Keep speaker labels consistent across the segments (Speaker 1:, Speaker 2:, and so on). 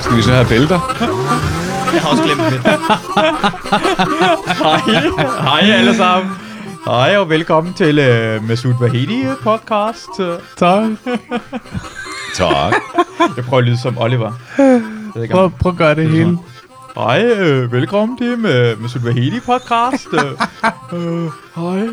Speaker 1: Skal vi så have bælter?
Speaker 2: Jeg har også glemt det.
Speaker 3: Hej, hej alle sammen. Hej og velkommen til uh, Masoud Vahedi podcast. Øh,
Speaker 1: Tak.
Speaker 2: Tak.
Speaker 3: Jeg prøver at lyde som Oliver. Jeg ved ikke, om-
Speaker 1: Prøv, prøv at gøre det hele.
Speaker 3: Hej, øh, velkommen til uh, Masoud Vahedi podcast. Øh,
Speaker 1: Hej, jeg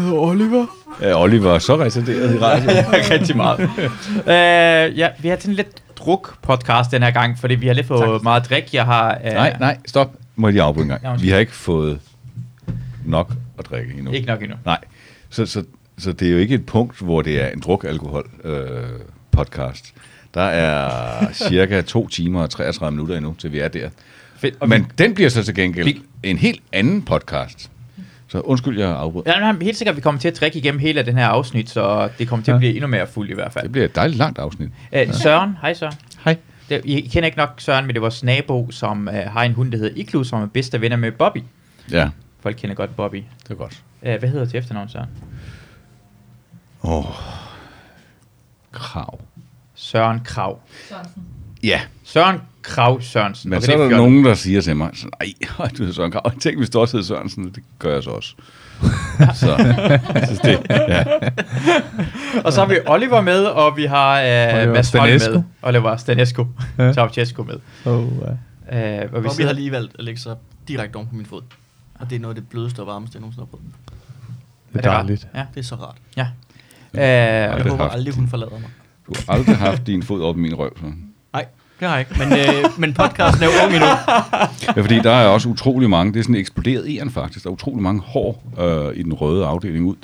Speaker 1: hedder Oliver.
Speaker 2: Ja, Oliver er så retarderet i radio.
Speaker 3: Rigtig meget. Uh, ja, vi har sådan en lidt druk podcast den her gang, fordi vi har lidt fået meget drik. Jeg har uh,
Speaker 2: Nej, nej, stop. Må jeg lige afbryde en
Speaker 3: Ja,
Speaker 2: gang?
Speaker 3: undskyld.
Speaker 2: Vi har ikke fået nok at drikke endnu.
Speaker 3: ikke nok endnu.
Speaker 2: Nej, så, så, så det er jo ikke et punkt, hvor det er en druk-alkohol-podcast. Der er cirka 2 timer og 33 minutter endnu, til vi er der.
Speaker 3: Fedt. Og
Speaker 2: Men den bliver så til gengæld
Speaker 3: Vi-
Speaker 2: en helt anden podcast. Så undskyld, jeg afbrød.
Speaker 3: Ja, men helt sikkert, at vi kommer til at drikke igennem hele den her afsnit, så det kommer til at blive endnu mere fuld i hvert fald.
Speaker 2: Det bliver et dejligt langt afsnit.
Speaker 3: Øh, Søren, hej Søren.
Speaker 1: Hej.
Speaker 3: Det, I kender ikke nok Søren, men det er vores nabo, som øh, har en hund, der hedder Iglu, som er bedste venner med Bobby.
Speaker 2: Ja,
Speaker 3: Folk kender godt Bobby.
Speaker 2: det er godt.
Speaker 3: Øh, hvad hedder til efternavn, Søren?
Speaker 2: Åh, oh. krav.
Speaker 3: Søren Krav.
Speaker 2: Ja,
Speaker 3: Søren Krav Sørensen.
Speaker 2: men okay, så
Speaker 3: Okay,
Speaker 2: er
Speaker 3: det
Speaker 2: der
Speaker 3: fjollet.
Speaker 2: nogen, der siger til mig, sådan, nej, du hedder Søren Krav. Jeg tænkte, hvis du også hedder Sørensen, det gør jeg så også. så, så det, ja.
Speaker 3: Og så har vi Oliver med, og vi har øh,
Speaker 1: Oliver
Speaker 3: Mads Holm
Speaker 1: Stanescu.
Speaker 3: med. Oliver Stanescu.
Speaker 1: Ja.
Speaker 3: Ja. Tavchescu med.
Speaker 1: Oh, uh.
Speaker 3: Øh, og vi
Speaker 4: Bobby har
Speaker 3: sidder,
Speaker 4: lige valgt at lægge sig direkte oven på min fod. Og det er noget af det blødeste og varmeste, jeg nogensinde har prøvet.
Speaker 1: Det er dejligt.
Speaker 3: Ja.
Speaker 4: Det er så rart.
Speaker 3: ja. Øh,
Speaker 2: Ej,
Speaker 4: Og
Speaker 2: det
Speaker 4: jeg håber
Speaker 2: har-
Speaker 4: aldrig, hun forlader mig.
Speaker 2: Du har aldrig haft din fod op i min røv. Så.
Speaker 4: Nej, det har jeg ikke. Men, øh, men podcasten er jo ung endnu.
Speaker 2: Ja, fordi der er også utrolig mange, det er sådan eksploderet æren faktisk, der er utrolig mange hår øh, i den røde afdeling ud.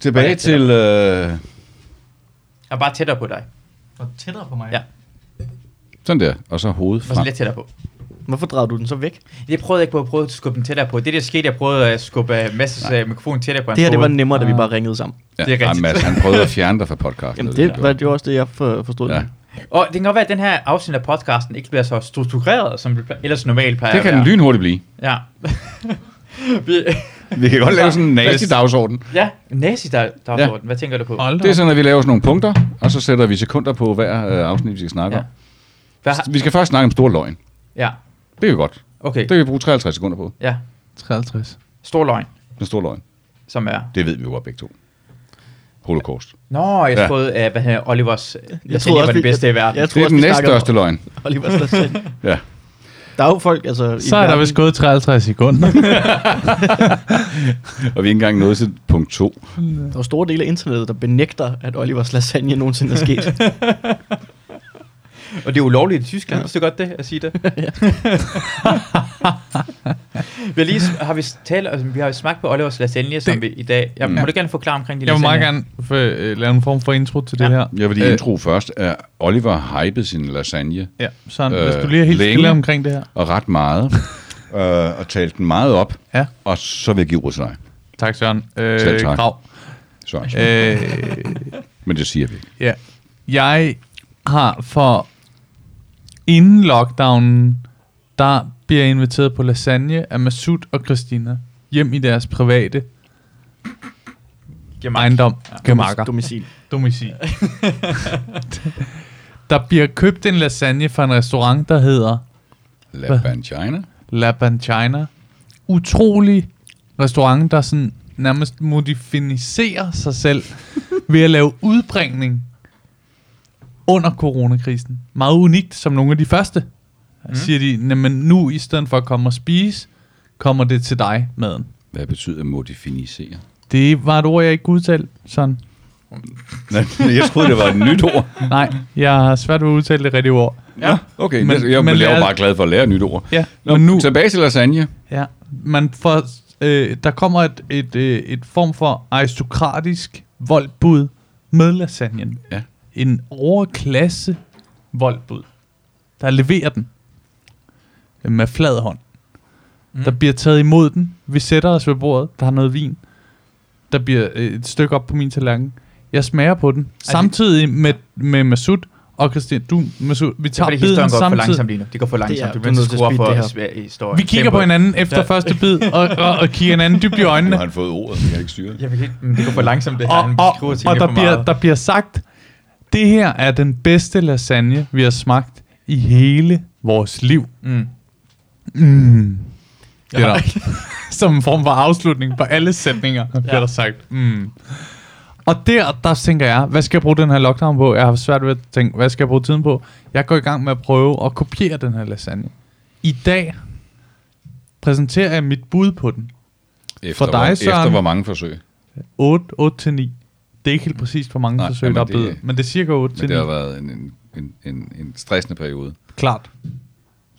Speaker 2: Tilbage
Speaker 3: Ja, det
Speaker 2: til... Øh,
Speaker 3: jeg er bare tættere på dig.
Speaker 4: Og tættere på mig.
Speaker 3: Ja.
Speaker 2: sådan der, og så hovedet
Speaker 3: Og så
Speaker 2: frem.
Speaker 3: lidt tættere på.
Speaker 4: Hvorfor drager du den så væk?
Speaker 3: Det prøvede jeg ikke på. Jeg prøvede at skubbe den tættere på. Det der skete, jeg prøvede at skubbe øh, Mads' øh, mikrofon tættere på. hans
Speaker 4: Det her, det var
Speaker 3: hoved.
Speaker 4: nemmere, da vi bare ringede sammen.
Speaker 2: Ja,
Speaker 3: det er rigtigt.
Speaker 2: ej, Mads, han prøvede at fjerne dig fra podcasten.
Speaker 4: Jamen,
Speaker 2: ved du,
Speaker 4: det var det var også det, jeg for, forstod.
Speaker 2: Ja.
Speaker 4: Ja.
Speaker 3: Og det kan godt være, at den her afsnit af podcasten ikke bliver så struktureret, som det pla- ellers normalt plejer
Speaker 2: det kan
Speaker 3: at
Speaker 2: den
Speaker 3: være.
Speaker 2: lynhurtigt blive.
Speaker 3: Ja. Vi,
Speaker 2: Vi kan godt lave sådan en nazi-dagsorden.
Speaker 3: ja, nazi der, der
Speaker 2: Ja.
Speaker 3: ja. Hvad tænker du på?
Speaker 1: Hold
Speaker 2: Det er sådan, at vi laver sådan nogle punkter, og så sætter vi sekunder på hver øh, afsnit, vi skal snakke
Speaker 3: Ja.
Speaker 2: ja. om.
Speaker 3: Hvad har,
Speaker 2: Vi skal først snakke om stor løgn.
Speaker 3: ja,
Speaker 2: Det er jo godt.
Speaker 3: okay.
Speaker 2: Det kan vi bruge 53 sekunder på.
Speaker 3: Ja,
Speaker 1: 53.
Speaker 3: stor løgn,
Speaker 2: Den store løgn.
Speaker 3: som er...
Speaker 2: Det ved vi jo godt begge to. Holocaust.
Speaker 3: Nå, jeg
Speaker 2: Ja.
Speaker 3: ja. troede, uh, hvad hedder Olivers... Jeg, jeg
Speaker 4: troede
Speaker 3: troede
Speaker 4: også,
Speaker 3: var den
Speaker 4: vi-
Speaker 3: bedste i verden.
Speaker 4: Jeg
Speaker 2: Det
Speaker 4: tror
Speaker 2: er
Speaker 4: også,
Speaker 2: den
Speaker 4: vi
Speaker 2: næststørste løgn.
Speaker 4: Oliver Stassen.
Speaker 2: Ja.
Speaker 4: Der er jo folk, altså... i
Speaker 1: Så er der
Speaker 4: verden-
Speaker 1: vist gået 53 sekunder.
Speaker 2: Og vi er ikke engang nået til punkt 2.
Speaker 4: Der er jo store dele af internettet, der benægter, at Olivers lasagne nogensinde er sket.
Speaker 3: Og det er ulovligt i Tyskland, ja. så godt det at sige det. vi har lige sm- har vi talt, altså, vi har smagt på Olivers lasagne, som
Speaker 1: Det-
Speaker 3: vi i dag. Jeg,
Speaker 2: Mm.
Speaker 3: må du gerne forklare omkring de
Speaker 1: Jeg vil
Speaker 3: lasagne?
Speaker 1: meget gerne for, øh, lave en form for intro til det
Speaker 3: Ja.
Speaker 1: her.
Speaker 2: Jeg vil lige intro først. Er Oliver hypede sin lasagne,
Speaker 1: Ja, sådan.
Speaker 2: Øh,
Speaker 1: Hvis du lige er helt
Speaker 2: længe.
Speaker 1: stille omkring det her.
Speaker 2: og ret meget, øh, og talte den meget op,
Speaker 1: Ja.
Speaker 2: og så vil jeg give ordet til dig.
Speaker 1: Tak, Søren. Øh,
Speaker 2: Selv tak.
Speaker 1: Krav.
Speaker 2: Søren.
Speaker 1: Øh,
Speaker 2: Men det siger vi ikke.
Speaker 1: Ja. Jeg har for inden lockdownen, der bliver jeg inviteret på lasagne af Masud og Christina hjem i deres private
Speaker 3: Gemak.
Speaker 1: ejendom, ja. gemakker,
Speaker 4: Domicil.
Speaker 1: domicil. der bliver købt en lasagne fra en restaurant, der hedder
Speaker 2: La
Speaker 1: Hvad?
Speaker 2: Banchina.
Speaker 1: La Banchina. Utrolig restaurant, der sådan nærmest modificerer sig selv ved at lave udbringning under coronakrisen. Meget unikt som nogle af de første. Mm. Siger de, men nu i stedet for at komme og spise, kommer det til dig maden.
Speaker 2: Hvad betyder modifinisere?
Speaker 1: Det var et ord, jeg ikke kunne udtale sådan.
Speaker 2: jeg troede, det var et nyt ord.
Speaker 1: Nej, jeg har svært ved at udtale det rigtige ord.
Speaker 2: Ja, okay.
Speaker 1: Men-
Speaker 2: Men, jeg,
Speaker 1: men
Speaker 2: men jeg er
Speaker 1: det
Speaker 2: jo
Speaker 1: er-
Speaker 2: bare glad for at lære et nyt ord.
Speaker 1: Ja,
Speaker 2: Nå,
Speaker 1: men
Speaker 2: nu...
Speaker 1: nu-
Speaker 2: Tilbage til lasagne.
Speaker 1: Ja, man får, øh, der kommer et, et, øh, et form for aristokratisk voldbud med lasagnen.
Speaker 2: Ja.
Speaker 1: En overklasse voldbud, der leverer den øh, med flad hånd. Mm. Der bliver taget imod den. Vi sætter os ved bordet. Der er noget vin. Der bliver øh, et stykke op på min tallerken. Jeg smager på den. Samtidig med, med Masud og Christian. Du, Masud, vi
Speaker 3: Det er
Speaker 1: tager
Speaker 3: fordi
Speaker 1: biden
Speaker 3: historien går for
Speaker 1: samtidig.
Speaker 3: langsomt lige nu. Det går for langsomt.
Speaker 4: Det er-
Speaker 3: du
Speaker 4: du
Speaker 3: bliver
Speaker 4: er
Speaker 3: nødt
Speaker 4: nødt
Speaker 3: til
Speaker 4: til
Speaker 3: at skrue
Speaker 4: at
Speaker 3: op
Speaker 4: speede
Speaker 3: for
Speaker 4: det
Speaker 3: sp- historien.
Speaker 1: Vi kigger på
Speaker 3: Tempoet.
Speaker 1: hinanden efter ja. første bid og, og, og kigger hinanden dybt i
Speaker 2: Nu
Speaker 1: øjnene.
Speaker 2: har han fået ordet, jeg kan ikke styre det.
Speaker 3: Jeg ved ikke, men det går for langsomt det her.
Speaker 1: og,
Speaker 3: Han
Speaker 1: og,
Speaker 3: skruer
Speaker 1: og
Speaker 3: tingene
Speaker 1: der,
Speaker 3: for
Speaker 1: bliver,
Speaker 3: meget.
Speaker 1: der bliver sagt, det her er den bedste lasagne, vi har smagt i hele vores liv.
Speaker 5: Mm.
Speaker 1: Mm. Det er der. Som en form for afslutning på alle sætninger, bliver
Speaker 5: Ja.
Speaker 1: der sagt. Mm. Og der, der tænker jeg, hvad skal jeg bruge den her lockdown på? Jeg har haft svært ved at tænke, hvad skal jeg bruge tiden på? Jeg går i gang med at prøve at kopiere den her lasagne. I dag præsenterer jeg mit bud på den.
Speaker 2: Efter,
Speaker 1: For dig,
Speaker 2: hvor, Efter
Speaker 1: Søren.
Speaker 2: hvor mange forsøg.
Speaker 1: 8, 8 til 9. Det er ikke helt præcist, hvor mange
Speaker 2: Nej,
Speaker 1: Nej, forsøg,
Speaker 2: jamen,
Speaker 1: der er
Speaker 2: det-
Speaker 1: blevet. men det er cirka 8 til
Speaker 2: Men
Speaker 1: 9.
Speaker 2: det har været en, en, en, en, en stressende periode.
Speaker 1: Klart.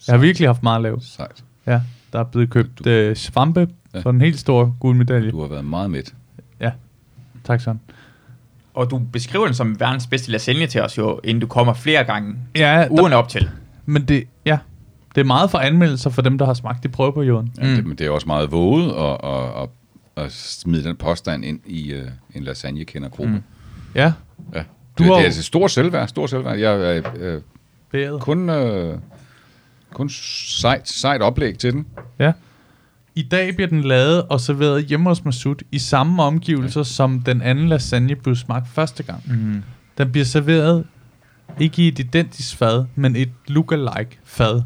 Speaker 1: Jeg har virkelig haft meget lavt.
Speaker 2: Sejt.
Speaker 1: Ja, der er blevet købt øh, svampe
Speaker 2: Ja.
Speaker 1: ja. for en helt stor gul medalje.
Speaker 2: Du har været meget midt.
Speaker 1: Mm. Tak, Søren.
Speaker 5: Og du beskriver den som verdens bedste lasagne til os jo, inden du kommer flere gange
Speaker 1: Ja, der,
Speaker 5: ugen op til.
Speaker 1: men det, ja, det er meget for anmeldelser for dem, der har smagt i prøveperioden.
Speaker 2: Ja,
Speaker 5: Mm.
Speaker 2: mm. det, men det er også meget våget at, at, at, at smide den påstand ind i uh, en lasagne-kendergruppe.
Speaker 5: Mm.
Speaker 2: Mm.
Speaker 1: Ja,
Speaker 2: Ja.
Speaker 1: Du
Speaker 2: Du det, har...
Speaker 1: har jo-
Speaker 2: det er altså stor selvværd, stor selvværd. Jeg er øh,
Speaker 1: bæret.
Speaker 2: kun, øh, kun sejt, sejt oplæg til den.
Speaker 1: Ja. I dag bliver den lavet og serveret hjemme hos Masud i samme omgivelser, som den anden lasagne blev smagt første gang.
Speaker 5: Mm.
Speaker 1: Den bliver serveret ikke i et identisk fad, men et lookalike fad.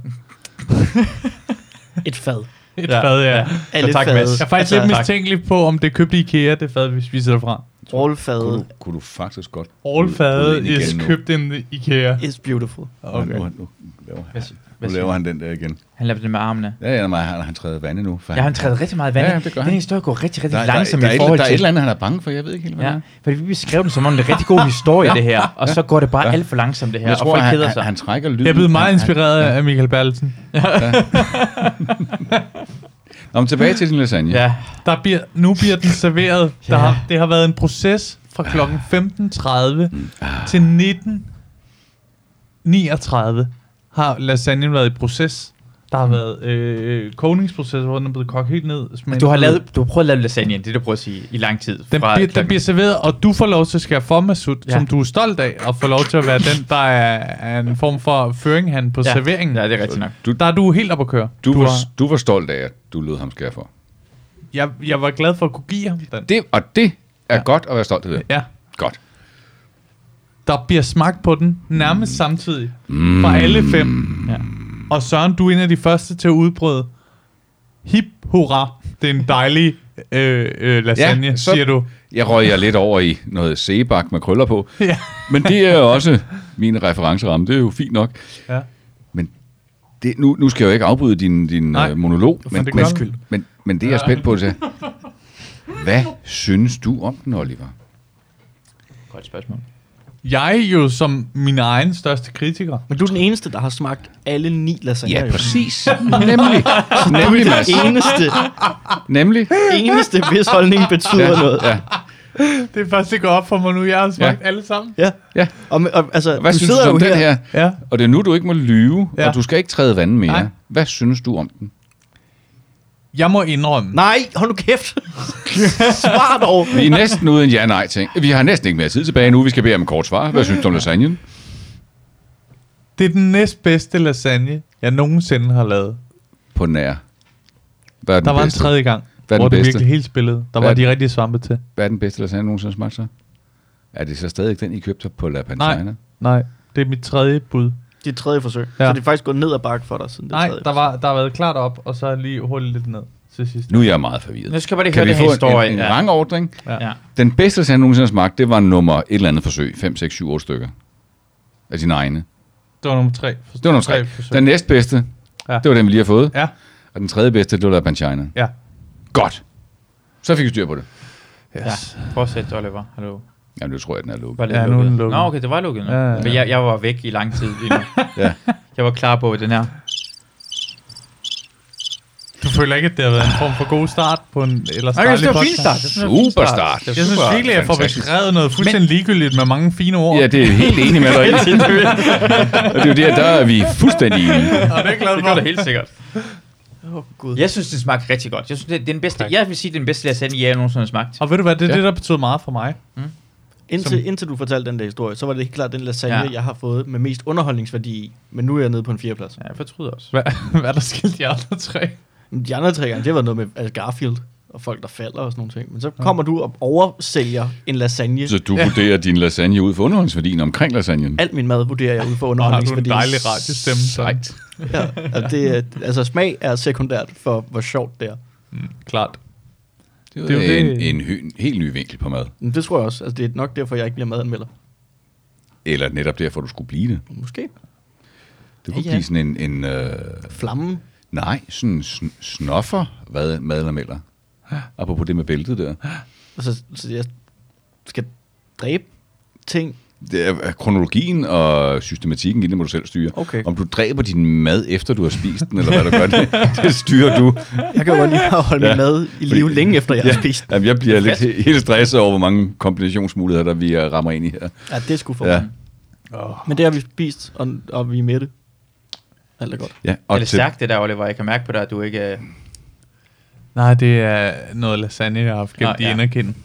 Speaker 4: Et fad.
Speaker 1: Et
Speaker 5: Ja,
Speaker 1: fad, ja.
Speaker 5: ja.
Speaker 4: Alle
Speaker 5: tak,
Speaker 4: fade.
Speaker 5: Mads.
Speaker 1: Jeg er faktisk
Speaker 4: Altså,
Speaker 1: lidt
Speaker 4: tak.
Speaker 1: mistænkelig på, om det er købt i IKEA, det fad, vi spiser derfra.
Speaker 2: Kunne du,
Speaker 4: Rollfad
Speaker 2: kunne du faktisk godt...
Speaker 1: All
Speaker 2: bryde- bryde
Speaker 1: fad
Speaker 2: ind igen
Speaker 1: is
Speaker 2: nu.
Speaker 1: købt in IKEA.
Speaker 4: is beautiful.
Speaker 2: Okay. Nu,
Speaker 1: Okay.
Speaker 2: nu, laver han,
Speaker 5: Hvad,
Speaker 2: nu
Speaker 5: hvad
Speaker 2: laver
Speaker 5: laver han?
Speaker 2: han den der igen.
Speaker 5: Han laver det med armene.
Speaker 2: Ja, ja, nej, han, han træder vandet nu. For
Speaker 5: Ja, han træder rigtig meget vand.
Speaker 2: Ja,
Speaker 5: Ja,
Speaker 2: jamen, det gør
Speaker 5: Den
Speaker 2: han.
Speaker 5: historie går rigtig, rigtig
Speaker 2: der,
Speaker 5: langsomt
Speaker 2: der, der,
Speaker 5: i
Speaker 2: der, der,
Speaker 5: forhold
Speaker 2: der er et
Speaker 5: til...
Speaker 2: eller andet, han er bange for. Jeg ved ikke helt, hvad det
Speaker 5: Ja,
Speaker 2: er.
Speaker 5: fordi vi beskrev den som om det er en rigtig god historie, det her. Og så går det bare alt for langsomt, det her.
Speaker 2: Jeg
Speaker 5: og
Speaker 2: tror,
Speaker 5: folk
Speaker 2: han,
Speaker 5: keder
Speaker 2: han,
Speaker 5: sig.
Speaker 2: han trækker lyden.
Speaker 1: Jeg er blevet meget
Speaker 2: Han- han-
Speaker 1: inspireret af Michael Bertelsen.
Speaker 2: Nå, men tilbage til din lasagne.
Speaker 5: Ja,
Speaker 1: Der bliver, nu bliver den serveret. Der
Speaker 5: Ja.
Speaker 1: har, det har været en proces fra kl. 15.30 til 19.39 har lasagnen været i proces. Der har været øh, kogningsproces, hvor den er blevet kogt helt ned. smagen
Speaker 5: du har,
Speaker 1: er blevet-
Speaker 5: lavet, du har prøvet at lave lasagne, det er det, du prøver at sige, i lang tid.
Speaker 1: Den,
Speaker 5: fra
Speaker 1: bliver, den
Speaker 5: klokken-
Speaker 1: bliver serveret, og du får lov til at skære for, Masud,
Speaker 5: Ja.
Speaker 1: ja. som du er stolt af, og får lov til at være den, der er, er en form for føringhan på
Speaker 5: ja.
Speaker 1: ja. serveringen.
Speaker 5: Ja,
Speaker 1: Ja.
Speaker 5: det er rigtigt nok.
Speaker 1: Der er du helt oppe at køre.
Speaker 2: Du, var,
Speaker 1: har,
Speaker 2: du var stolt af, at du lød ham skære for.
Speaker 1: jeg, jeg var glad for at kunne give ham den.
Speaker 2: Det, og det er ja. godt at være stolt af det.
Speaker 1: Ja.
Speaker 2: Godt.
Speaker 1: Der bliver smagt på den nærmest samtidig fra alle fem. Ja. Og Søren, du er en af de første til at udbrøde. Hip hurra, det er en dejlig øh, øh, lasagne, ja,
Speaker 2: så-
Speaker 1: siger du.
Speaker 2: Jeg røg jeg lidt over i noget sebak med krøller på.
Speaker 1: Ja.
Speaker 2: Men det er jo også min referenceramme. Det er jo fint nok.
Speaker 1: Ja.
Speaker 2: Men det, nu, nu skal jeg jo ikke afbryde din, din
Speaker 1: Nej.
Speaker 2: øh, monolog. Men,
Speaker 1: det
Speaker 2: men,
Speaker 1: gør
Speaker 2: men, men, men det er jeg spændt på til. Hvad synes du om den, Oliver?
Speaker 5: Godt spørgsmål.
Speaker 1: Jeg er jo som min egen største kritiker.
Speaker 4: Men du er den eneste, der har smagt alle ni lasagner.
Speaker 2: Ja,
Speaker 4: jo.
Speaker 2: præcis. Nemlig. Nemlig, Mads.
Speaker 4: Eneste,
Speaker 2: Nemlig.
Speaker 4: eneste, hvis holdning betyder noget.
Speaker 2: Ja.
Speaker 1: Det er først, det går op for mig nu. Jeg har smagt ja. alle sammen.
Speaker 4: Ja.
Speaker 2: ja.
Speaker 4: Og, og, altså,
Speaker 2: Hvad
Speaker 4: du
Speaker 2: synes
Speaker 4: sidder
Speaker 2: du om
Speaker 4: jo
Speaker 2: den her?
Speaker 1: Ja.
Speaker 2: Og det er nu, du ikke må lyve, ja.
Speaker 1: Ja.
Speaker 2: og du skal ikke træde vand mere.
Speaker 1: Nej.
Speaker 2: Nej. Hvad synes du om den?
Speaker 1: Jeg må indrømme.
Speaker 4: Nej, hold nu kæft. Svar dog.
Speaker 2: Vi er næsten uden ja-nej-ting. Vi har næsten ikke mere tid tilbage nu. Vi skal bede om et kort svar. Hvad synes du om lasagnen?
Speaker 1: Det er den næstbedste lasagne, jeg nogensinde har lavet.
Speaker 2: På nær. Hvad er den,
Speaker 1: Der var en
Speaker 2: bedste?
Speaker 1: tredje gang,
Speaker 2: Hvad er
Speaker 1: hvor
Speaker 2: den
Speaker 1: det
Speaker 2: bedste?
Speaker 1: virkelig helt spillede. Der
Speaker 2: Hvad
Speaker 1: var
Speaker 2: er
Speaker 1: de rigtige svampe til.
Speaker 2: Hvad er den bedste lasagne, jeg nogensinde har smagt så? Er det så stadig den, I købte på La Panchina?
Speaker 1: Nej, nej. Det er mit tredje bud.
Speaker 4: Det er tredje forsøg.
Speaker 1: Ja.
Speaker 4: Ja. Så det er faktisk gået ned ad bakke for dig, siden det
Speaker 1: Nej,
Speaker 4: tredje.
Speaker 1: der, var, der har været klart op, og så lige hurtigt lidt ned til sidst.
Speaker 2: Nu er jeg meget forvirret.
Speaker 5: Nu skal vi lige
Speaker 2: kan
Speaker 5: høre
Speaker 2: vi
Speaker 5: det her
Speaker 2: få en,
Speaker 5: historie.
Speaker 2: en, en
Speaker 5: ja.
Speaker 2: rangordning?
Speaker 5: ja.
Speaker 2: Den bedste lasagne, jeg nogensinde har smagt, det var nummer et eller andet forsøg. 5, 6, 7, 8 stykker. Af dine egne.
Speaker 1: Det var nummer tre. Det
Speaker 2: Det var nummer tre. Den
Speaker 1: Den...
Speaker 2: næstbedste,
Speaker 1: Ja.
Speaker 2: ja. det var den, vi lige har fået.
Speaker 1: Ja,
Speaker 2: Og den tredje bedste, det var La Panchina.
Speaker 1: ja.
Speaker 2: Godt. Så fik vi styr på det.
Speaker 1: Yes.
Speaker 5: ja. Prøv at sætte, Oliver. Hallo.
Speaker 2: Jamen, det tror jeg, den er lukket.
Speaker 5: Var det
Speaker 1: Ja, nu er
Speaker 5: lukket?
Speaker 1: den lukket.
Speaker 5: Nå, okay, det var lukket. nu.
Speaker 1: Ja, ja, ja.
Speaker 5: Men jeg, jeg var væk i lang tid lige nu.
Speaker 2: Ja.
Speaker 5: Jeg var klar på den her.
Speaker 1: Du føler ikke, at det har været en form for god start på en eller
Speaker 5: Nej, jeg synes, det
Speaker 1: startlig
Speaker 5: var en fin
Speaker 1: podcast?
Speaker 5: start. Jeg synes, det var en fin
Speaker 2: Super
Speaker 5: start.
Speaker 2: start.
Speaker 5: Det var
Speaker 1: Jeg synes
Speaker 5: super
Speaker 1: virkelig, at jeg får
Speaker 2: fantastisk.
Speaker 1: beskrevet noget fuldstændig ligegyldigt med mange fine ord.
Speaker 2: Ja, det er jeg helt enig med dig. i. Og det er jo der, der er vi fuldstændig enige.
Speaker 1: og det er jeg glad
Speaker 5: Det
Speaker 1: for.
Speaker 5: gør det helt sikkert.
Speaker 4: Åh, oh, Gud.
Speaker 5: Jeg synes, den smagte rigtig godt. Jeg synes, det er den bedste, jeg vil sige, det er den bedste lasagne, jeg nogensinde har smagt.
Speaker 1: Og ved du hvad, det er
Speaker 2: Ja.
Speaker 1: ja. det, der betød meget for mig.
Speaker 4: Indtil, som... indtil du fortalte den der historie, så var det helt klart den lasagne,
Speaker 5: Ja.
Speaker 4: ja. jeg har fået med mest underholdningsværdi i. Men nu er jeg nede på en fjerdeplads.
Speaker 5: Ja, jeg fortryder også.
Speaker 1: Hvad, hvad er der skilt de andre tre?
Speaker 4: Men De andre tre gange, det var noget med altså Garfield. og folk, der falder og sådan nogle ting. Men så kommer du og oversælger en lasagne.
Speaker 2: Så du vurderer din lasagne ud for underholdningsværdien omkring lasagnen?
Speaker 4: Alt min mad vurderer jeg ud for
Speaker 1: Nå, har du en
Speaker 4: underholdningsværdien.
Speaker 1: dejlig radiostemme. Sejt.
Speaker 4: Ja, og det, er- altså smag er sekundært for, hvor sjovt det er.
Speaker 1: Klart.
Speaker 2: Det,
Speaker 1: Det er
Speaker 2: er
Speaker 1: jo
Speaker 2: en,
Speaker 1: det-
Speaker 2: en, hy- en helt ny vinkel på mad.
Speaker 4: Men det tror jeg også. Altså, det er nok derfor, jeg ikke bliver madanmelder.
Speaker 2: Eller netop derfor, du skulle blive det.
Speaker 4: Måske.
Speaker 2: Det kunne ja,
Speaker 4: Ja, ja.
Speaker 2: ja. blive sådan en... en øh,
Speaker 4: Flammen.
Speaker 2: nej, sådan en sn- snoffer hvad, madlameller. Apropos det med bæltet der.
Speaker 4: Altså, så jeg skal dræbe ting.
Speaker 2: Det er kronologien og systematikken i det, må du selv styre.
Speaker 4: Okay.
Speaker 2: Om du dræber din mad, efter du har spist den, eller hvad du gør, det, det styrer du.
Speaker 4: Jeg kan jo godt lige at holde
Speaker 2: Ja.
Speaker 4: min mad i live
Speaker 2: Fordi-
Speaker 4: længe efter, jeg har spist.
Speaker 2: Jamen, jeg bliver lidt he- helt stresset over, hvor mange kombinationsmuligheder, der vi øh, rammer ind i her.
Speaker 4: Ja, det skulle for
Speaker 2: Ja.
Speaker 4: ja. Men det har vi spist, og, og vi er med det. Alt er godt.
Speaker 2: Ja,
Speaker 5: Og er
Speaker 2: og
Speaker 5: det
Speaker 2: til,
Speaker 5: stærkt, det der, Oliver? Jeg kan mærke på dig, at du ikke... øh,
Speaker 1: Nej, det er noget lasagne, jeg har haft gennem
Speaker 5: Nå,
Speaker 1: de
Speaker 5: ja.
Speaker 1: inderkind.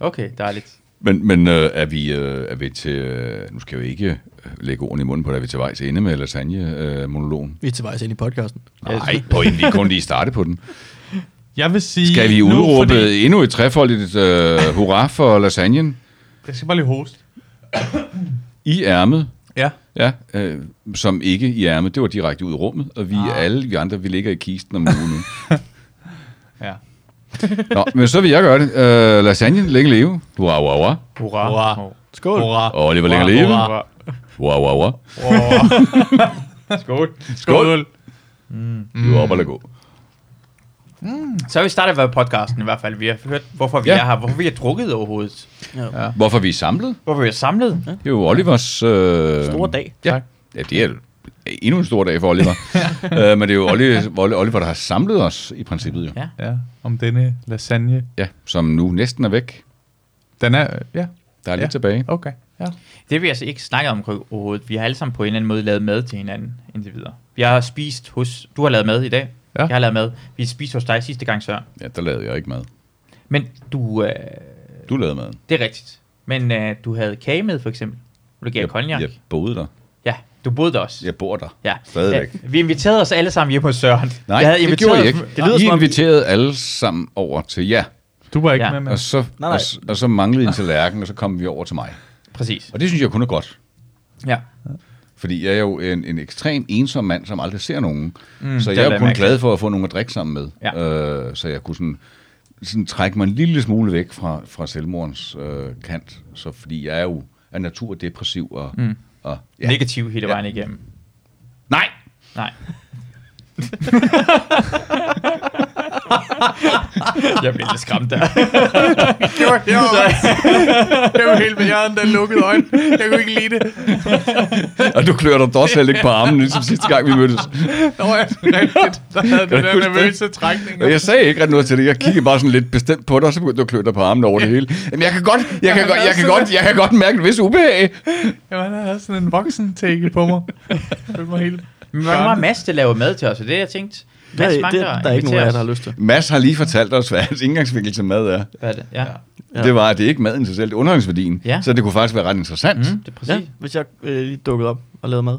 Speaker 5: Okay, dejligt.
Speaker 2: men men øh, er, vi, øh, er vi til... Øh, nu skal jeg jo ikke øh, lægge ordene i munden på dig, er vi til vejs ende med lasagne-monologen?
Speaker 4: Vi er til vejs ind i podcasten.
Speaker 2: Nej, på en, vi er kun lige starte på den.
Speaker 1: Jeg vil sige...
Speaker 2: Skal vi
Speaker 1: nu,
Speaker 2: udråbe
Speaker 1: fordi-
Speaker 2: fordi... endnu et trefoldigt øh, hurra for lasagnen
Speaker 1: Jeg skal bare lige hoste.
Speaker 2: i ærmet?
Speaker 1: Ja.
Speaker 2: Ja, øh, som ikke i ærmet. Det var direkte ud i rummet, og vi ah. alle vi andre, vi ligger i kisten om ugen nu.
Speaker 1: Ja.
Speaker 2: Nå, men så vil jeg gøre det. Øh, lasagnen, længe leve. Hurra, hurra, hurra.
Speaker 5: Hurra.
Speaker 1: Hurra.
Speaker 4: Skål.
Speaker 1: Hurra.
Speaker 2: Og Oliver, længe leve. Hurra, hurra, hurra.
Speaker 5: Skål.
Speaker 2: Skål. Mm. Du er op og lad gå.
Speaker 5: Så har vi startet med podcasten i hvert fald. Vi har hørt, hvorfor vi
Speaker 2: Ja.
Speaker 5: er her, hvorfor vi har drukket overhovedet.
Speaker 2: Hvorfor vi er samlet?
Speaker 5: Hvorfor vi er samlet. Ja.
Speaker 2: Det er jo Olivers... Øh,
Speaker 4: Store dag.
Speaker 2: Ja, ja det er endnu en stor dag for Oliver. øh, men det er jo Oliver, Oliver, der har samlet os i princippet jo.
Speaker 5: Ja.
Speaker 1: Ja, om denne lasagne.
Speaker 2: Ja, som nu næsten er væk.
Speaker 1: Den er... øh, Ja,
Speaker 2: Der er lidt
Speaker 1: Ja.
Speaker 2: tilbage.
Speaker 1: okay. Ja.
Speaker 5: Det har vi altså ikke snakket om overhovedet. Vi har alle sammen på en eller anden måde lavet mad til hinanden indtil videre. Vi har spist hos... Du har lavet mad i dag.
Speaker 1: Ja.
Speaker 5: Jeg har lavet mad. Vi spiste hos dig sidste gang, Søren.
Speaker 2: Ja, der lavede jeg ikke mad.
Speaker 5: Men du... Øh,
Speaker 2: Du lavede mad.
Speaker 5: det er rigtigt. Men øh, du havde kage med, for eksempel. Og Du gav cognac.
Speaker 2: Jeg boede der.
Speaker 5: Ja, du boede der også.
Speaker 2: Jeg bor der.
Speaker 5: Ja.
Speaker 2: Stadigvæk.
Speaker 5: Ja, vi inviterede os alle sammen hjem hos Søren.
Speaker 2: Nej, jeg det gjorde jeg ikke.
Speaker 5: os-
Speaker 2: Det lyder, I inviterede alle sammen over til jer.
Speaker 1: Du var ikke
Speaker 5: Ja.
Speaker 1: med, med.
Speaker 2: Og så,
Speaker 4: Nej, nej.
Speaker 2: Og, s- og så manglede I en tallerken, og så kom vi over til mig.
Speaker 5: Præcis.
Speaker 2: Og det synes jeg kun er godt.
Speaker 5: Ja.
Speaker 2: Fordi jeg er jo en, en ekstrem ensom mand, som aldrig ser nogen. Mm, så
Speaker 5: det
Speaker 2: jeg
Speaker 5: lader
Speaker 2: er kun
Speaker 5: jeg
Speaker 2: glad for at få nogen at drikke sammen med.
Speaker 5: Ja.
Speaker 2: Øh, så jeg kunne sådan, sådan trække mig en lille smule væk fra, fra selvmordens øh, kant. Så fordi jeg er jo af natur depressiv. Og, mm. og,
Speaker 5: ja. Negativ hele
Speaker 2: Ja.
Speaker 5: vejen igennem.
Speaker 2: Nej!
Speaker 5: Nej. jeg blev lidt skræmt der.
Speaker 6: Det var, det var, det var helt med jorden, der lukkede øjnene. Jeg kunne ikke lide det.
Speaker 2: Og du klør dig dog selv ikke på armen, ligesom sidste gang vi mødtes.
Speaker 6: Nå, jeg rigtigt. Der havde
Speaker 2: Kan
Speaker 6: den
Speaker 2: du
Speaker 6: der
Speaker 2: huske det?
Speaker 6: nervøse trækning.
Speaker 2: Og jeg sagde ikke rigtig noget til det. Jeg kiggede bare sådan lidt bestemt på dig, og så begyndte du at klø dig på armen over det hele. Jamen, jeg kan godt, jeg kan, godt, jeg kan godt, jeg kan godt mærke en vis ubehag.
Speaker 1: Jamen, han havde sådan en voksen take på mig. Det var helt...
Speaker 5: Men hvor var Mads, der lavede mad til os? Og det er jeg tænkt.
Speaker 4: Der,
Speaker 5: Mads
Speaker 4: er, det,
Speaker 5: mangler
Speaker 4: der er ikke nogen af jer, der har lyst til.
Speaker 2: Mads har lige fortalt os, hvad hans indgangsvinkel til mad er.
Speaker 5: Hvad er det? Ja. ja.
Speaker 2: Ja. Det var, at det ikke er maden i sig selv, det er underholdningsværdien.
Speaker 5: Ja.
Speaker 2: Så det kunne faktisk være ret interessant.
Speaker 5: Mm,
Speaker 2: Mm.
Speaker 5: det er
Speaker 4: Ja,
Speaker 5: præcis.
Speaker 4: hvis jeg øh, lige dukkede op og lavede mad.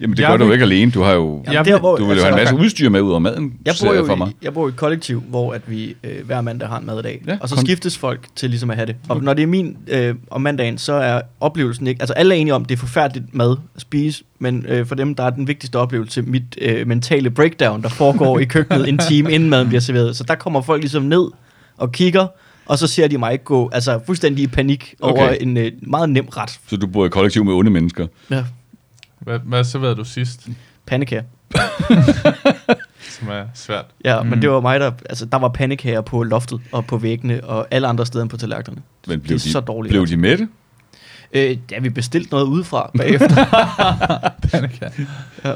Speaker 2: Jamen, det
Speaker 1: Jeg
Speaker 2: gør du
Speaker 1: vil-
Speaker 2: jo ikke alene. Du har jo,
Speaker 1: Jeg vil-
Speaker 4: hvor, altså,
Speaker 2: du vil jo have en masse udstyr med ud over maden,
Speaker 4: Jeg
Speaker 2: ser
Speaker 4: bor, jo
Speaker 2: for
Speaker 4: for
Speaker 2: mig.
Speaker 4: i, jeg bor i et kollektiv, hvor at vi øh, hver mandag har en maddag.
Speaker 2: Ja,
Speaker 4: Ja, og så
Speaker 2: kon-
Speaker 4: skiftes folk til ligesom at have det. Og når det er min øh, om mandagen, så er oplevelsen ikke... Altså alle er enige om, det er forfærdeligt mad at spise, men øh, for dem, der er den vigtigste oplevelse, mit øh, mentale breakdown, der foregår i køkkenet en time, inden maden bliver serveret. Så der kommer folk ligesom ned og kigger, og så ser de mig gå altså fuldstændig i panik over
Speaker 2: Okay.
Speaker 4: en øh, meget nem ret.
Speaker 2: Så du bor i kollektiv med onde mennesker.
Speaker 4: Ja.
Speaker 1: Hvad, hvad så ved du sidst,
Speaker 4: Pandekager.
Speaker 1: som er svært?
Speaker 4: Ja, mm. men det var mig, der... Altså, der var pandekager på loftet og på væggene og alle andre steder end på tallerkenerne.
Speaker 2: Men blev
Speaker 4: det er
Speaker 2: de,
Speaker 4: så dårligt.
Speaker 2: Blev
Speaker 4: altså.
Speaker 2: de med det?
Speaker 4: Øh, ja, vi bestilte noget udefra bagefter.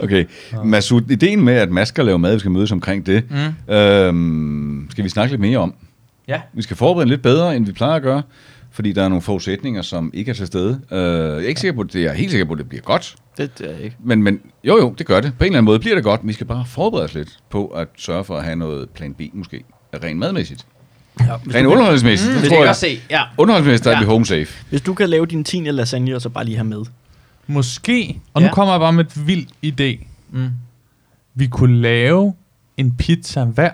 Speaker 2: Okay. Masud, ideen med, at Mads skal lave mad, vi skal mødes omkring det, mm. øhm, skal vi snakke lidt mere om.
Speaker 5: Ja.
Speaker 2: Vi skal forberede lidt bedre, end vi plejer at gøre, fordi der er nogle forudsætninger, som ikke er til stede. Øh, jeg er ikke sikker på, at det jeg er helt sikker på, at det bliver godt.
Speaker 4: det er jeg ikke.
Speaker 2: Men, men jo, jo, det gør det. På en eller anden måde bliver det godt. men Vi skal bare forberede os lidt på at sørge for at have noget plan B måske. Rent madmæssigt. Ja, Rent underholdningsmæssigt. Mm,
Speaker 5: Det
Speaker 2: det
Speaker 5: kan
Speaker 2: tror
Speaker 5: jeg
Speaker 2: jeg.
Speaker 5: godt se. Ja.
Speaker 2: Underholdningsmæssigt der er
Speaker 5: Ja.
Speaker 2: vi home safe.
Speaker 4: Hvis du kan lave din 10. lasagne, og så bare lige have med.
Speaker 1: Måske, og nu
Speaker 5: Ja.
Speaker 1: kommer jeg bare med et vildt idé.
Speaker 5: Mm.
Speaker 1: Vi kunne lave en pizza hver.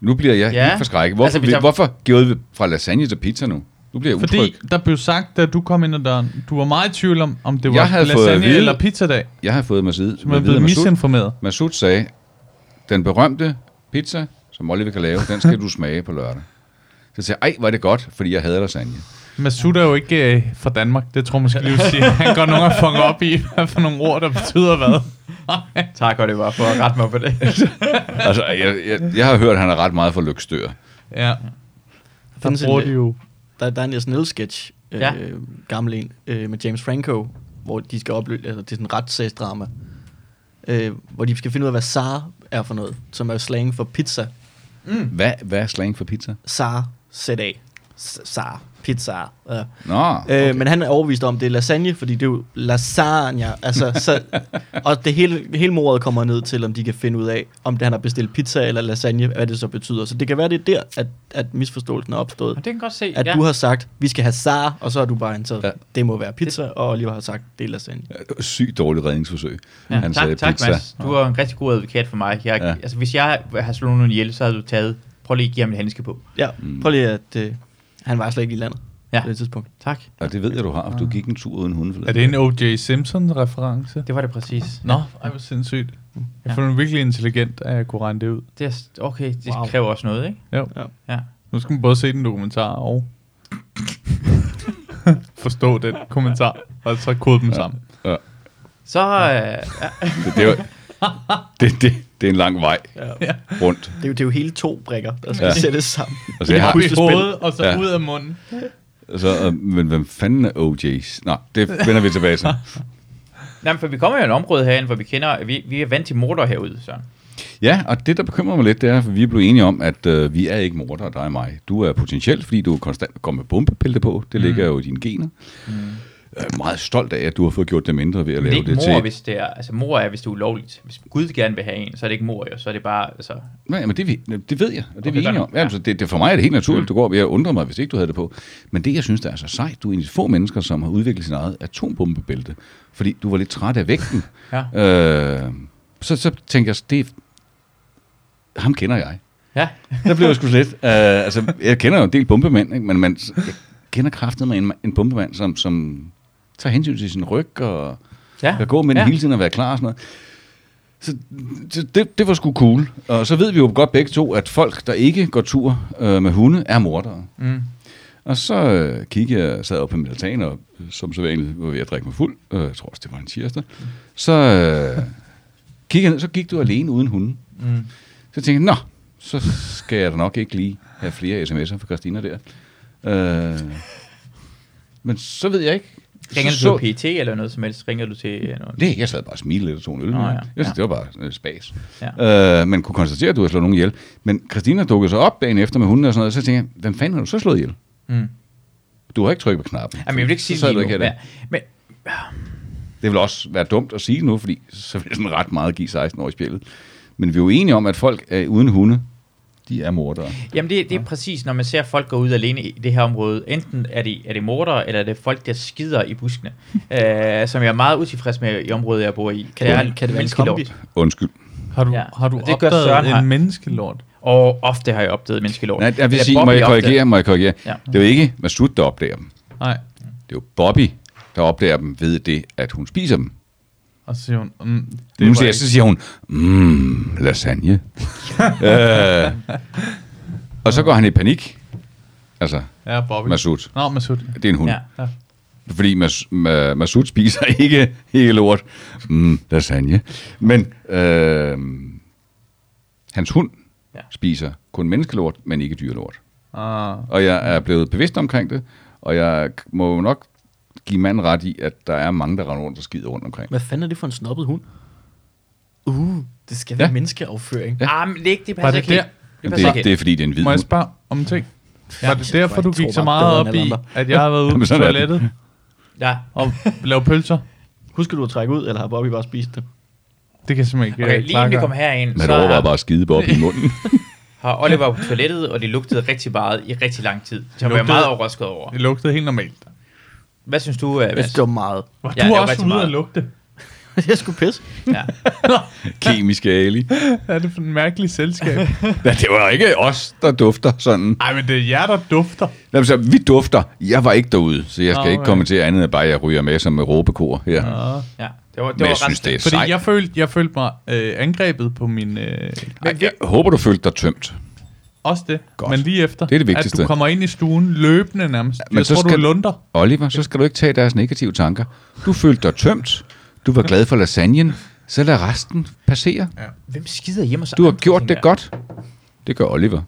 Speaker 2: Nu bliver jeg
Speaker 3: Ja.
Speaker 2: ja. helt forskrækket. Hvorfor,
Speaker 3: Altså,
Speaker 2: altså,
Speaker 3: hvis jeg-
Speaker 2: tager... hvorfor gjorde vi fra lasagne til pizza nu? Nu bliver jeg
Speaker 1: Fordi
Speaker 2: utryg.
Speaker 1: der blev sagt, da du kom ind ad døren, du var meget i tvivl om, om det
Speaker 2: Jeg
Speaker 1: var
Speaker 2: havde fået at
Speaker 1: lasagne
Speaker 2: vide-
Speaker 1: eller pizzadag.
Speaker 2: Jeg har fået Masoud.
Speaker 1: Du er blevet misinformeret.
Speaker 2: Masoud sagde, den berømte pizza, som Oliver kan lave, den skal du smage på lørdag. Så sagde jeg, ej, hvor er det godt, fordi jeg havde lasagne.
Speaker 1: Masud er jo ikke øh, fra Danmark, det tror jeg måske lige vil sige. Han går nogen og funger op i, hvad for nogle ord, der betyder hvad.
Speaker 3: Tak, og det var for at rette mig på det.
Speaker 2: Altså, jeg, jeg, jeg har hørt, at han er ret meget for lykstør.
Speaker 1: Ja, der
Speaker 4: Findes en- øh,
Speaker 1: bruger de jo...
Speaker 4: Der, der er en Nielsen Niels sketch, øh,
Speaker 3: Ja.
Speaker 4: ja. gammel en, øh, med James Franco, hvor de skal opløse, altså det er sådan en retssagsdrama, øh, hvor de skal finde ud af, hvad SAR er for noget, som er slang for pizza.
Speaker 2: Hvad, hvad er slang for pizza?
Speaker 4: SAR, sæt af. S- SAR, pizza. Ja.
Speaker 2: Nå,
Speaker 4: Okay. Øh, men han er overbevist om, at det er lasagne, fordi det er jo lasagne. Altså, så, og det hele, hele mordet kommer ned til, om de kan finde ud af, om det han har bestilt pizza eller lasagne, hvad det så betyder. Så det kan være, det er der, at, at misforståelsen er opstået.
Speaker 3: Det kan jeg godt se.
Speaker 4: At ja. du har sagt, vi skal have sar, og så har du bare antaget,
Speaker 2: Ja.
Speaker 4: ja. det må være pizza, og Oliver har sagt, det er lasagne.
Speaker 2: sygt dårligt redningsforsøg.
Speaker 3: Ja, han tak, tak Mads. Du er en rigtig god advokat for mig. Jeg, ja.
Speaker 2: Ja.
Speaker 3: altså, hvis jeg har slået nogen ihjel, så havde du taget... Prøv lige at give ham en handske på.
Speaker 4: Ja,
Speaker 2: Mm.
Speaker 4: prøv lige at... Øh, han var slet ikke i landet
Speaker 3: Ja.
Speaker 4: ja. på det tidspunkt.
Speaker 3: Tak.
Speaker 2: Og det ved jeg, du har. for Du gik en tur uden hunde.
Speaker 1: Er det en O.J. Simpson-reference?
Speaker 3: Det var det præcis.
Speaker 1: Nå, ej, hvor sindssygt. Jeg føler mig virkelig intelligent, at jeg kunne regne det ud.
Speaker 3: Det er, okay, det wow.
Speaker 4: Wow.
Speaker 3: kræver også noget, ikke?
Speaker 1: Jo.
Speaker 4: Ja.
Speaker 3: Ja.
Speaker 1: Nu skal man både se den dokumentar og forstå den kommentar, og så kode dem sammen.
Speaker 3: Så, øh, ja.
Speaker 2: Det, det, var, det, det, det er en lang vej
Speaker 1: Ja.
Speaker 2: rundt.
Speaker 4: Det er, jo, det er jo hele to brikker, der skal
Speaker 2: Ja.
Speaker 4: ja. sættes sammen.
Speaker 2: Altså, jeg har,
Speaker 1: Op i hovedet, og så
Speaker 2: Ja.
Speaker 1: ud af munden.
Speaker 2: så, øh, men hvem fanden er OJ's? Nå, det vender vi tilbage til.
Speaker 3: Nej, for vi kommer jo i et område herinde, hvor vi kender, vi, vi er vant til morder herude, så.
Speaker 2: Ja, og det, der bekymrer mig lidt, det er, at vi er blevet enige om, at øh, vi er ikke morder, dig og mig. Du er potentielt, fordi du konstant går med bombepilte på.
Speaker 3: Mm.
Speaker 2: Det ligger jo i dine gener. Jeg er meget stolt af, at du har fået gjort det mindre ved at
Speaker 3: Men det er
Speaker 2: lave det,
Speaker 3: ikke
Speaker 2: til...
Speaker 3: mor, hvis det er, altså mor er, hvis det er ulovligt. Hvis Gud gerne vil have en, så er det ikke mor jo, så er det bare, altså,
Speaker 2: Nej, men det, vi- det ved jeg, og det er vi
Speaker 3: Okay, godt
Speaker 2: enige
Speaker 3: nok.
Speaker 2: om. Ja, altså, det, det, for mig er det helt naturligt. Du går op, jeg undrer mig, hvis ikke du havde det på. Men det, jeg synes, der er så sejt, du er en af de få mennesker, som har udviklet sin eget atombombebælte, fordi du var lidt træt af vægten. ja. øh, så, så tænker jeg, det er, ham kender jeg.
Speaker 3: ja.
Speaker 2: Der blev jeg sgu lidt. Øh, altså, jeg kender jo en del bombemænd, ikke? men man, jeg kender kraftet med en, en bombemand, som, som tager hensyn til sin ryg og
Speaker 3: Ja.
Speaker 2: kan gå med den hele tiden og være klar og sådan noget. Så, så det, det var sgu cool. Og så ved vi jo godt begge to, at folk, der ikke går tur øh, med hunde, er mordere.
Speaker 3: Mm.
Speaker 2: Og så øh, kiggede jeg, sad op på min altan, og øh, som så vanligt var jeg ved at drikke mig fuld. Øh, jeg tror også, det var en tirsdag. Så øh, kiggede jeg ned, så gik du alene uden hunden.
Speaker 3: Mm.
Speaker 2: Så tænkte jeg, nå, så skal jeg da nok ikke lige have flere sms'er fra Christina der. Øh, men så ved jeg ikke.
Speaker 3: Ringer
Speaker 2: så,
Speaker 3: du til PT eller noget som helst? Ringer du til øh, noget?
Speaker 2: det, jeg sad bare og smilede lidt og tog en øl.
Speaker 3: Nå,
Speaker 2: Nå,
Speaker 3: ja.
Speaker 2: ja. Jeg synes, det var bare øh, spas.
Speaker 3: Ja.
Speaker 2: Øh, men kunne konstatere, at du havde slået nogen ihjel. Men Christina dukkede så op dagen efter med hunden og sådan noget, og så tænkte jeg, hvem fanden har du så slået ihjel?
Speaker 3: Mm.
Speaker 2: Du har ikke trykket på knappen.
Speaker 3: Jamen, jeg vil ikke
Speaker 2: Så
Speaker 3: sige
Speaker 2: sad
Speaker 3: det
Speaker 2: du
Speaker 3: lige
Speaker 2: ikke
Speaker 3: nu.
Speaker 2: her i dag.
Speaker 3: Ja. Men,
Speaker 2: Det vil også være dumt at sige nu, fordi så vil sådan ret meget give 16 år i spillet. Men vi er jo enige om, at folk øh, uden hunde, de er mordere.
Speaker 3: Jamen det, det er præcis, når man ser folk gå ud alene i det her område. Enten er det, er det mordere, eller er det folk, der skider i buskene. øh, som jeg er meget utilfreds med i området, jeg bor i.
Speaker 4: Kan det, være, kan det være en kombi?
Speaker 2: Undskyld.
Speaker 1: Har du,
Speaker 3: Ja.
Speaker 1: ja. har du
Speaker 3: Og det gør
Speaker 1: opdaget
Speaker 3: Søren
Speaker 1: en
Speaker 3: her.
Speaker 1: menneskelort?
Speaker 3: Og ofte har jeg opdaget menneskelort.
Speaker 2: Nej, jeg vil
Speaker 3: Eller
Speaker 2: sige,
Speaker 3: Bobby
Speaker 2: må jeg
Speaker 3: opdagede-
Speaker 2: korrigere, må jeg korrigere.
Speaker 3: Ja.
Speaker 2: Ja. Det er jo ikke Masud, der opdager dem.
Speaker 1: Nej.
Speaker 2: Det er jo Bobby, der opdager dem ved det, at hun spiser dem.
Speaker 1: Og så siger hun, mm,
Speaker 2: Det nu
Speaker 1: var
Speaker 2: siger, jeg-
Speaker 1: ikke-
Speaker 2: så siger hun, mmm, lasagne. øh, og så går han i panik. Altså,
Speaker 1: Ja, Bobby.
Speaker 2: Masud.
Speaker 1: Nå, Ah. Masud.
Speaker 2: Det er en hund.
Speaker 3: Ja.
Speaker 2: Ja.
Speaker 1: Ja.
Speaker 2: Fordi Mas, Ma, Masud spiser ikke hele lort. Mm, lasagne. Men øh, hans hund
Speaker 3: Ja.
Speaker 2: ja. spiser kun menneskelort, men ikke dyrelort.
Speaker 1: Ah,
Speaker 2: og jeg er blevet bevidst omkring det, og jeg k- må jo nok give manden ret i, at der er mange, der render rundt og skider rundt omkring.
Speaker 4: Hvad fanden er det for en snobbet hund? Uh, det skal være
Speaker 2: Ja.
Speaker 4: ja. menneskeafføring.
Speaker 2: Ja.
Speaker 3: Ah, men det er ikke, det
Speaker 1: Var
Speaker 3: passer
Speaker 1: det
Speaker 3: ikke. helt.
Speaker 1: der?
Speaker 3: Det
Speaker 2: Men
Speaker 3: passer
Speaker 2: det,
Speaker 3: ikke.
Speaker 2: det er fordi, det er en hvid
Speaker 1: må jeg
Speaker 2: hund.
Speaker 1: spørge om en ting? Ja, var det
Speaker 4: jeg
Speaker 1: derfor, du
Speaker 4: tror
Speaker 1: gik
Speaker 4: bare
Speaker 1: så
Speaker 4: bedre
Speaker 1: meget
Speaker 4: end
Speaker 1: op
Speaker 4: alle
Speaker 1: i,
Speaker 4: andre.
Speaker 1: at jeg har været ude på
Speaker 2: Jamen, sådan er det.
Speaker 1: toilettet
Speaker 3: Ja.
Speaker 1: og lave pølser?
Speaker 4: Husker du at trække ud, eller har Bobby bare spist det?
Speaker 1: Det kan jeg simpelthen ikke øh,
Speaker 3: Okay,
Speaker 1: okay,
Speaker 3: lige inden vi kom herind,
Speaker 2: Man
Speaker 3: så
Speaker 2: overvejer
Speaker 3: har,
Speaker 2: bare at skide Bob i munden.
Speaker 3: har Oliver på toilettet, og det lugtede rigtig meget i rigtig lang tid. Så jeg var
Speaker 1: lugtede-
Speaker 3: meget overrasket over.
Speaker 1: Det lugtede helt normalt.
Speaker 3: Hvad synes du, uh,
Speaker 4: Jeg synes, det var meget.
Speaker 1: Var
Speaker 3: Ja,
Speaker 1: ja, du
Speaker 3: det var
Speaker 1: også
Speaker 3: rigtig
Speaker 1: ude
Speaker 3: meget.
Speaker 1: at lugte?
Speaker 4: jeg skulle pisse.
Speaker 3: Ja.
Speaker 2: Kemiske ali.
Speaker 1: Hvad er det for en mærkelig selskab?
Speaker 2: Ja, det var ikke os, der dufter sådan.
Speaker 1: Ej, men det er jer, der dufter.
Speaker 2: Nå, men så, vi dufter. Jeg var ikke derude, så jeg skal
Speaker 1: Nå,
Speaker 2: ikke
Speaker 1: ja.
Speaker 2: kommentere andet end bare, at jeg ryger med som råbekor her.
Speaker 3: ja. Det var, det
Speaker 2: Men
Speaker 3: var
Speaker 2: jeg
Speaker 3: ret
Speaker 2: synes, det er
Speaker 1: Fordi
Speaker 2: sejt.
Speaker 1: jeg følte, jeg følte mig øh, angrebet på min... Øh,
Speaker 2: Ej, jeg håber, du følte dig tømt.
Speaker 1: også det,
Speaker 2: Godt.
Speaker 1: men lige efter.
Speaker 2: Det er det vigtigste.
Speaker 1: At du kommer ind i stuen løbende nærmest.
Speaker 2: men
Speaker 1: jeg
Speaker 2: så
Speaker 1: tror,
Speaker 2: skal-
Speaker 1: du lunder.
Speaker 2: Oliver, så skal du ikke tage deres negative tanker. Du følte dig tømt. Du var glad for lasagnen. Så lad resten passere.
Speaker 3: Hvem skider hjemme hos
Speaker 2: Du har
Speaker 3: andre,
Speaker 2: gjort det
Speaker 3: tænker jeg?
Speaker 2: godt. Det gør Oliver.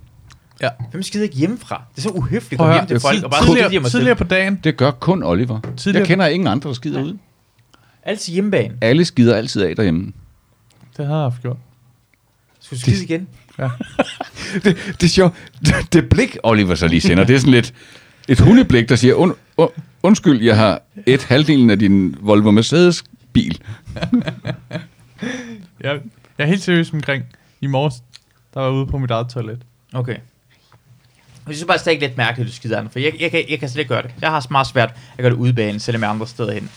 Speaker 3: Hvem skider ikke hjemmefra? Det er så uhøfligt at
Speaker 1: Prøv
Speaker 3: komme
Speaker 1: at
Speaker 3: hjem til
Speaker 1: høre,
Speaker 3: folk og bare skide hjemme
Speaker 1: tidligere,
Speaker 3: og
Speaker 1: tidligere
Speaker 3: sidde.
Speaker 1: på dagen,
Speaker 2: Det gør kun Oliver.
Speaker 1: Tidligere-
Speaker 2: Jeg kender ingen andre, der skider ud.
Speaker 3: Altid hjemmebane.
Speaker 2: Alle skider altid af derhjemme.
Speaker 1: det har jeg haft gjort.
Speaker 3: Skulle du skide igen?
Speaker 2: Det, det er sjovt. Det, det blik, Oliver så lige sender, det er sådan lidt et hundeblik, der siger, und, und, undskyld, jeg har et halvdelen af din Volvo Mercedes bil.
Speaker 1: Jeg, jeg er helt seriøs omkring. I morges, der var jeg ude på mit eget toilet.
Speaker 3: Okay. Jeg synes bare stadig lidt mærkeligt, at du skider andre, for jeg, jeg, kan, jeg kan slet ikke gøre det. Jeg har meget svært at gøre det udebane, selvom jeg er andre steder hen.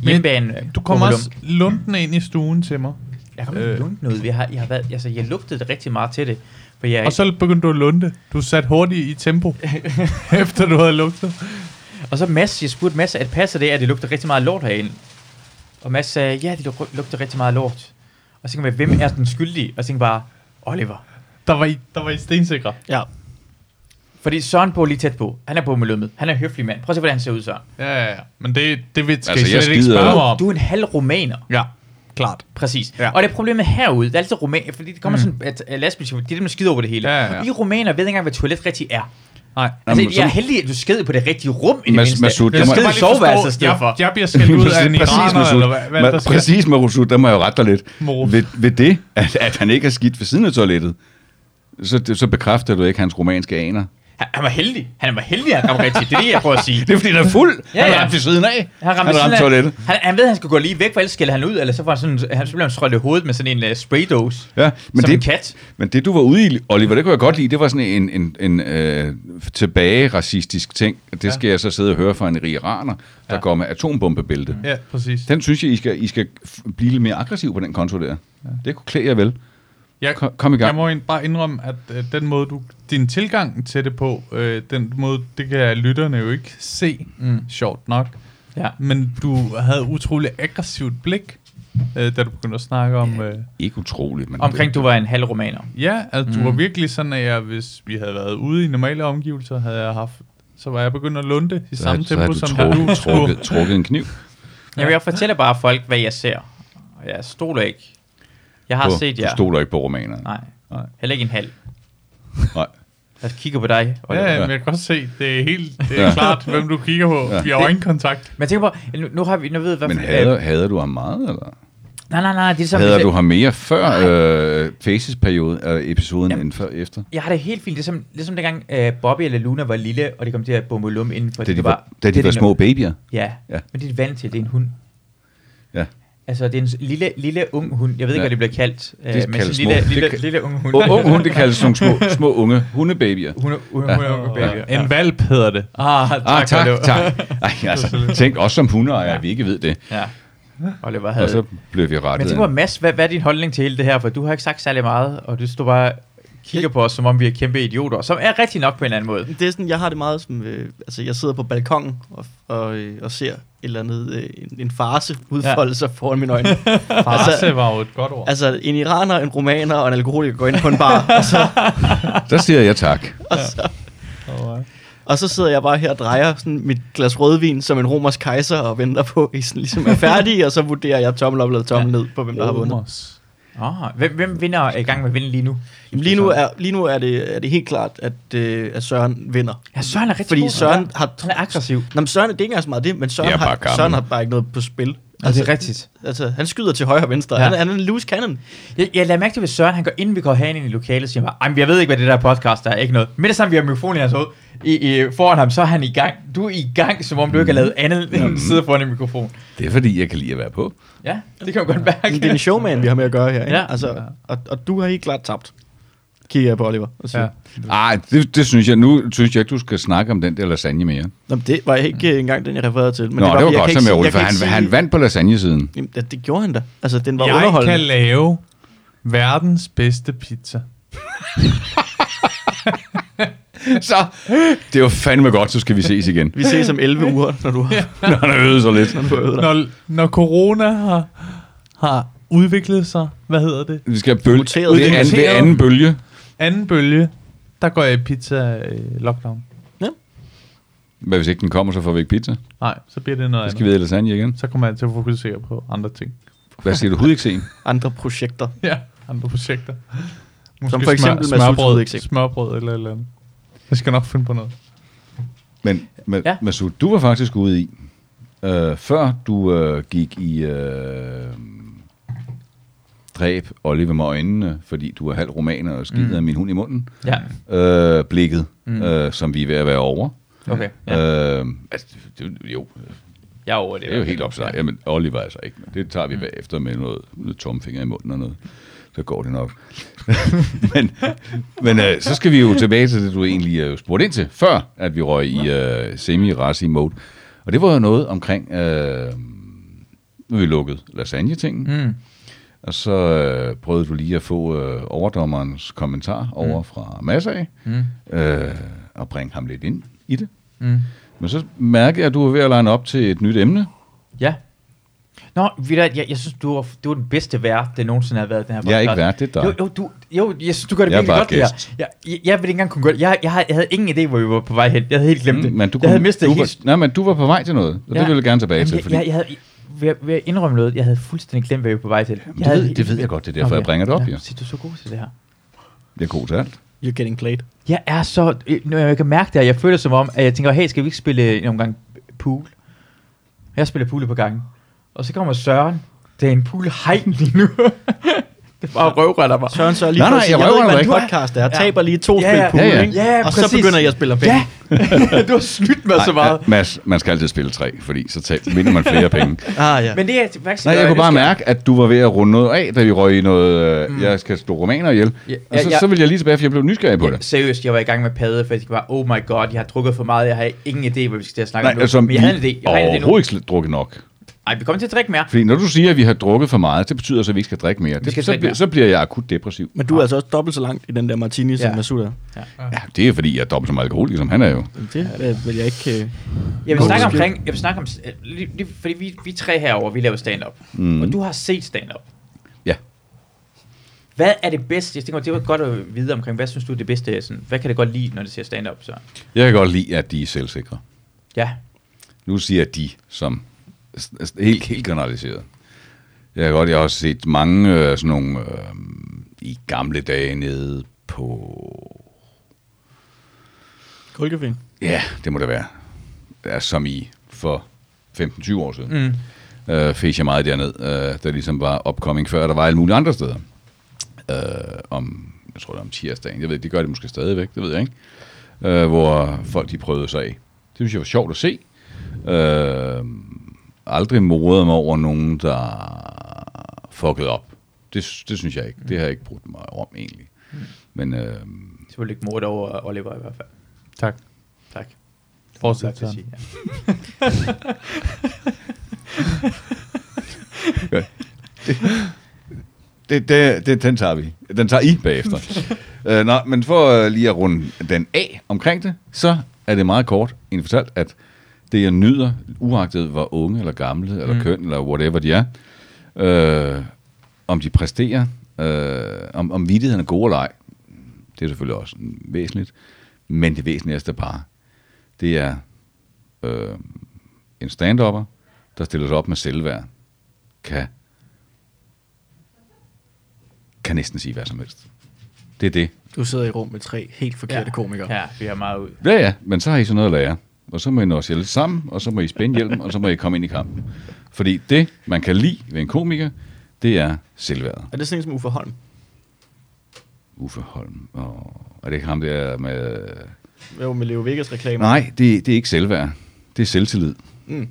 Speaker 3: Hjemmebane, øh,
Speaker 1: Du kommer også lunden ind i stuen til mig.
Speaker 3: Jeg kommer øh.
Speaker 1: Øh.
Speaker 3: lunten ud. Jeg har, jeg har været, altså, jeg lugtede det rigtig meget til det. For jeg,
Speaker 1: Og
Speaker 3: og, så,
Speaker 1: så begyndte du at lunde. Du satte hurtigt i tempo, efter du havde lugtet.
Speaker 3: og så Mads, jeg spurgte Mads, at passer det, at det lugter rigtig meget lort herinde? Og Mads sagde, ja, det lug- lugter rigtig meget lort. Og så tænkte jeg, hvem er den skyldige? Og så tænkte jeg bare, Oliver.
Speaker 1: Der var I, der var I stensikre.
Speaker 4: Ja.
Speaker 3: Fordi Søren bor lige tæt på. Han er på med lømmet. Han er en høflig mand. Prøv at se, hvordan han ser ud, Søren.
Speaker 1: Ja, ja, ja. Men det, det vil,
Speaker 2: Altså,
Speaker 1: skal altså, I
Speaker 2: jeg
Speaker 1: slet ikke
Speaker 2: skider-
Speaker 1: spørge mig om.
Speaker 3: Du er en halv rumæner.
Speaker 1: Ja, klart.
Speaker 3: Præcis. Ja.
Speaker 1: Ja.
Speaker 3: Og det er problemet herude, det er altid romaner, fordi det kommer mm. sådan, at, at lastbilchauffører, de er dem, der skider over det hele.
Speaker 1: Ja, ja, ja.
Speaker 3: Og I romaner ved ikke engang, hvad toilet rigtigt er.
Speaker 1: Nej.
Speaker 3: Altså,
Speaker 2: Jamen,
Speaker 3: jeg er
Speaker 2: så-
Speaker 3: heldig, at du sked på det rigtige rum i
Speaker 2: Mas-
Speaker 3: det mindste.
Speaker 2: Masoud,
Speaker 3: du
Speaker 2: jeg må-
Speaker 3: sked i
Speaker 1: Bare lige forstå,
Speaker 3: soveværelset i stedet
Speaker 1: jeg-
Speaker 3: for.
Speaker 1: Jeg bliver skældt ud af en
Speaker 2: præcis,
Speaker 1: iraner,
Speaker 2: Masud.
Speaker 1: eller hvad, hvad der
Speaker 2: Ma-
Speaker 1: sker.
Speaker 2: præcis med Rousseau, der må jeg jo rette dig lidt.
Speaker 1: Morus.
Speaker 2: Ved, ved det, at, at han ikke er skidt ved siden af toilettet, så, det- så bekræfter du ikke hans romanske aner.
Speaker 3: Han, han var heldig. Han var heldig, at han ramte rigtigt. Det er det, jeg prøver at sige.
Speaker 2: Det er fordi, han er fuld.
Speaker 3: Ja,
Speaker 2: Ja, han
Speaker 3: ja.
Speaker 2: ja. ramte ved siden af.
Speaker 3: Han ramte
Speaker 2: han ramte
Speaker 3: sådan,
Speaker 2: toilettet.
Speaker 3: Han, han ved, at han skal gå lige væk, for ellers skælder han ud, eller så, får han sådan, han, så bliver han strøget i hovedet med sådan en uh, spraydose.
Speaker 2: Ja, men
Speaker 3: som
Speaker 2: det,
Speaker 3: en kat.
Speaker 2: Men det, du var ude i, Oliver, det kunne jeg godt lide. Det var sådan en, en, en øh, tilbage-racistisk ting. Det skal jeg så sidde og høre fra en iraner, der ja. går med atombombebælte.
Speaker 1: Ja, præcis.
Speaker 2: Den synes jeg, I skal, I skal f- blive lidt mere aggressiv på den konto der. Det kunne klæde jer vel.
Speaker 1: Jeg,
Speaker 2: Kom, kom i
Speaker 1: jeg
Speaker 2: gang.
Speaker 1: må egentlig bare indrømme, at øh, den måde, du, din tilgang til det på, øh, den måde, det kan lytterne jo ikke se, mm. sjovt nok.
Speaker 3: Ja.
Speaker 1: Men du havde utrolig aggressivt blik, øh, da du begyndte at snakke om... Øh,
Speaker 2: Ikke utroligt, men...
Speaker 3: Omkring, du var en halv romaner.
Speaker 1: ja, altså, du var virkelig sådan, at jeg, hvis vi havde været ude i normale omgivelser, havde jeg haft så var jeg begyndt at lunde i
Speaker 2: så,
Speaker 1: samme
Speaker 2: så
Speaker 1: tempo,
Speaker 2: har
Speaker 1: som
Speaker 2: du
Speaker 1: da du
Speaker 2: trukket,
Speaker 1: skulle.
Speaker 2: trukket, trukket en kniv.
Speaker 3: Jamen, jeg fortæller bare folk, hvad jeg ser. Og jeg stoler ikke. Jeg har
Speaker 2: på,
Speaker 3: set
Speaker 2: Du
Speaker 3: jer.
Speaker 2: stoler ikke på romanerne.
Speaker 3: Nej.
Speaker 1: Nej.
Speaker 3: Heller ikke en halv.
Speaker 2: Nej.
Speaker 3: Jeg kigger på dig. Oliver.
Speaker 1: Ja, men jeg kan godt se, det er helt det er
Speaker 2: Ja.
Speaker 1: klart, hvem du kigger på. Vi har øjenkontakt.
Speaker 3: Men jeg tænker på, nu, nu har vi, nu ved hvad øh,
Speaker 2: Men hader, hader du ham meget, eller?
Speaker 3: Nej, nej, nej, det er som,
Speaker 2: Hader du ham mere før øh, Faces-periode, øh, episoden, Jamen. end før efter?
Speaker 3: Jeg har det helt fint, ligesom, ligesom dengang øh, Bobby eller Luna var lille, og det kom til at bombe lum inden for
Speaker 2: Da de
Speaker 3: det var,
Speaker 2: var, da de var små babyer?
Speaker 3: Ja,
Speaker 2: Ja.
Speaker 3: ja, men det er de vant til, det er en hund.
Speaker 2: Ja.
Speaker 3: Altså, det er en s- lille, lille ung hund. Jeg ved ikke,
Speaker 2: Ja.
Speaker 3: hvad det bliver kaldt. Øh,
Speaker 2: Det
Speaker 3: men
Speaker 2: kaldes
Speaker 3: sådan en lille,
Speaker 2: små-
Speaker 3: lille,
Speaker 2: det ka-
Speaker 3: lille ung hund.
Speaker 2: U- unge hunde kaldes nogle små, små unge hundebabyer.
Speaker 3: Hun er hun er- hun er unge baby. Ja.
Speaker 1: En valp hedder det.
Speaker 3: Ah, tak,
Speaker 2: Ah, tak,
Speaker 3: Oliver.
Speaker 2: tak. Ej, altså, tænk også som hundeejer, ja. vi ikke ved det.
Speaker 3: Ja. Oliver havde...
Speaker 2: Og så blev vi
Speaker 3: men jeg
Speaker 2: rettet.
Speaker 3: tænker på, Mads, hvad, hvad er din holdning til hele det her? For du har ikke sagt særlig meget, og du står bare og kigger på os, som om vi er kæmpe idioter, som er rigtig nok på en anden måde.
Speaker 4: Det er sådan, jeg har det meget som, øh, altså jeg sidder på balkongen og, og, øh, og ser et eller andet, øh, en, en farse udfolde sig foran mine øjne.
Speaker 1: Farse var jo et godt ord.
Speaker 4: Altså en iraner, en romaner og en alkoholiker går ind på en bar, og så,
Speaker 2: Der siger jeg tak.
Speaker 1: øh,
Speaker 4: og så sidder jeg bare her og drejer sådan mit glas rødvin som en romersk kejser og venter på, at I sådan ligesom er færdige, og så vurderer jeg tommel op eller tommel ned på, hvem der har vundet.
Speaker 1: Omos.
Speaker 3: Ah, hvem, hvem vinder er i gang med at vinde lige nu?
Speaker 4: Jamen, Lige nu, er, lige nu er, det, er det helt klart, at, øh, at Søren vinder.
Speaker 3: Ja, Søren er rigtig
Speaker 4: Fordi
Speaker 3: god.
Speaker 4: Søren har...
Speaker 3: Han er aggressiv.
Speaker 4: Nå, men Søren, det er ikke engang så meget det, men
Speaker 2: Jeg
Speaker 4: Søren,
Speaker 2: er bare
Speaker 4: har,
Speaker 2: gammel.
Speaker 4: Søren har bare ikke noget på spil.
Speaker 3: Altså, det er rigtigt.
Speaker 4: Altså, han skyder til højre og venstre.
Speaker 3: Ja.
Speaker 4: Ja. Han, er- han er en loose cannon.
Speaker 3: Jeg, jeg lader mærke til, at Søren han går ind, vi går herind ind i lokalet, siger bare, "Ej, men jeg ved ikke, hvad det der podcast er, ikke noget. Men det samme, vi har mikrofonen i hans hoved, i, i, foran ham, så er han i gang. Du er i gang, som om du ikke har lavet andet end at sidde foran en mikrofon.
Speaker 2: Det er fordi, jeg kan lide at være på.
Speaker 3: Ja, det kan man godt mærke.
Speaker 4: Det er en showman, vi har med at gøre her. Ikke?
Speaker 3: Ja.
Speaker 4: Altså, og, og du har helt klart tabt. kigger jeg på Oliver og siger, ja.
Speaker 1: Ja.
Speaker 2: Ej, det, det synes jeg. Nu synes jeg ikke, du skal snakke om den der lasagne mere.
Speaker 4: Nå, men det var
Speaker 3: Mm.
Speaker 4: ikke øh, engang den, jeg refererede til. Men
Speaker 2: Nå, det var,
Speaker 4: fordi,
Speaker 2: det
Speaker 4: jeg
Speaker 2: var
Speaker 4: kan
Speaker 2: godt,
Speaker 4: ikke
Speaker 2: som jeg
Speaker 4: sige-
Speaker 2: Ole, for
Speaker 4: kan
Speaker 2: han,
Speaker 4: ikke
Speaker 2: han
Speaker 4: sige-
Speaker 2: vandt på lasagne-siden.
Speaker 4: Jamen, ja, det gjorde han da. Altså, den var
Speaker 1: Jeg kan
Speaker 4: underholdende.
Speaker 1: lave verdens bedste pizza.
Speaker 2: Så, det var fandme godt, så skal vi ses igen.
Speaker 4: Vi ses om 11 uger, når du har,
Speaker 2: Når han har øvet sig lidt.
Speaker 4: når du har øvet dig.
Speaker 1: Når, når corona har, har udviklet sig, hvad hedder det?
Speaker 2: Vi skal have bølge.
Speaker 4: Muteret.
Speaker 2: Ved, anden, ved
Speaker 1: Muteret.
Speaker 2: anden bølge.
Speaker 1: Anden bølge, der går jeg i øh, pizza-lockdown.
Speaker 2: Hvad hvis ikke den kommer, så får vi ikke pizza?
Speaker 1: Nej, så bliver det noget
Speaker 2: Så
Speaker 1: andet.
Speaker 2: skal vi have lasagne igen.
Speaker 1: Så kommer jeg til at fokusere på andre ting.
Speaker 2: Hvad siger du? Hudeksem?
Speaker 4: Andre projekter.
Speaker 1: Ja, andre projekter. Måske
Speaker 4: Som for eksempel
Speaker 1: smør,
Speaker 4: Mads Ulfrid,
Speaker 1: smørbrød,
Speaker 4: ikke?
Speaker 1: smørbrød eller et eller andet. Jeg skal nok finde på noget.
Speaker 2: Men Ma- ja.
Speaker 3: Ja.
Speaker 2: Masud, du var faktisk ude i, øh, før du øh, gik i øh, dræb Oliver med øjnene, fordi du er halv romaner og skider mm. min hund i munden,
Speaker 3: Ja,
Speaker 2: øh, blikket, mm. øh, som vi er ved at være over.
Speaker 3: okay. Ja.
Speaker 2: Ja. Øh, altså, det, jo,
Speaker 3: Jeg er over det.
Speaker 2: det er jo helt opsejlet. Ja. Jamen, Oliver er altså ikke. Det tager vi bagefter med noget, noget tomfinger i munden og noget. Så går det nok. men men øh, så skal vi jo tilbage til det, du egentlig øh, spurgte ind til, før at vi røg i øh, semi-rassi mode. Og det var jo noget omkring, øh, nu er vi lukket lasagne-tingen.
Speaker 3: Mm.
Speaker 2: Og så øh, prøvede du lige at få øh, overdommerens kommentar over mm. fra Massag, mm. øh, og bringe ham lidt ind i det.
Speaker 3: Mm.
Speaker 2: Men så mærker jeg, at du er ved at line op til et nyt emne.
Speaker 3: Ja. Nå, ved du, hvad, jeg, jeg synes, du er, du er den bedste vært, der nogensinde har været i den her podcast.
Speaker 2: Jeg er ikke vært, det er dig.
Speaker 3: Jo, jo, du, jo jeg synes, du gør det
Speaker 2: Jeg er
Speaker 3: virkelig
Speaker 2: bare
Speaker 3: godt, det her.
Speaker 2: gæst.
Speaker 3: Jeg, jeg, jeg vil ikke engang kunne gøre det. Jeg, jeg, har- jeg havde ingen idé, hvor vi var på vej hen. Jeg havde helt glemt det.
Speaker 2: Mm, Men du
Speaker 3: jeg havde mistet
Speaker 2: du
Speaker 3: helt...
Speaker 2: var, nej, men du var på vej til noget, og ja. det vil jeg gerne tilbage
Speaker 3: Jamen,
Speaker 2: til.
Speaker 3: Jeg,
Speaker 2: Fordi,
Speaker 3: jeg, jeg havde, vil jeg, vil jeg indrømme noget? Jeg havde fuldstændig glemt, hvad vi var på vej til. Jeg
Speaker 2: det,
Speaker 3: havde,
Speaker 2: ved, det ved jeg godt, det er derfor,
Speaker 3: Okay.
Speaker 2: jeg bringer det op.
Speaker 3: Ja,
Speaker 2: Ja.
Speaker 3: se, du er så god til det her.
Speaker 2: Jeg er god til alt.
Speaker 4: You're getting played.
Speaker 3: Jeg er så... øh, Når jeg kan mærke det, og jeg føler som om, at jeg tænker, hey, skal vi ikke spille en omgang pool? Jeg spiller pool på gangen. Og så kommer Søren. Det er en pool hej lige nu. det er bare røvrøller mig.
Speaker 4: Søren så lige
Speaker 2: Nej,
Speaker 4: for at
Speaker 2: nej,
Speaker 4: sige,
Speaker 2: jeg
Speaker 4: jeg, ved
Speaker 2: røver
Speaker 4: ikke, hvad
Speaker 2: dig
Speaker 4: en
Speaker 2: ikke.
Speaker 4: podcast er.
Speaker 3: Ja.
Speaker 4: Taber lige to
Speaker 3: Ja,
Speaker 4: spil
Speaker 3: ja.
Speaker 4: pool,
Speaker 2: Ja, ja.
Speaker 4: ikke?
Speaker 3: Ja,
Speaker 4: og så
Speaker 3: præcis.
Speaker 4: begynder jeg at spille om penge.
Speaker 3: Ja, du har snydt mig så meget.
Speaker 2: Nej, Mads, man skal altid spille tre, fordi så tager, vinder man flere penge.
Speaker 4: Ah, ja.
Speaker 3: Men det er faktisk...
Speaker 2: Nej, jeg kunne
Speaker 3: det
Speaker 2: bare
Speaker 3: skal-
Speaker 2: mærke, at du var ved at runde noget af, da vi røg i noget, øh, jeg skal slå romaner ihjel.
Speaker 3: Ja,
Speaker 2: Og så,
Speaker 3: ja, ja.
Speaker 2: så ville jeg lige tilbage, for jeg blev nysgerrig på
Speaker 3: Ja,
Speaker 2: det.
Speaker 3: seriøst, jeg var i gang med padde, for jeg tænkte bare, oh my god, jeg har drukket for meget, jeg har ingen idé, hvad vi skal til at snakke
Speaker 2: Nej,
Speaker 3: om nu.
Speaker 2: altså,
Speaker 3: Men
Speaker 2: vi
Speaker 3: jeg havde en idé, jeg havde en idé nu.
Speaker 2: overhovedet ikke drukket nok.
Speaker 3: Ej, vi kommer til at drikke mere.
Speaker 2: Fordi når du siger, at vi har drukket for meget, det betyder så, at vi ikke skal drikke mere. Det,
Speaker 3: skal
Speaker 2: så,
Speaker 3: drikke
Speaker 2: bliver-
Speaker 3: mere.
Speaker 2: så bliver jeg akut depressiv. Ah,
Speaker 4: Men du er altså også dobbelt så langt i den der martini, som
Speaker 3: Ja.
Speaker 4: Masud er.
Speaker 3: altså-
Speaker 2: Ja, det er fordi, jeg er dobbelt så meget alkoholiker, som han er jo.
Speaker 4: Jamen, Det øh, vil jeg ikke...
Speaker 3: Jeg
Speaker 4: øh,
Speaker 3: vil
Speaker 4: Nå,
Speaker 3: snakke
Speaker 4: okay.
Speaker 3: omkring, jeg vil snakke om, øh, lige, lige, fordi vi, vi tre herover, vi laver stand-up. Mm. Og du har set stand-up.
Speaker 2: Ja.
Speaker 3: Hvad er det bedste? Jeg tænker, det var godt at vide omkring, hvad synes du er det bedste? Sådan, hvad kan det godt lide, når det ser stand-up? Så?
Speaker 2: Jeg kan godt lide, at de er selvsikre.
Speaker 3: Ja.
Speaker 2: Nu siger jeg de, som s- s- helt, helt generaliseret. Jeg kan godt, jeg har også set mange øh, sådan nogle øh, i gamle dage nede på...
Speaker 4: Kulkefing.
Speaker 2: Ja, det må det være. Ja, som i for 15-20 år siden. Mm. Øh, fik jeg meget derned, øh, der ligesom var opkoming før, der var alle mulige andre steder. Øh, om, jeg tror det er om tirsdagen, jeg ved ikke, det gør det måske stadigvæk, det ved jeg ikke. Øh, hvor folk de prøvede sig af. Det synes jeg var sjovt at se. Øh, aldrig morede mig over nogen, der fuckede op. Det, det synes jeg ikke. Det har jeg ikke brugt mig om egentlig. Men øh,
Speaker 3: Selvfølgelig ikke mord over Oliver i hvert fald.
Speaker 1: Tak.
Speaker 3: Tak.
Speaker 1: Fortsæt,
Speaker 3: til at
Speaker 1: Søren.
Speaker 3: sige. Ja.
Speaker 2: Det, det, det, den tager vi. Den tager I bagefter. øh, nå, men for øh, lige at runde den af omkring det, så er det meget kort egentlig fortalt, at det jeg nyder, uagtet hvor unge eller gamle eller mm. køn eller whatever de er, øh, om de præsterer, øh, om, om vidtigheden er god eller ej, det er selvfølgelig også væsentligt, men det væsentligste bare, det er øh, en stand-upper, der stiller sig op med selvværd, kan kan næsten sige hvad som helst. Det er det.
Speaker 4: Du sidder i rum med tre helt forkerte komikere.
Speaker 3: Ja, vi har meget ud.
Speaker 2: Ja, ja, men så har I sådan noget at lære. Og så må I nå os lidt sammen, og så må I spænde hjelmen, og så må I komme ind i kampen. Fordi det, man kan lide ved en komiker, det er selvværdet.
Speaker 4: Er det sådan en som Uffe Holm?
Speaker 2: Uffe Holm. Og er det ikke ham der med...
Speaker 4: Jo, med Leo Vegas reklamer.
Speaker 2: Nej, det, det er ikke selvværd. Det er selvtillid.
Speaker 4: Mm.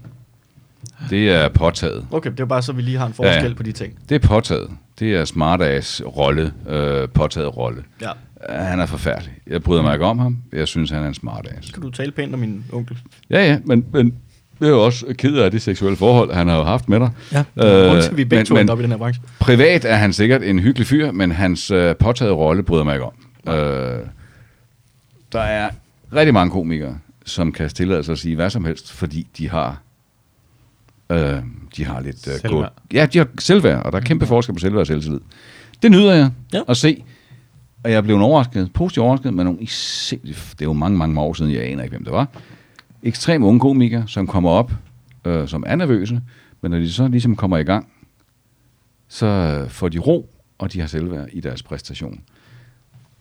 Speaker 2: Det er påtaget.
Speaker 4: Okay, det er bare så, vi lige har en forskel
Speaker 2: Ja.
Speaker 4: på de ting.
Speaker 2: Det er påtaget. Det er smartass rolle, øh, påtaget rolle.
Speaker 4: Ja.
Speaker 2: Øh, Han er forfærdelig. Jeg bryder mig ikke om ham. Jeg synes, han er en smartass.
Speaker 4: Kan du tale pænt om min onkel?
Speaker 2: Ja, ja, men, men jeg er jo også ked af det seksuelle forhold, han har jo haft med dig.
Speaker 4: Ja. Øh, vi er begge to
Speaker 2: men,
Speaker 4: op i
Speaker 2: men
Speaker 4: den her branche.
Speaker 2: privat er han sikkert en hyggelig fyr, men hans øh, påtaget rolle bryder mig ikke om. Øh, der er rigtig mange komikere, som kan tillade sig at sige hvad som helst, fordi de har... Øh, de har lidt... Øh,
Speaker 1: Selvværd.
Speaker 2: gået- Ja, de har selvværd, og der er kæmpe forskel på selvværd og selvtillid. Det nyder jeg
Speaker 4: Ja.
Speaker 2: at se. Og jeg blev overrasket, positivt overrasket, men nogle, i sind- det er jo mange, mange år siden, jeg aner ikke, hvem det var. Ekstrem unge komikere, som kommer op, øh, som er nervøse, men når de så ligesom kommer i gang, så øh, får de ro, og de har selvværd i deres præstation.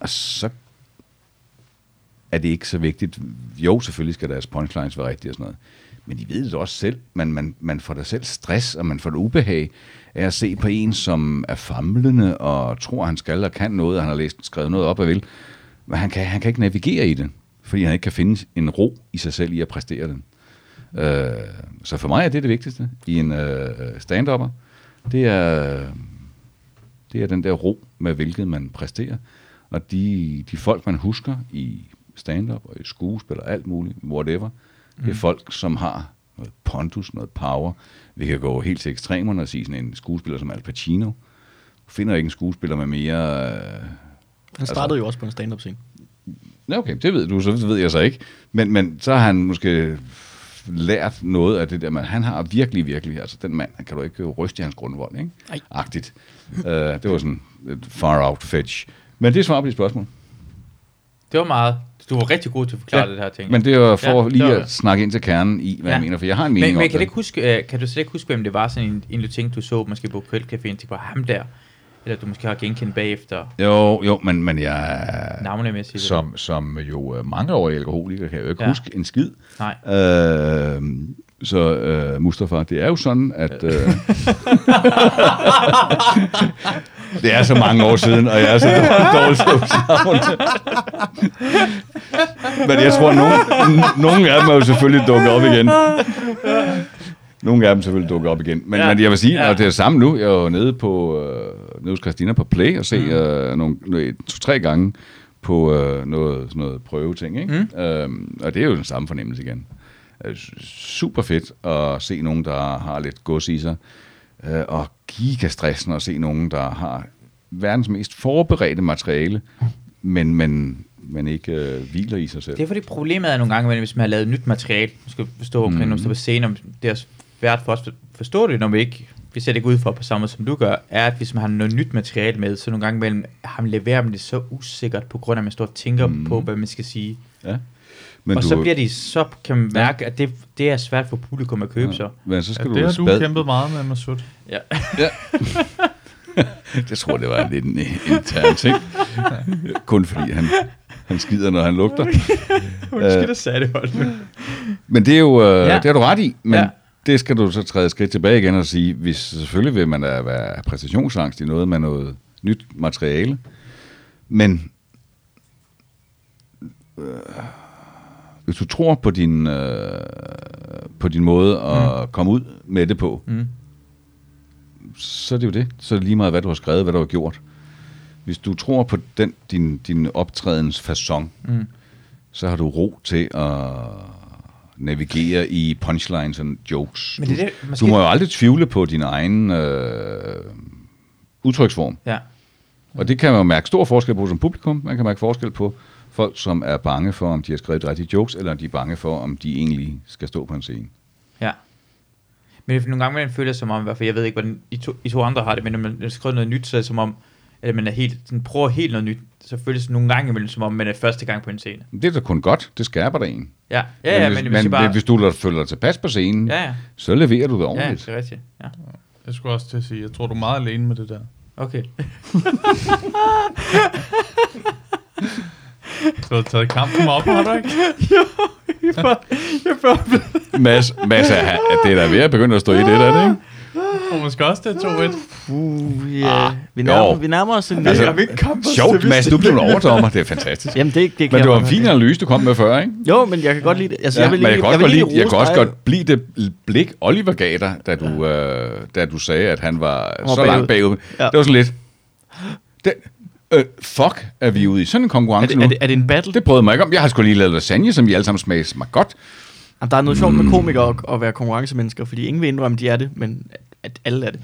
Speaker 2: Og så er det ikke så vigtigt. Jo, selvfølgelig skal deres punchlines være rigtige og sådan noget. Men de ved det også selv. Man, man, man får da selv stress, og man får det ubehag af at se på en, som er famlende og tror, han skal og kan noget, og han har læst, skrevet noget op og vil. Men han kan, han kan ikke navigere i det, fordi han ikke kan finde en ro i sig selv i at præstere den. Øh, så for mig er det det vigtigste i en øh, stand-upper. Det er, det er den der ro, med hvilket man præsterer. Og de, de folk, man husker i stand-up og i skuespil og alt muligt, whatever, det er folk, som har noget pondus, noget power. Vi kan gå helt til ekstremerne og sige sådan en skuespiller som Al Pacino. Du finder ikke en skuespiller med mere... Øh,
Speaker 4: Han startede altså, jo også på en stand-up scene.
Speaker 2: Nå, okay, det ved du, så det ved jeg så ikke. Men, men så har han måske lært noget af det der, men han har virkelig, virkelig, altså den mand, han kan du ikke ryste i hans grundvold, ikke?
Speaker 4: Nej.
Speaker 2: Agtigt. Uh, det var sådan et far out fetch. Men det er svar på dit spørgsmål.
Speaker 3: Det var meget. Du var rigtig god til at forklare ja, det her ting.
Speaker 2: Men det var for
Speaker 3: Ja,
Speaker 2: ja,
Speaker 3: det
Speaker 2: lige
Speaker 3: var
Speaker 2: at
Speaker 3: det.
Speaker 2: snakke ind til kernen i, hvad
Speaker 3: Ja.
Speaker 2: jeg mener, for jeg har en mening
Speaker 3: men, men kan,
Speaker 2: om
Speaker 3: du
Speaker 2: det.
Speaker 3: ikke huske, øh, kan du slet ikke huske, hvem det var sådan en, en du tænkte, du så måske på Kølcaféen, tænkte på ham der, eller du måske har genkendt bagefter
Speaker 2: Jo, jo, men, men jeg,
Speaker 3: navnemæssigt?
Speaker 2: som, som jo øh, mangeårig alkoholiker, kan jeg jo ikke
Speaker 3: Ja.
Speaker 2: ja. huske en skid.
Speaker 3: Nej.
Speaker 2: Øh, så øh, Mustafa, det er jo sådan, at... Øh, det er så mange år siden, og jeg er så dårlig, dårlig til at huske navne. Men jeg tror, nogen, nogle af dem er jo selvfølgelig dukket op igen. Nogle af dem selvfølgelig dukker op igen. Men,
Speaker 3: Ja.
Speaker 2: ja. men jeg vil sige,
Speaker 3: Ja.
Speaker 2: ja. at det er samme nu. Jeg er jo nede, på, øh, nede hos Christina på Play og se mm. øh, nogle, nogle, to-tre gange på øh, noget, sådan noget prøveting. Ikke? Mm. Øhm, og det er jo den samme fornemmelse igen. Øh, s- super fedt at se nogen, der har lidt gods i sig. Øh, og gigastressen at se nogen, der har verdens mest forberedte materiale, men, men, men ikke øh, hviler i sig selv.
Speaker 3: Det er fordi problemet er nogle gange, imellem, hvis man har lavet nyt materiale, man skal forstå, mm. når man står på scenen, om det er svært for os at forstå det, når vi ikke vi ser det ikke ud for på samme måde, som du gør, er, at hvis man har noget nyt materiale med, så nogle gange mellem, ham leverer man det så usikkert, på grund af, at man står og tænker mm. på, hvad man skal sige.
Speaker 2: Ja.
Speaker 3: Men
Speaker 2: Men
Speaker 3: og
Speaker 2: du,
Speaker 3: så bliver de, så kan man mærke, at det, det er svært for publikum at købe ja.
Speaker 2: ja,
Speaker 3: sig.
Speaker 2: men så
Speaker 1: Ja,
Speaker 2: skal
Speaker 1: det har
Speaker 2: du
Speaker 1: du
Speaker 2: spad,
Speaker 1: kæmpet meget med, Masud.
Speaker 2: Jeg tror, det var lidt en øh, intern ting. Kun fordi han, han skider, når han lugter.
Speaker 3: Undskyld, jeg sagde det holdt.
Speaker 2: Men det er jo, øh,
Speaker 3: Ja.
Speaker 2: ja. det har du ret i, men
Speaker 3: Ja.
Speaker 2: ja. det skal du så træde et skridt tilbage igen og sige, hvis selvfølgelig vil man da være præstationsangst i noget med noget nyt materiale, men øh, hvis du tror på din, øh, på din måde at mm. komme ud med det på,
Speaker 3: Mm.
Speaker 2: mm. så er det jo det. Så er det lige meget, hvad du har skrevet, hvad du har gjort. Hvis du tror på den, din, din optrædens façon,
Speaker 3: Mm.
Speaker 2: så har du ro til at navigere i punchlines og jokes.
Speaker 3: Men det er
Speaker 2: Du-
Speaker 3: det, måske-
Speaker 2: Du må jo aldrig tvivle på din egen øh, udtryksform.
Speaker 3: Ja.
Speaker 2: Og det kan man jo mærke stor forskel på som publikum. Man kan mærke forskel på folk, som er bange for, om de har skrevet de rigtige jokes, eller om de er bange for, om de egentlig skal stå på en scene.
Speaker 3: Ja. Men det er nogle gange, man føler som om, i hvert fald, jeg ved ikke, hvordan I to, I to andre har det, men når man har skrevet noget nyt, så er det som om, at man er helt, sådan, prøver helt noget nyt, så føles det nogle gange imellem, som om man er første gang på en scene.
Speaker 2: Men Det er da kun godt. Det skærper dig en.
Speaker 3: Ja, ja, ja men,
Speaker 2: hvis,
Speaker 3: hvis I bare...
Speaker 2: hvis du føler dig tilpas på scenen,
Speaker 3: Ja, ja,
Speaker 2: så leverer du det
Speaker 3: ja,
Speaker 2: ordentligt.
Speaker 3: det er rigtigt. Ja.
Speaker 1: Jeg skulle også til at sige, jeg tror, du er meget alene med det der.
Speaker 3: Okay.
Speaker 1: Du har taget kampen op, har du ikke?
Speaker 2: Mads, Mads er, det er da ved at begynde at stå i det der, ikke?
Speaker 1: Og måske også det er 2-1.
Speaker 4: Uh, yeah. vi,
Speaker 2: jo.
Speaker 4: nærmer, vi nærmer os en
Speaker 2: Altså,
Speaker 4: altså,
Speaker 2: Sjovt, Mads, du blev en overdommer. Det er fantastisk.
Speaker 4: Jamen, det, det kan
Speaker 2: Men
Speaker 4: jeg
Speaker 2: det var
Speaker 4: godt
Speaker 2: en
Speaker 4: have.
Speaker 2: fin analyse, du kom med før, ikke?
Speaker 4: Jo, men jeg kan godt lide det. Altså,
Speaker 2: Ja,
Speaker 4: jeg vil
Speaker 2: men jeg
Speaker 4: lige,
Speaker 2: kan også,
Speaker 4: jeg
Speaker 2: godt,
Speaker 4: vil
Speaker 2: lide, jeg kan
Speaker 4: rose
Speaker 2: også
Speaker 4: dig.
Speaker 2: godt blive det blik, Oliver gav dig, da du, øh, da du sagde, at han var
Speaker 4: var
Speaker 2: så langt bagud.
Speaker 4: Ja.
Speaker 2: Det var sådan lidt... Det, øh, fuck, er vi ude i sådan en
Speaker 4: Er
Speaker 2: konkurrence
Speaker 4: det, er,
Speaker 2: nu?
Speaker 4: det, er det en battle?
Speaker 2: Det prøvede jeg mig ikke om. Jeg har sgu lige lavet lasagne, som I alle sammen smager, smager godt.
Speaker 4: Jamen, der er noget sjovt med komikere at, at være konkurrencemennesker, fordi ingen vil indrømme, de er det, men at- at alle er det.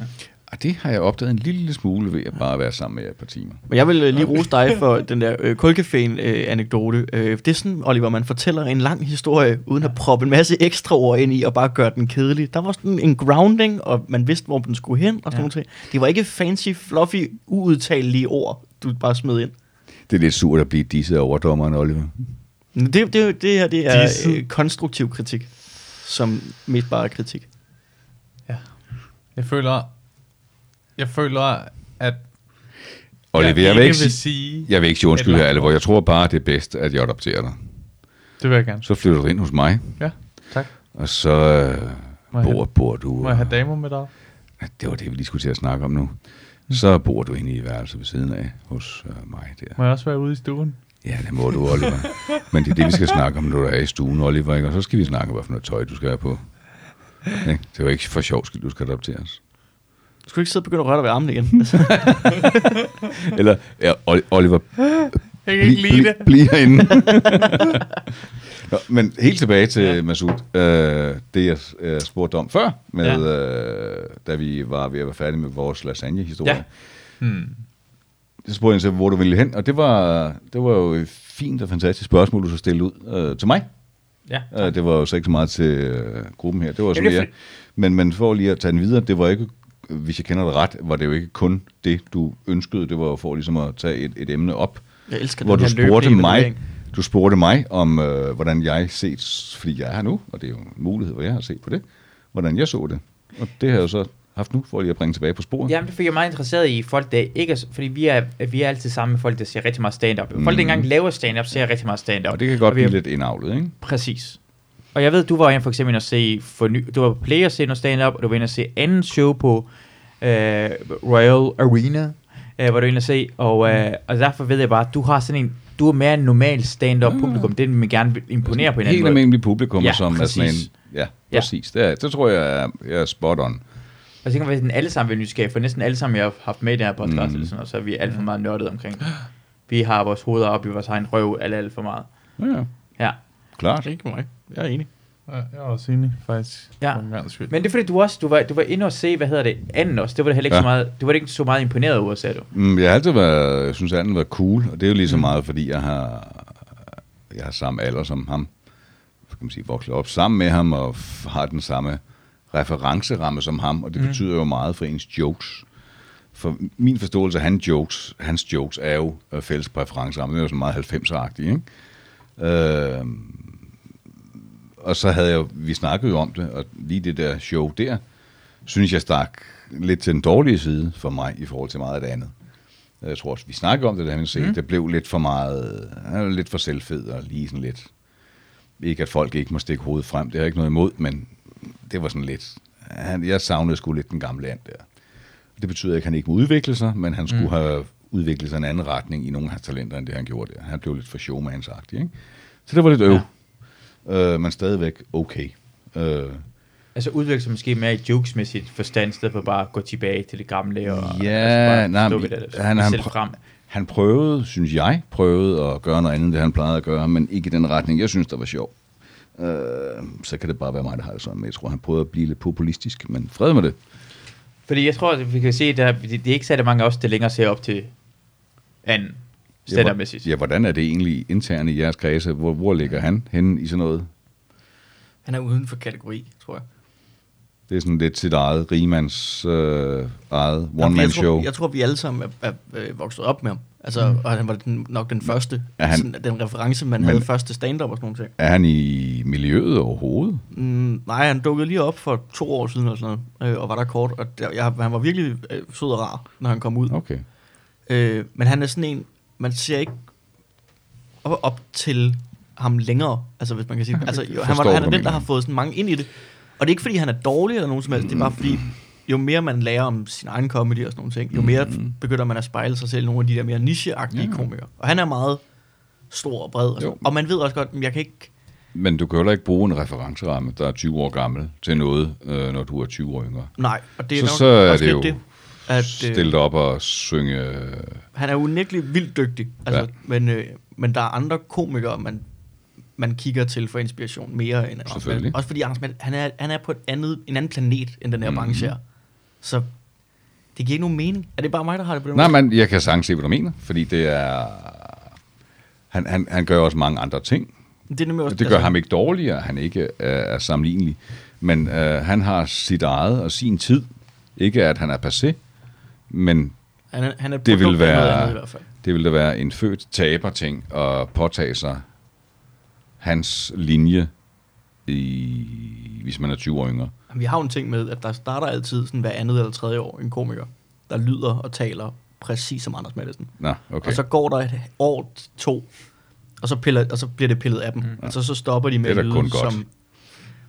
Speaker 2: Og det har jeg opdaget en lille smule ved at bare være sammen med jer et par timer.
Speaker 4: Men jeg vil øh, lige rose dig for den der øh, kulcaféen-anekdote. Øh, det er sådan, Oliver, man fortæller en lang historie, uden at proppe en masse ekstra ord ind i, og bare gøre den kedelig. Der var sådan en grounding, og man vidste, hvor den skulle hen, og sådan ja. noget. Det var ikke fancy, fluffy, uudtalelige ord, du bare smed ind.
Speaker 2: Det er lidt surt at blive disset af overdommeren, Oliver.
Speaker 4: Men Det, det, det her, det er
Speaker 1: Disse.
Speaker 4: øh, konstruktiv kritik, som mest bare er kritik.
Speaker 1: Jeg føler, jeg føler, at
Speaker 2: Oliver, jeg,
Speaker 1: jeg
Speaker 2: vil
Speaker 1: ikke
Speaker 2: ikke
Speaker 1: vil
Speaker 2: sige,
Speaker 1: sige...
Speaker 2: jeg vil ikke sige undskyld
Speaker 1: Eller-
Speaker 2: her, Oliver. Jeg tror bare, det er bedst, at jeg adopterer dig.
Speaker 1: Det vil jeg gerne.
Speaker 2: Så flytter du ind hos mig,
Speaker 1: Ja, tak.
Speaker 2: og så øh,
Speaker 1: Må jeg
Speaker 2: bor, bor du... øh,
Speaker 1: Må jeg have damer med dig?
Speaker 2: Ja, det var det, vi lige skulle til at snakke om nu.
Speaker 1: Mm.
Speaker 2: Så bor du inde i værelset ved siden af hos øh, mig der.
Speaker 1: Må jeg også være ude i stuen?
Speaker 2: Ja, det må du, Oliver. Men det er det, vi skal snakke om, når du er i stuen, Oliver. Ikke? Og så skal vi snakke om, hvad for noget tøj, du skal have på. Ikke? Det var ikke for sjov skyld, du skal adopteres.
Speaker 4: Du skulle ikke sidde og begynde at røre dig ved armen igen.
Speaker 2: Eller, ja, Ol- Oliver,
Speaker 6: Jeg kan ikke lide det.
Speaker 2: bliv herinde. Nå, men helt tilbage til ja. Masud. Øh, det, jeg øh, spurgte om før, med, ja. øh, da vi var ved at være færdige med vores lasagne-historie. Ja.
Speaker 1: Ja. Hmm.
Speaker 2: så spurgte jeg så, hvor du ville hen, og det var, det var jo et fint og fantastisk spørgsmål, du så stille ud øh, til mig.
Speaker 3: Ja.
Speaker 2: Øh, det var jo så ikke så meget til øh, gruppen her, det var så
Speaker 3: det er
Speaker 2: mere. Men, men for lige at tage den videre, det var ikke, øh, hvis jeg kender det ret, var det jo ikke kun det, du ønskede, det var jo for ligesom at tage et, et emne op,
Speaker 4: Jeg elsker
Speaker 2: hvor
Speaker 4: den
Speaker 2: du
Speaker 4: her løbende
Speaker 2: spurgte mig,
Speaker 4: evaluering.
Speaker 2: du spurgte mig om, øh, hvordan jeg set, fordi jeg er her nu, og det er jo en mulighed, hvor jeg har set på det, hvordan jeg så det. Og det har jeg jo så haft nu, for lige at bringe tilbage på sporet.
Speaker 3: Jamen, det fik jeg meget interesseret i folk, der ikke er... s- Fordi vi er, vi er altid sammen med folk, der ser rigtig meget stand-up. Folk, der ikke engang laver stand-up, ser rigtig meget stand-up.
Speaker 2: Og det kan godt
Speaker 3: vi er-
Speaker 2: blive lidt indavlet, ikke? Altså,
Speaker 3: Præcis. Og jeg ved, du var inde for eksempel inde og se, for ny, du var på Play og se noget stand-up, og du var inde og se anden show på øh, Royal Arena, øh, hvor du var inde og se, og,
Speaker 2: Mm.
Speaker 3: øh, og derfor ved jeg bare, at du har sådan en, du er mere en normal stand-up publikum, det man gerne vil imponere på en
Speaker 2: Mm. Helt
Speaker 3: anden måde.
Speaker 2: almindelig publikum, ja,
Speaker 3: Ja,
Speaker 2: som præcis. er sådan
Speaker 3: præcis.
Speaker 2: en... Ja,
Speaker 3: Ja.
Speaker 2: præcis. Det, er, det tror jeg, er, jeg er spot on.
Speaker 3: Og så kan man alle sammen vil nysgerrige, for næsten alle sammen, jeg har haft med i den her podcast,
Speaker 2: Mm.
Speaker 3: mm. eller sådan, og så er vi alt for meget nørdet omkring. det. Vi har vores hoveder op i vores egen røv, alt, alt for meget.
Speaker 2: Ja,
Speaker 3: Ja.
Speaker 2: klart.
Speaker 6: Ikke mig. Jeg er enig.
Speaker 1: Ja, jeg er også enig, faktisk.
Speaker 3: Ja.
Speaker 1: For en gangs skyld.
Speaker 3: Men det er fordi, du også, du var, du var inde og se, hvad hedder det, anden også, det var det heller ikke
Speaker 2: Ja.
Speaker 3: ja. så meget, du var ikke så meget imponeret over, sagde du.
Speaker 2: Mm, Jeg har altid været, jeg synes, at han var cool, og det er jo lige så meget, fordi jeg har, jeg har samme alder som ham. Kan man sige, vokset op sammen med ham, og f- har den samme referenceramme som ham, og det mm. betyder jo meget for ens jokes. For min forståelse af hans jokes, hans jokes er jo øh, fælles præferenceramme. Det er jo sådan meget 90'er-agtigt, ikke? Øh, og så havde jeg, jo- vi snakkede jo om det, og lige det der show der, synes jeg stak lidt til den dårlige side for mig i forhold til meget af det andet. Øh, Jeg tror også, vi snakkede om det, da han sagde, mm. det blev lidt for meget, øh, han var lidt for selvfed og lige sådan lidt. Ikke at folk ikke må stikke hovedet frem, det har jeg ikke noget imod, men det var sådan lidt, han, jeg savnede sgu lidt den gamle and der. Det betyder ikke, at han ikke må udvikle sig, men han skulle mm. have udviklet sig i en anden retning i nogle af hans talenter, end det han gjorde der. Han blev lidt for showmans ikke? Så det var lidt øv. Ja. Øh, men stadigvæk okay. Øh,
Speaker 3: Altså udvikle sig måske mere i jokesmæssigt forstand, i stedet for bare at gå tilbage til det gamle og
Speaker 2: Ja,
Speaker 3: altså bare
Speaker 2: nej,
Speaker 3: stå
Speaker 2: men
Speaker 3: ved det,
Speaker 2: han-
Speaker 3: han,
Speaker 2: han
Speaker 3: selv
Speaker 2: prø-
Speaker 3: frem.
Speaker 2: han prøvede, synes jeg, prøvede at gøre noget andet, end det han plejede at gøre, men ikke i den retning, jeg synes, der var sjov. Øh, så kan det bare være mig, der har det sådan. Men jeg tror, han prøvede at blive lidt populistisk, men fred med det.
Speaker 3: Fordi jeg tror, at vi kan se, at der, det, det er ikke særlig mange af os, der længere ser op til anden
Speaker 2: Ja, hvor-
Speaker 3: standardmæssigt.
Speaker 2: Ja, hvordan er det egentlig internt i jeres kredse? Hvor, hvor ligger han henne i sådan noget?
Speaker 4: Han er uden for kategori, tror jeg.
Speaker 2: Det er sådan lidt sit eget, rimands øh, eget
Speaker 4: Jamen, jeg
Speaker 2: one-man-show.
Speaker 4: Tror, jeg tror, vi alle sammen er, er, er vokset op med ham. Altså, mm. og han var den, nok den første.
Speaker 2: Er han-
Speaker 4: Han, sådan, den reference, man
Speaker 2: Men-
Speaker 4: havde første stand-up og sådan noget.
Speaker 2: Er han i miljøet overhovedet?
Speaker 4: Mm, nej, han dukkede lige op for to år siden eller sådan noget, øh, og var der kort. Og der, jeg, han var virkelig øh, sød og rar, når han kom ud.
Speaker 2: Okay.
Speaker 4: Øh, men han er sådan en, man ser ikke op, op til ham længere, altså hvis man kan sige det. Altså, jo, han,
Speaker 2: forstår,
Speaker 4: var,
Speaker 2: hvad
Speaker 4: han
Speaker 2: du
Speaker 4: er den, der
Speaker 2: mener.
Speaker 4: har fået sådan mange ind i det. Og det er ikke, fordi han er dårlig eller nogen som helst, det er bare fordi, jo mere man lærer om sin egen comedy og sådan nogle ting, jo mere
Speaker 2: Mhm.
Speaker 4: begynder man at spejle sig selv i nogle af de der mere nicheagtige
Speaker 2: Ja.
Speaker 4: ja. komikere. Og han er meget stor og bred. Og,
Speaker 2: Mm. Jo.
Speaker 4: sådan. og man ved også godt, at jeg kan ikke...
Speaker 2: Men du kan jo heller ikke bruge en referenceramme, der er 20 år gammel, til noget, øh, når du er 20 år yngre.
Speaker 4: Nej, og det er
Speaker 2: Så-
Speaker 4: nok
Speaker 2: så er
Speaker 4: også
Speaker 2: det
Speaker 4: lidt
Speaker 2: jo
Speaker 4: at, øh,
Speaker 2: Stil dig op og synge... øh,
Speaker 4: Han er unægtelig vildt dygtig, altså,
Speaker 2: Ja.
Speaker 4: ja. men, øh, men der er andre komikere, man, man kigger til for inspiration mere end Anders
Speaker 2: Selvfølgelig.
Speaker 4: Mand. Også fordi Anders Mand, han er, han er på et andet, en anden planet end den her
Speaker 2: Mhm.
Speaker 4: mm. branche her. Så det giver ikke nogen mening. Er det bare mig, der har det på den
Speaker 2: Nej,
Speaker 4: måde?
Speaker 2: men jeg kan sagtens se, hvad du mener, fordi det er... Han, han, han gør også mange andre ting.
Speaker 4: det, er nemlig også, altså,
Speaker 2: Det gør ham ikke dårligere, han ikke øh, er sammenlignelig. Men øh, han har sit eget og sin tid. Ikke at han er passé, men
Speaker 4: Han er, han er et
Speaker 2: det vil
Speaker 4: produkt af noget andet i
Speaker 2: være,
Speaker 4: hvert fald.
Speaker 2: det vil da være en født taberting at påtage sig hans linje, i, hvis man er 20 år yngre.
Speaker 4: Jamen, Vi har jo en ting med, at der starter altid sådan hver andet eller tredje år en komiker, der lyder og taler præcis som Anders Matthesen.
Speaker 2: Nå, okay.
Speaker 4: Okay. Og så går der et år, to, og så, piller, og så bliver det pillet af dem. Mm. Og så, så stopper de med
Speaker 2: Det er da
Speaker 4: at lyde
Speaker 2: kun godt.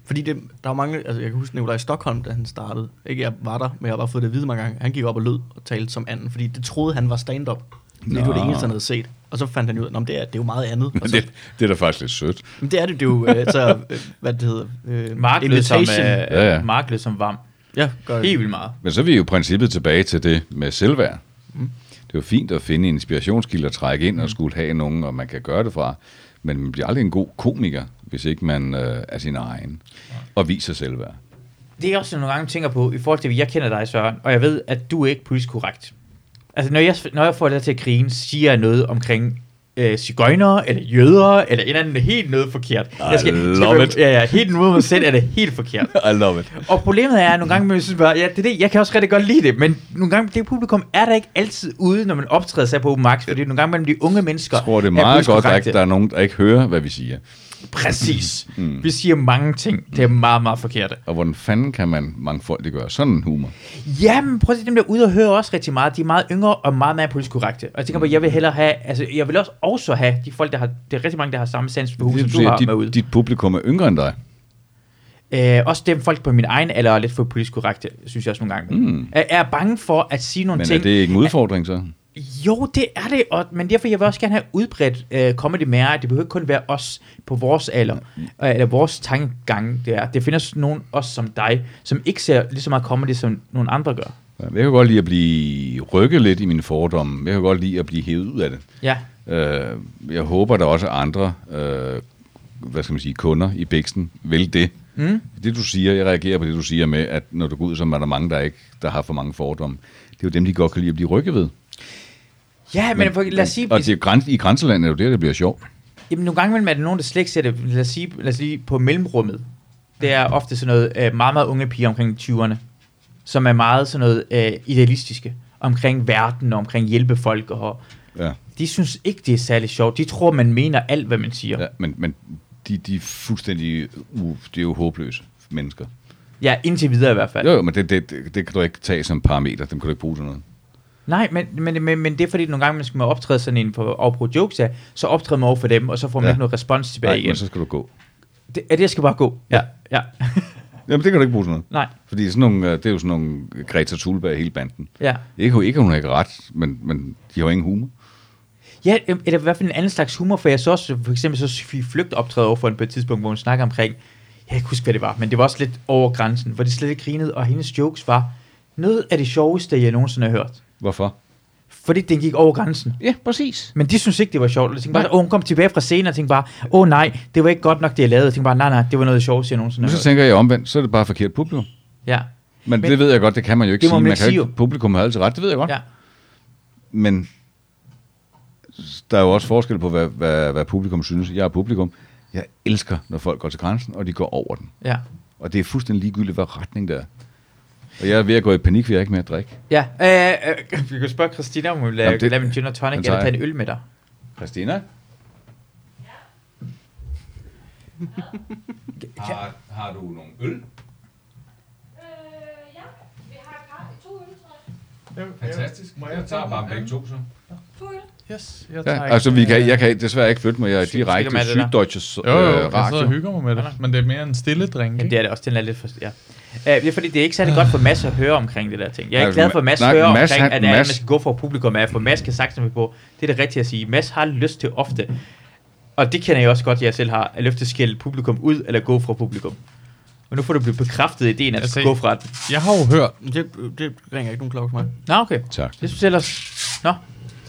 Speaker 4: Fordi det, der var mange, altså jeg kan huske Nikolaj Stockholm, da han startede. Ikke jeg var der, men jeg har bare fået det at vide mange gange. Han gik op og lød og talte som anden, fordi det troede han var stand-up. Fordi Det var
Speaker 2: Nå.
Speaker 4: det eneste, han havde set. Og så fandt han ud af, at det er, det er jo meget andet. Og
Speaker 2: Men
Speaker 4: så,
Speaker 2: det, det er da faktisk lidt sødt.
Speaker 4: men det er det, det er jo, øh, altså, øh, hvad det hedder, øh,
Speaker 3: Mark lød som, øh,
Speaker 2: Ja, ja.
Speaker 3: Mark lød som varm.
Speaker 4: ja, gør det.
Speaker 3: Helt vildt meget.
Speaker 2: Men så er vi jo i princippet tilbage til det med selvværd.
Speaker 3: Mm.
Speaker 2: Det er jo fint at finde en inspirationskilde at trække ind og skulle have nogen, og man kan gøre det fra. Men man bliver aldrig en god komiker, hvis ikke man øh, er sin egen og viser selvværd.
Speaker 3: Det er også nogle gange jeg tænker på, i forhold til, at jeg kender dig, Søren, og jeg ved, at du er ikke politisk korrekt. Altså, når jeg, når jeg får dig til at grine, siger jeg noget omkring øh, cigøjnere, eller jøder, eller en eller anden helt noget forkert. I jeg
Speaker 2: love it.
Speaker 3: Ja, ja, helt mod mig selv er det helt forkert.
Speaker 2: I love it.
Speaker 3: Og problemet er, at nogle gange, man synes bare, ja, det er det, jeg kan også rigtig godt lide det, men nogle gange, det publikum er der ikke altid ude, når man optræder sig på open mics, fordi nogle gange mellem de unge mennesker
Speaker 2: Jeg tror, det er meget
Speaker 3: politisk
Speaker 2: godt, at der
Speaker 3: korrekte.
Speaker 2: ikke- der er nogen, der ikke hører, hvad vi siger.
Speaker 3: Præcis.
Speaker 2: Mm.
Speaker 3: Vi siger mange ting, det er meget, meget forkert.
Speaker 2: Og hvordan fanden kan man mangfoldigt gøre sådan en humor?
Speaker 3: Jamen, prøv at se, dem der er ude og høre også rigtig meget. De er meget yngre og meget mere politisk korrekte. Og jeg tænker på, jeg vil hellere have, altså jeg vil også, også have de folk, der har, det er rigtig mange, der har samme sans for hus, som
Speaker 2: Det,
Speaker 3: du
Speaker 2: du
Speaker 3: har med
Speaker 2: dit,
Speaker 3: ud.
Speaker 2: dit publikum er yngre end dig.
Speaker 3: Øh, også dem folk på min egen alder er lidt for politisk korrekte, synes jeg også nogle gange. Mm. Er, er bange for at sige nogle
Speaker 2: Hmm. Men er
Speaker 3: ting.
Speaker 2: det ikke en udfordring så?
Speaker 3: Jo, det er det, og, men derfor jeg vil også gerne have udbredt øh, comedy mere. Det behøver ikke kun være os på vores alder, øh, eller vores tankegang. Det, er. det findes nogen, også som dig, som ikke ser lige så meget comedy, som nogle andre gør.
Speaker 2: Ja, Jeg kan godt lide at blive rykket lidt i mine fordomme. Jeg kan godt lide at blive hævet ud af det.
Speaker 3: Ja.
Speaker 2: Øh, jeg håber, der også er andre øh, hvad skal man sige, kunder i Bæksten vil det.
Speaker 3: Hmm?
Speaker 2: Mm. Det du siger, jeg reagerer på det du siger med, at når du går ud, så er der mange, der ikke der har for mange fordomme. Det er jo dem, de godt kan lide at blive rykket ved.
Speaker 3: Ja, men, men lad os sige...
Speaker 2: og det er jo græns, i grænselandet er jo der, det bliver sjovt.
Speaker 3: Jamen, nogle gange imellem er der nogen, der slet ikke ser det. Lad os sige, lad os sige på mellemrummet. Det er ofte sådan noget øh, meget, meget unge piger omkring 20'erne, som er meget sådan noget øh, idealistiske omkring verden og omkring hjælpe folk. Og,
Speaker 2: Ja.
Speaker 3: de synes ikke, det er særlig sjovt. De tror, man mener alt, hvad man siger.
Speaker 2: Ja,
Speaker 3: Ja,
Speaker 2: men, men de, de er fuldstændig, uh, det er jo håbløse mennesker.
Speaker 3: ja indtil videre i hvert fald.
Speaker 2: Jo, jo, men det, det, det, det kan du ikke tage som parameter, dem kan du ikke bruge til noget.
Speaker 3: Nej, men, men, men, men det er fordi, nogle gange, man skal optræde sådan en på, og på jokes, af, så optræder man over for dem, og så får man
Speaker 2: Ja.
Speaker 3: ja. ikke noget respons tilbage
Speaker 2: Nej,
Speaker 3: igen.
Speaker 2: men så skal du gå.
Speaker 3: Det, er det, jeg skal bare gå. Ja, ja.
Speaker 2: Jamen, det kan du ikke bruge til noget.
Speaker 3: Nej,
Speaker 2: Fordi sådan nogle, øh, det er jo sådan nogle Greta Thunberg, hele banden.
Speaker 3: ja.
Speaker 2: Ikke, ikke hun har ikke ret, men, men de har jo ingen humor.
Speaker 3: Ja, øhm, eller i hvert fald en anden slags humor, for jeg så også, for eksempel så Sofie Flygt optræde over for en på et tidspunkt, hvor hun snakker omkring, jeg kan ikke huske, hvad det var, men det var også lidt over grænsen, hvor det slet ikke grinede, og hendes jokes var noget af det sjoveste, jeg nogensinde har hørt.
Speaker 2: Hvorfor?
Speaker 3: Fordi den gik over grænsen.
Speaker 2: Ja, præcis.
Speaker 3: Men de synes ikke, det var sjovt. Jeg tænkte bare, åh, hun kom tilbage fra scenen og tænkte bare, åh nej, det var ikke godt nok, det jeg lavede. Jeg tænkte bare, nej, nej, det var noget af det sjoveste, jeg nogensinde
Speaker 2: Nu
Speaker 3: har
Speaker 2: så
Speaker 3: hørt.
Speaker 2: tænker jeg omvendt, så er det bare forkert publikum.
Speaker 3: Ja,
Speaker 2: Men, men
Speaker 3: Men-
Speaker 2: det ved jeg godt, det kan man jo ikke
Speaker 3: Det må
Speaker 2: sige.
Speaker 3: man
Speaker 2: Man
Speaker 3: ikke
Speaker 2: kan jo
Speaker 3: sige
Speaker 2: ikke, publikum har altid ret, det ved jeg godt.
Speaker 3: ja.
Speaker 2: Men der er jo også forskel på, hvad, hvad, hvad publikum synes. Jeg er publikum. Jeg elsker, når folk går til grænsen, og de går over den.
Speaker 3: Ja.
Speaker 2: Og det er fuldstændig ligegyldigt, hvad retning det er. Og jeg er ved at gå i panik, for jeg er ikke mere at drikke.
Speaker 3: Ja, øh, øh, vi kan spørge Christina, om hun vil lave,
Speaker 2: Jamen, det-
Speaker 3: lave en gin og tonic,
Speaker 2: den
Speaker 3: eller
Speaker 2: tager
Speaker 3: tage
Speaker 2: jeg.
Speaker 3: en øl med dig.
Speaker 2: Christina? Har, har du nogle øl?
Speaker 7: Øh, ja. Vi har kaffe. To øl, tror jeg.
Speaker 2: Fantastisk. Jeg tager bare begge to, så.
Speaker 7: To øl.
Speaker 1: Yes, jeg
Speaker 2: Ja, altså, vi kan, jeg kan desværre ikke flytte mig. Jeg er
Speaker 3: Sygt, sikkert
Speaker 2: direkte
Speaker 3: med det der.
Speaker 2: syddeutsches øh,
Speaker 1: Jo, jo, jeg sidder og
Speaker 2: radio.
Speaker 1: hygger mig med det, men det er mere en stille drink,
Speaker 3: Jamen, det
Speaker 1: ikke?
Speaker 3: er det også, den er lidt for... Ja. Ja, det er fordi, det er ikke særlig godt for Mads at høre omkring det der ting. Jeg er
Speaker 2: Øh. Nej,
Speaker 3: ikke glad for, at Mads
Speaker 2: nej,
Speaker 3: hører
Speaker 2: Mads,
Speaker 3: omkring,
Speaker 2: han-
Speaker 3: at Mads...
Speaker 2: Mads-
Speaker 3: man skal gå for publikum af, for Mads kan sagtens være på. Det er det rigtige at sige. Mads har lyst til ofte, og det kender jeg også godt, jeg selv har, at lyst til at skælde publikum ud, eller gå fra publikum. Men nu får du blevet bekræftet i ideen, at du
Speaker 1: Altså,
Speaker 3: skal gå fra den.
Speaker 1: Jeg har jo hørt...
Speaker 4: Men Det, det ringer ikke nogen klokke for mig.
Speaker 3: Nå, okay.
Speaker 2: Tak.
Speaker 3: Det synes jeg ellers... Nå,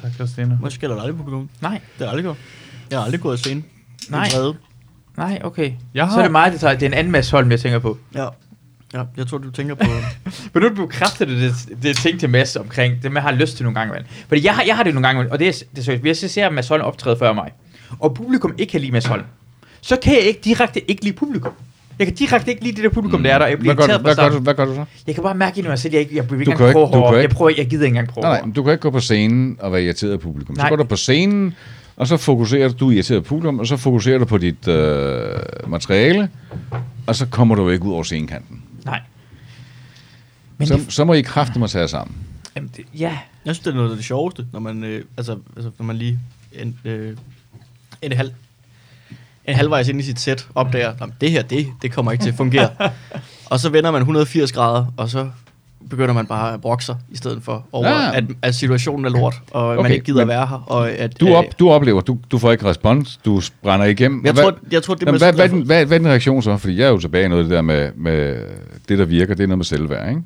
Speaker 1: Tak, Christina.
Speaker 4: Måske skælder du aldrig på publikum.
Speaker 3: nej,
Speaker 4: Det har jeg aldrig gjort. Jeg har aldrig gået scene.
Speaker 3: Nej.
Speaker 4: Vrede.
Speaker 3: nej, okay.
Speaker 1: Jeg har-
Speaker 3: Så er det mig, det tager. Det er en anden Mads Holm, jeg tænker på.
Speaker 4: Ja. Ja, jeg tror, du tænker på...
Speaker 3: Men nu bekræfter du det, det ting til Mads omkring det, man har lyst til nogle gange. mand. Fordi jeg har, jeg har det nogle gange, mand, og det er, det er seriøst. Hvis jeg ser Mads Holm optræde før mig, og publikum ikke kan lide Mads Holm, så kan jeg ikke direkte ikke lide publikum. Jeg kan direkte ikke lide det der publikum, der er der. Jeg bliver
Speaker 2: Mm. Hvad gør, du,
Speaker 3: irriteret på
Speaker 2: hvad, gør du,
Speaker 3: starten.
Speaker 2: hvad gør du så?
Speaker 3: Jeg kan bare mærke ind i mig selv, jeg, ikke, jeg vil ikke
Speaker 2: Du kan
Speaker 3: engang
Speaker 2: ikke-
Speaker 3: prøve
Speaker 2: du kan
Speaker 3: hårdere. Jeg,
Speaker 2: ikke-
Speaker 3: prøver, jeg gider ikke engang prøve
Speaker 2: Nej, nej,
Speaker 3: hårdere.
Speaker 2: men du kan ikke gå på scenen og være irriteret af publikum. Nej.
Speaker 3: Nej.
Speaker 2: Så går du på scenen, og så fokuserer du, du er irriteret af publikum, og så fokuserer du på dit øh, materiale, og så kommer du ikke ud over scenekanten.
Speaker 3: Nej. Men
Speaker 2: Så,
Speaker 3: det,
Speaker 2: så må I kræfte mig tage sammen.
Speaker 3: jamen, det, ja,
Speaker 4: Jeg synes, det er noget af det sjoveste, når man, øh, altså, altså, når man lige en, øh, en, halv, en halvvejs ind i sit sæt opdager, at det her, det, det kommer ikke til at fungere. og så vender man 180 grader, og så begynder man bare at brokke sig, i stedet for over,
Speaker 2: Ja.
Speaker 4: ja. at, at situationen er lort, og okay, man
Speaker 2: Ah. Okay,
Speaker 4: ikke gider
Speaker 2: men
Speaker 4: at være her. Og at,
Speaker 2: Du,
Speaker 4: øh,
Speaker 2: op, du oplever, du, du får ikke respons, du brænder igennem.
Speaker 4: Jeg
Speaker 2: Hvad-
Speaker 4: tror, jeg tror, det
Speaker 2: Jamen,
Speaker 4: man
Speaker 2: hvad,
Speaker 4: skal
Speaker 2: hvad,
Speaker 4: gøre
Speaker 2: hvad, hvad, hvad er din reaktion så? Fordi jeg er jo tilbage i noget af det der med, med det, der virker, det er noget med selvværd, ikke?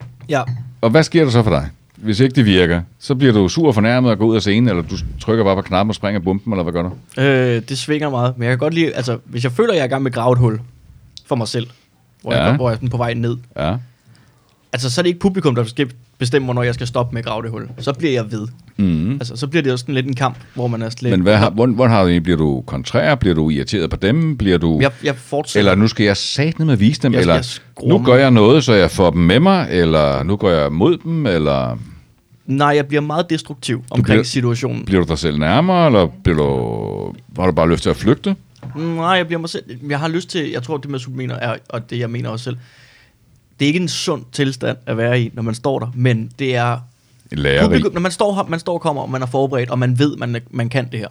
Speaker 4: for- Ja,
Speaker 2: Og hvad sker der så for dig? Hvis ikke det virker, så bliver du sur og fornærmet og går ud af scenen, eller du trykker bare på knappen og springer bomben, eller hvad gør du?
Speaker 4: Øh, det svinger meget, men jeg kan godt lide, altså hvis jeg føler, at jeg er i gang med at grave et hul for mig selv, hvor, ja.
Speaker 2: Ja.
Speaker 4: jeg, hvor jeg er sådan på vej ned,
Speaker 2: Ja.
Speaker 4: altså så er det ikke publikum, der skal bestemme, hvornår jeg skal stoppe med at grave det hul. Så bliver jeg ved.
Speaker 2: Mm.
Speaker 4: Altså så bliver det jo sådan lidt en kamp, hvor man er slet...
Speaker 2: Men hvad har, hvor, hvor har du egentlig? Bliver du kontrær? Bliver du irriteret på dem? Bliver du...
Speaker 4: Jeg, jeg fortsætter.
Speaker 2: Eller nu skal jeg satme med at vise dem,
Speaker 4: Jeg-
Speaker 2: eller
Speaker 4: jeg skruer
Speaker 2: nu
Speaker 4: mig.
Speaker 2: gør jeg noget, så jeg får dem med mig, eller nu går jeg mod dem, eller
Speaker 4: Nej, jeg bliver meget destruktiv omkring
Speaker 2: bliver-
Speaker 4: bliver... situationen.
Speaker 2: bliver du dig selv nærmere, eller bliver du, har du bare lyst til at flygte?
Speaker 4: Nej, jeg bliver mig selv... Jeg har lyst til... Jeg tror, det med mener er, og det jeg mener også selv, det er ikke en sund tilstand at være i, når man står der, men det er
Speaker 2: Lærerig.
Speaker 4: publikum, når man står, her- man står og kommer, og man er forberedt, og man ved, man, man kan det her.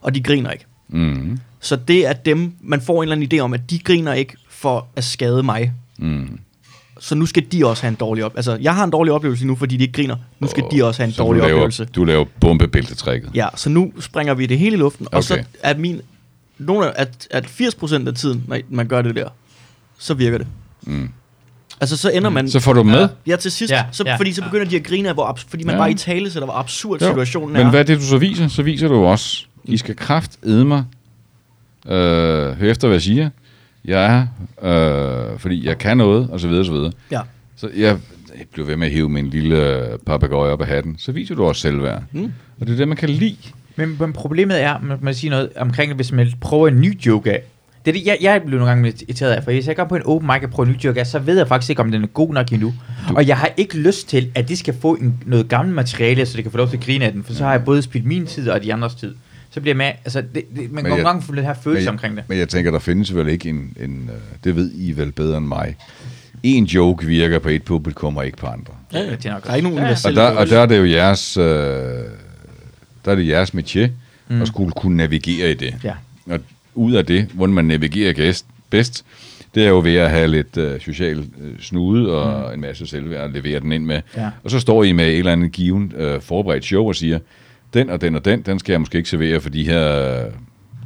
Speaker 4: Og de griner ikke.
Speaker 2: Mm.
Speaker 4: Så det er dem, man får en eller anden idé om, at de griner ikke for at skade mig.
Speaker 2: Mm.
Speaker 4: Så nu skal de også have en dårlig oplevelse. Altså, jeg har en dårlig oplevelse nu, fordi de ikke griner. Nu skal de også have en
Speaker 2: Så
Speaker 4: dårlig
Speaker 2: du laver,
Speaker 4: oplevelse.
Speaker 2: Du laver bombebæltetrækket.
Speaker 4: Ja, så nu springer vi det hele i luften. Okay. Og
Speaker 2: Okay.
Speaker 4: så er min... Nogle af, at, at 80% af tiden, når man gør det der, så virker det.
Speaker 2: Mm.
Speaker 4: Altså, så ender man...
Speaker 2: Så får du dem med.
Speaker 4: Ja, til sidst.
Speaker 3: Ja,
Speaker 4: Ja, så,
Speaker 3: ja.
Speaker 4: ja, fordi så begynder de at grine af, hvor, abs- fordi man
Speaker 2: Ja.
Speaker 4: ja. bare i tale sætter, hvor absurd
Speaker 2: Jo,
Speaker 4: situationen
Speaker 2: Men
Speaker 4: er.
Speaker 2: hvad er det, du så viser? Så viser du også, I skal kraft edde mig. Øh, hør efter, hvad jeg siger. Jeg er, øh, fordi jeg kan noget, og så videre, og så videre.
Speaker 4: Ja.
Speaker 2: Så jeg, jeg bliver ved med at hive min lille øh, papegøje op af hatten. Så viser du også selvværd. Mm. Og det er det, man kan lide.
Speaker 3: Men, men problemet er, man må sige noget omkring det, hvis man prøver en ny joke af. Det er det, jeg, jeg blev nogle gange lidt irriteret af, for hvis jeg går på en open mic og prøver en ny joke af, så ved jeg faktisk ikke, om den er god nok endnu. Du. Og jeg har ikke lyst til, at de skal få en, noget gammelt materiale, så de kan få lov til at grine af den, for så
Speaker 2: Mm.
Speaker 3: har jeg både spildt min tid og de andres tid. Så bliver man, altså, det, det, man
Speaker 2: Men
Speaker 3: går
Speaker 2: jeg-
Speaker 3: nogle gange for den her følelse omkring det.
Speaker 2: Men jeg tænker, der findes vel ikke en, en øh, det ved I vel bedre end mig. En joke virker på et publikum og ikke på andre.
Speaker 3: Ja, det er nok.
Speaker 4: Der er ikke nogen
Speaker 2: Og
Speaker 4: universelle
Speaker 2: der, og der er det jo jeres, øh, der er det jeres métier, mm. at skulle kunne navigere i det.
Speaker 3: Ja.
Speaker 2: Og ud af det, hvordan man navigerer gæst, bedst, det er jo ved at have lidt øh, social øh, snude og mm. en masse selvværd at levere den ind med.
Speaker 3: Ja.
Speaker 2: Og så står I med et eller andet given øh, forberedt show og siger, den og den og den, den skal jeg måske ikke servere for de her øh,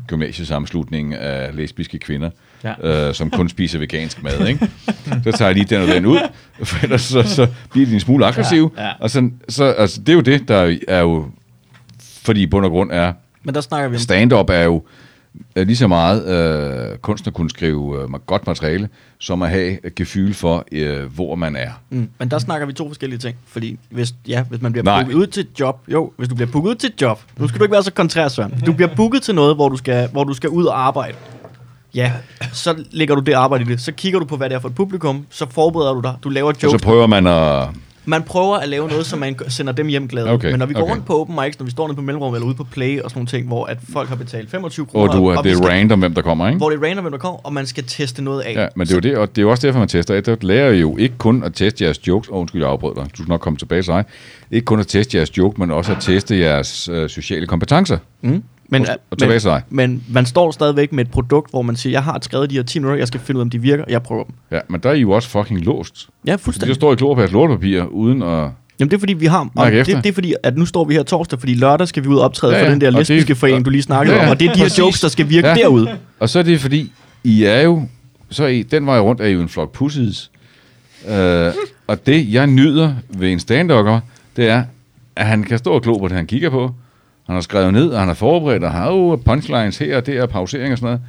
Speaker 2: gymnasiesammenslutning af lesbiske kvinder, ja.
Speaker 3: Ja.
Speaker 2: øh, som kun spiser vegansk mad. Ikke? Så tager jeg lige den og den ud, for ellers så, så bliver de en smule aggressive.
Speaker 3: Ja,
Speaker 2: Ja,
Speaker 3: ja.
Speaker 2: ja. Og så, så, altså, det er jo det, der er jo, fordi i bund og grund er
Speaker 4: Men der snakker vi om
Speaker 2: stand-up er jo øh, lige så meget øh, kunst at kunne skrive øh, godt materiale, som at have et gefühl for, øh, hvor man er.
Speaker 4: Mm. Men der snakker vi to forskellige ting, fordi hvis, ja, hvis man bliver
Speaker 2: Nej.
Speaker 4: booket ud til et job, jo, hvis du bliver booket ud til et job, nu skal du ikke være så kontrær, Søren. Du bliver booket til noget, hvor du skal, hvor du skal ud og arbejde. Ja, så lægger du det arbejde i det. Så kigger du på, hvad det er for et publikum, så forbereder du dig, du laver
Speaker 2: Og så
Speaker 4: jokes.
Speaker 2: prøver man at...
Speaker 4: Man prøver at lave noget, så man gør- sender dem hjem glade.
Speaker 2: Okay,
Speaker 4: Men når vi går
Speaker 2: okay.
Speaker 4: rundt på open mics, når vi står nede på mellemrum eller ude på play og sådan nogle ting, hvor at folk har betalt 25
Speaker 2: Og
Speaker 4: kroner,
Speaker 2: du, er-
Speaker 4: og
Speaker 2: det
Speaker 4: vi
Speaker 2: er
Speaker 4: skal,
Speaker 2: random, hvem der kommer, ikke?
Speaker 4: hvor det er random, hvem der kommer, og man skal teste noget af.
Speaker 2: Mhm. Ja, men det er, jo det, og det er jo også derfor, man tester. Der lærer I jo ikke kun at teste jeres jokes. Åh, undskyld, jeg afbrød dig. Du skal nok komme tilbage til dig. Ikke kun at teste jeres joke, men også at teste jeres øh, sociale kompetencer. Mm.
Speaker 4: Men,
Speaker 2: Og- og tilbage til dig.
Speaker 4: men, men man står stadigvæk med et produkt, hvor man siger, jeg har skrevet de her 10 minutter, jeg skal finde ud af, om de virker, og jeg prøver dem.
Speaker 2: Ja, men der er I jo også fucking låst.
Speaker 4: Ja,
Speaker 2: Fordi der
Speaker 4: fuldstændig.
Speaker 2: står i klorpas lortepapir, uden at...
Speaker 4: Jamen det er fordi, vi har... Og
Speaker 2: Mærke
Speaker 4: det,
Speaker 2: efter.
Speaker 4: det, er fordi, at nu står vi her torsdag, fordi lørdag skal vi ud og optræde
Speaker 2: Ja,
Speaker 4: ja,
Speaker 2: ja,
Speaker 4: for den der
Speaker 2: og det-
Speaker 4: lesbiske forening, du lige snakkede
Speaker 2: Ja,
Speaker 4: ja,
Speaker 2: ja,
Speaker 4: om, og det er de
Speaker 2: præcis.
Speaker 4: her jokes, der skal virke
Speaker 2: Ja.
Speaker 4: ja. derude.
Speaker 2: Og så er det fordi, I er jo... Så er I, den vej rundt er I jo en flok pussies. Øh, og det, jeg nyder ved en stand det er, at han kan stå og glo på det, han kigger på. Han har skrevet ned, og han har forberedt, og har jo punchlines her og der, og pausering og sådan noget.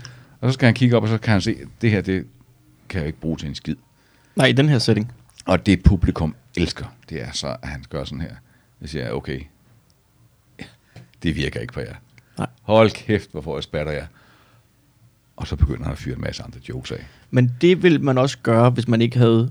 Speaker 2: Og så skal han kigge op, og så kan han se, det her, det kan jeg jo ikke bruge til en skid.
Speaker 4: Nej, i den her setting.
Speaker 2: Og det publikum elsker, det er så, at han gør sådan her. Jeg siger, okay, det virker ikke på jer.
Speaker 4: Nej.
Speaker 2: Hold kæft, hvorfor jeg spatter jer. Og så begynder han at fyre en masse andre jokes af.
Speaker 4: Men det ville man også gøre, hvis man ikke havde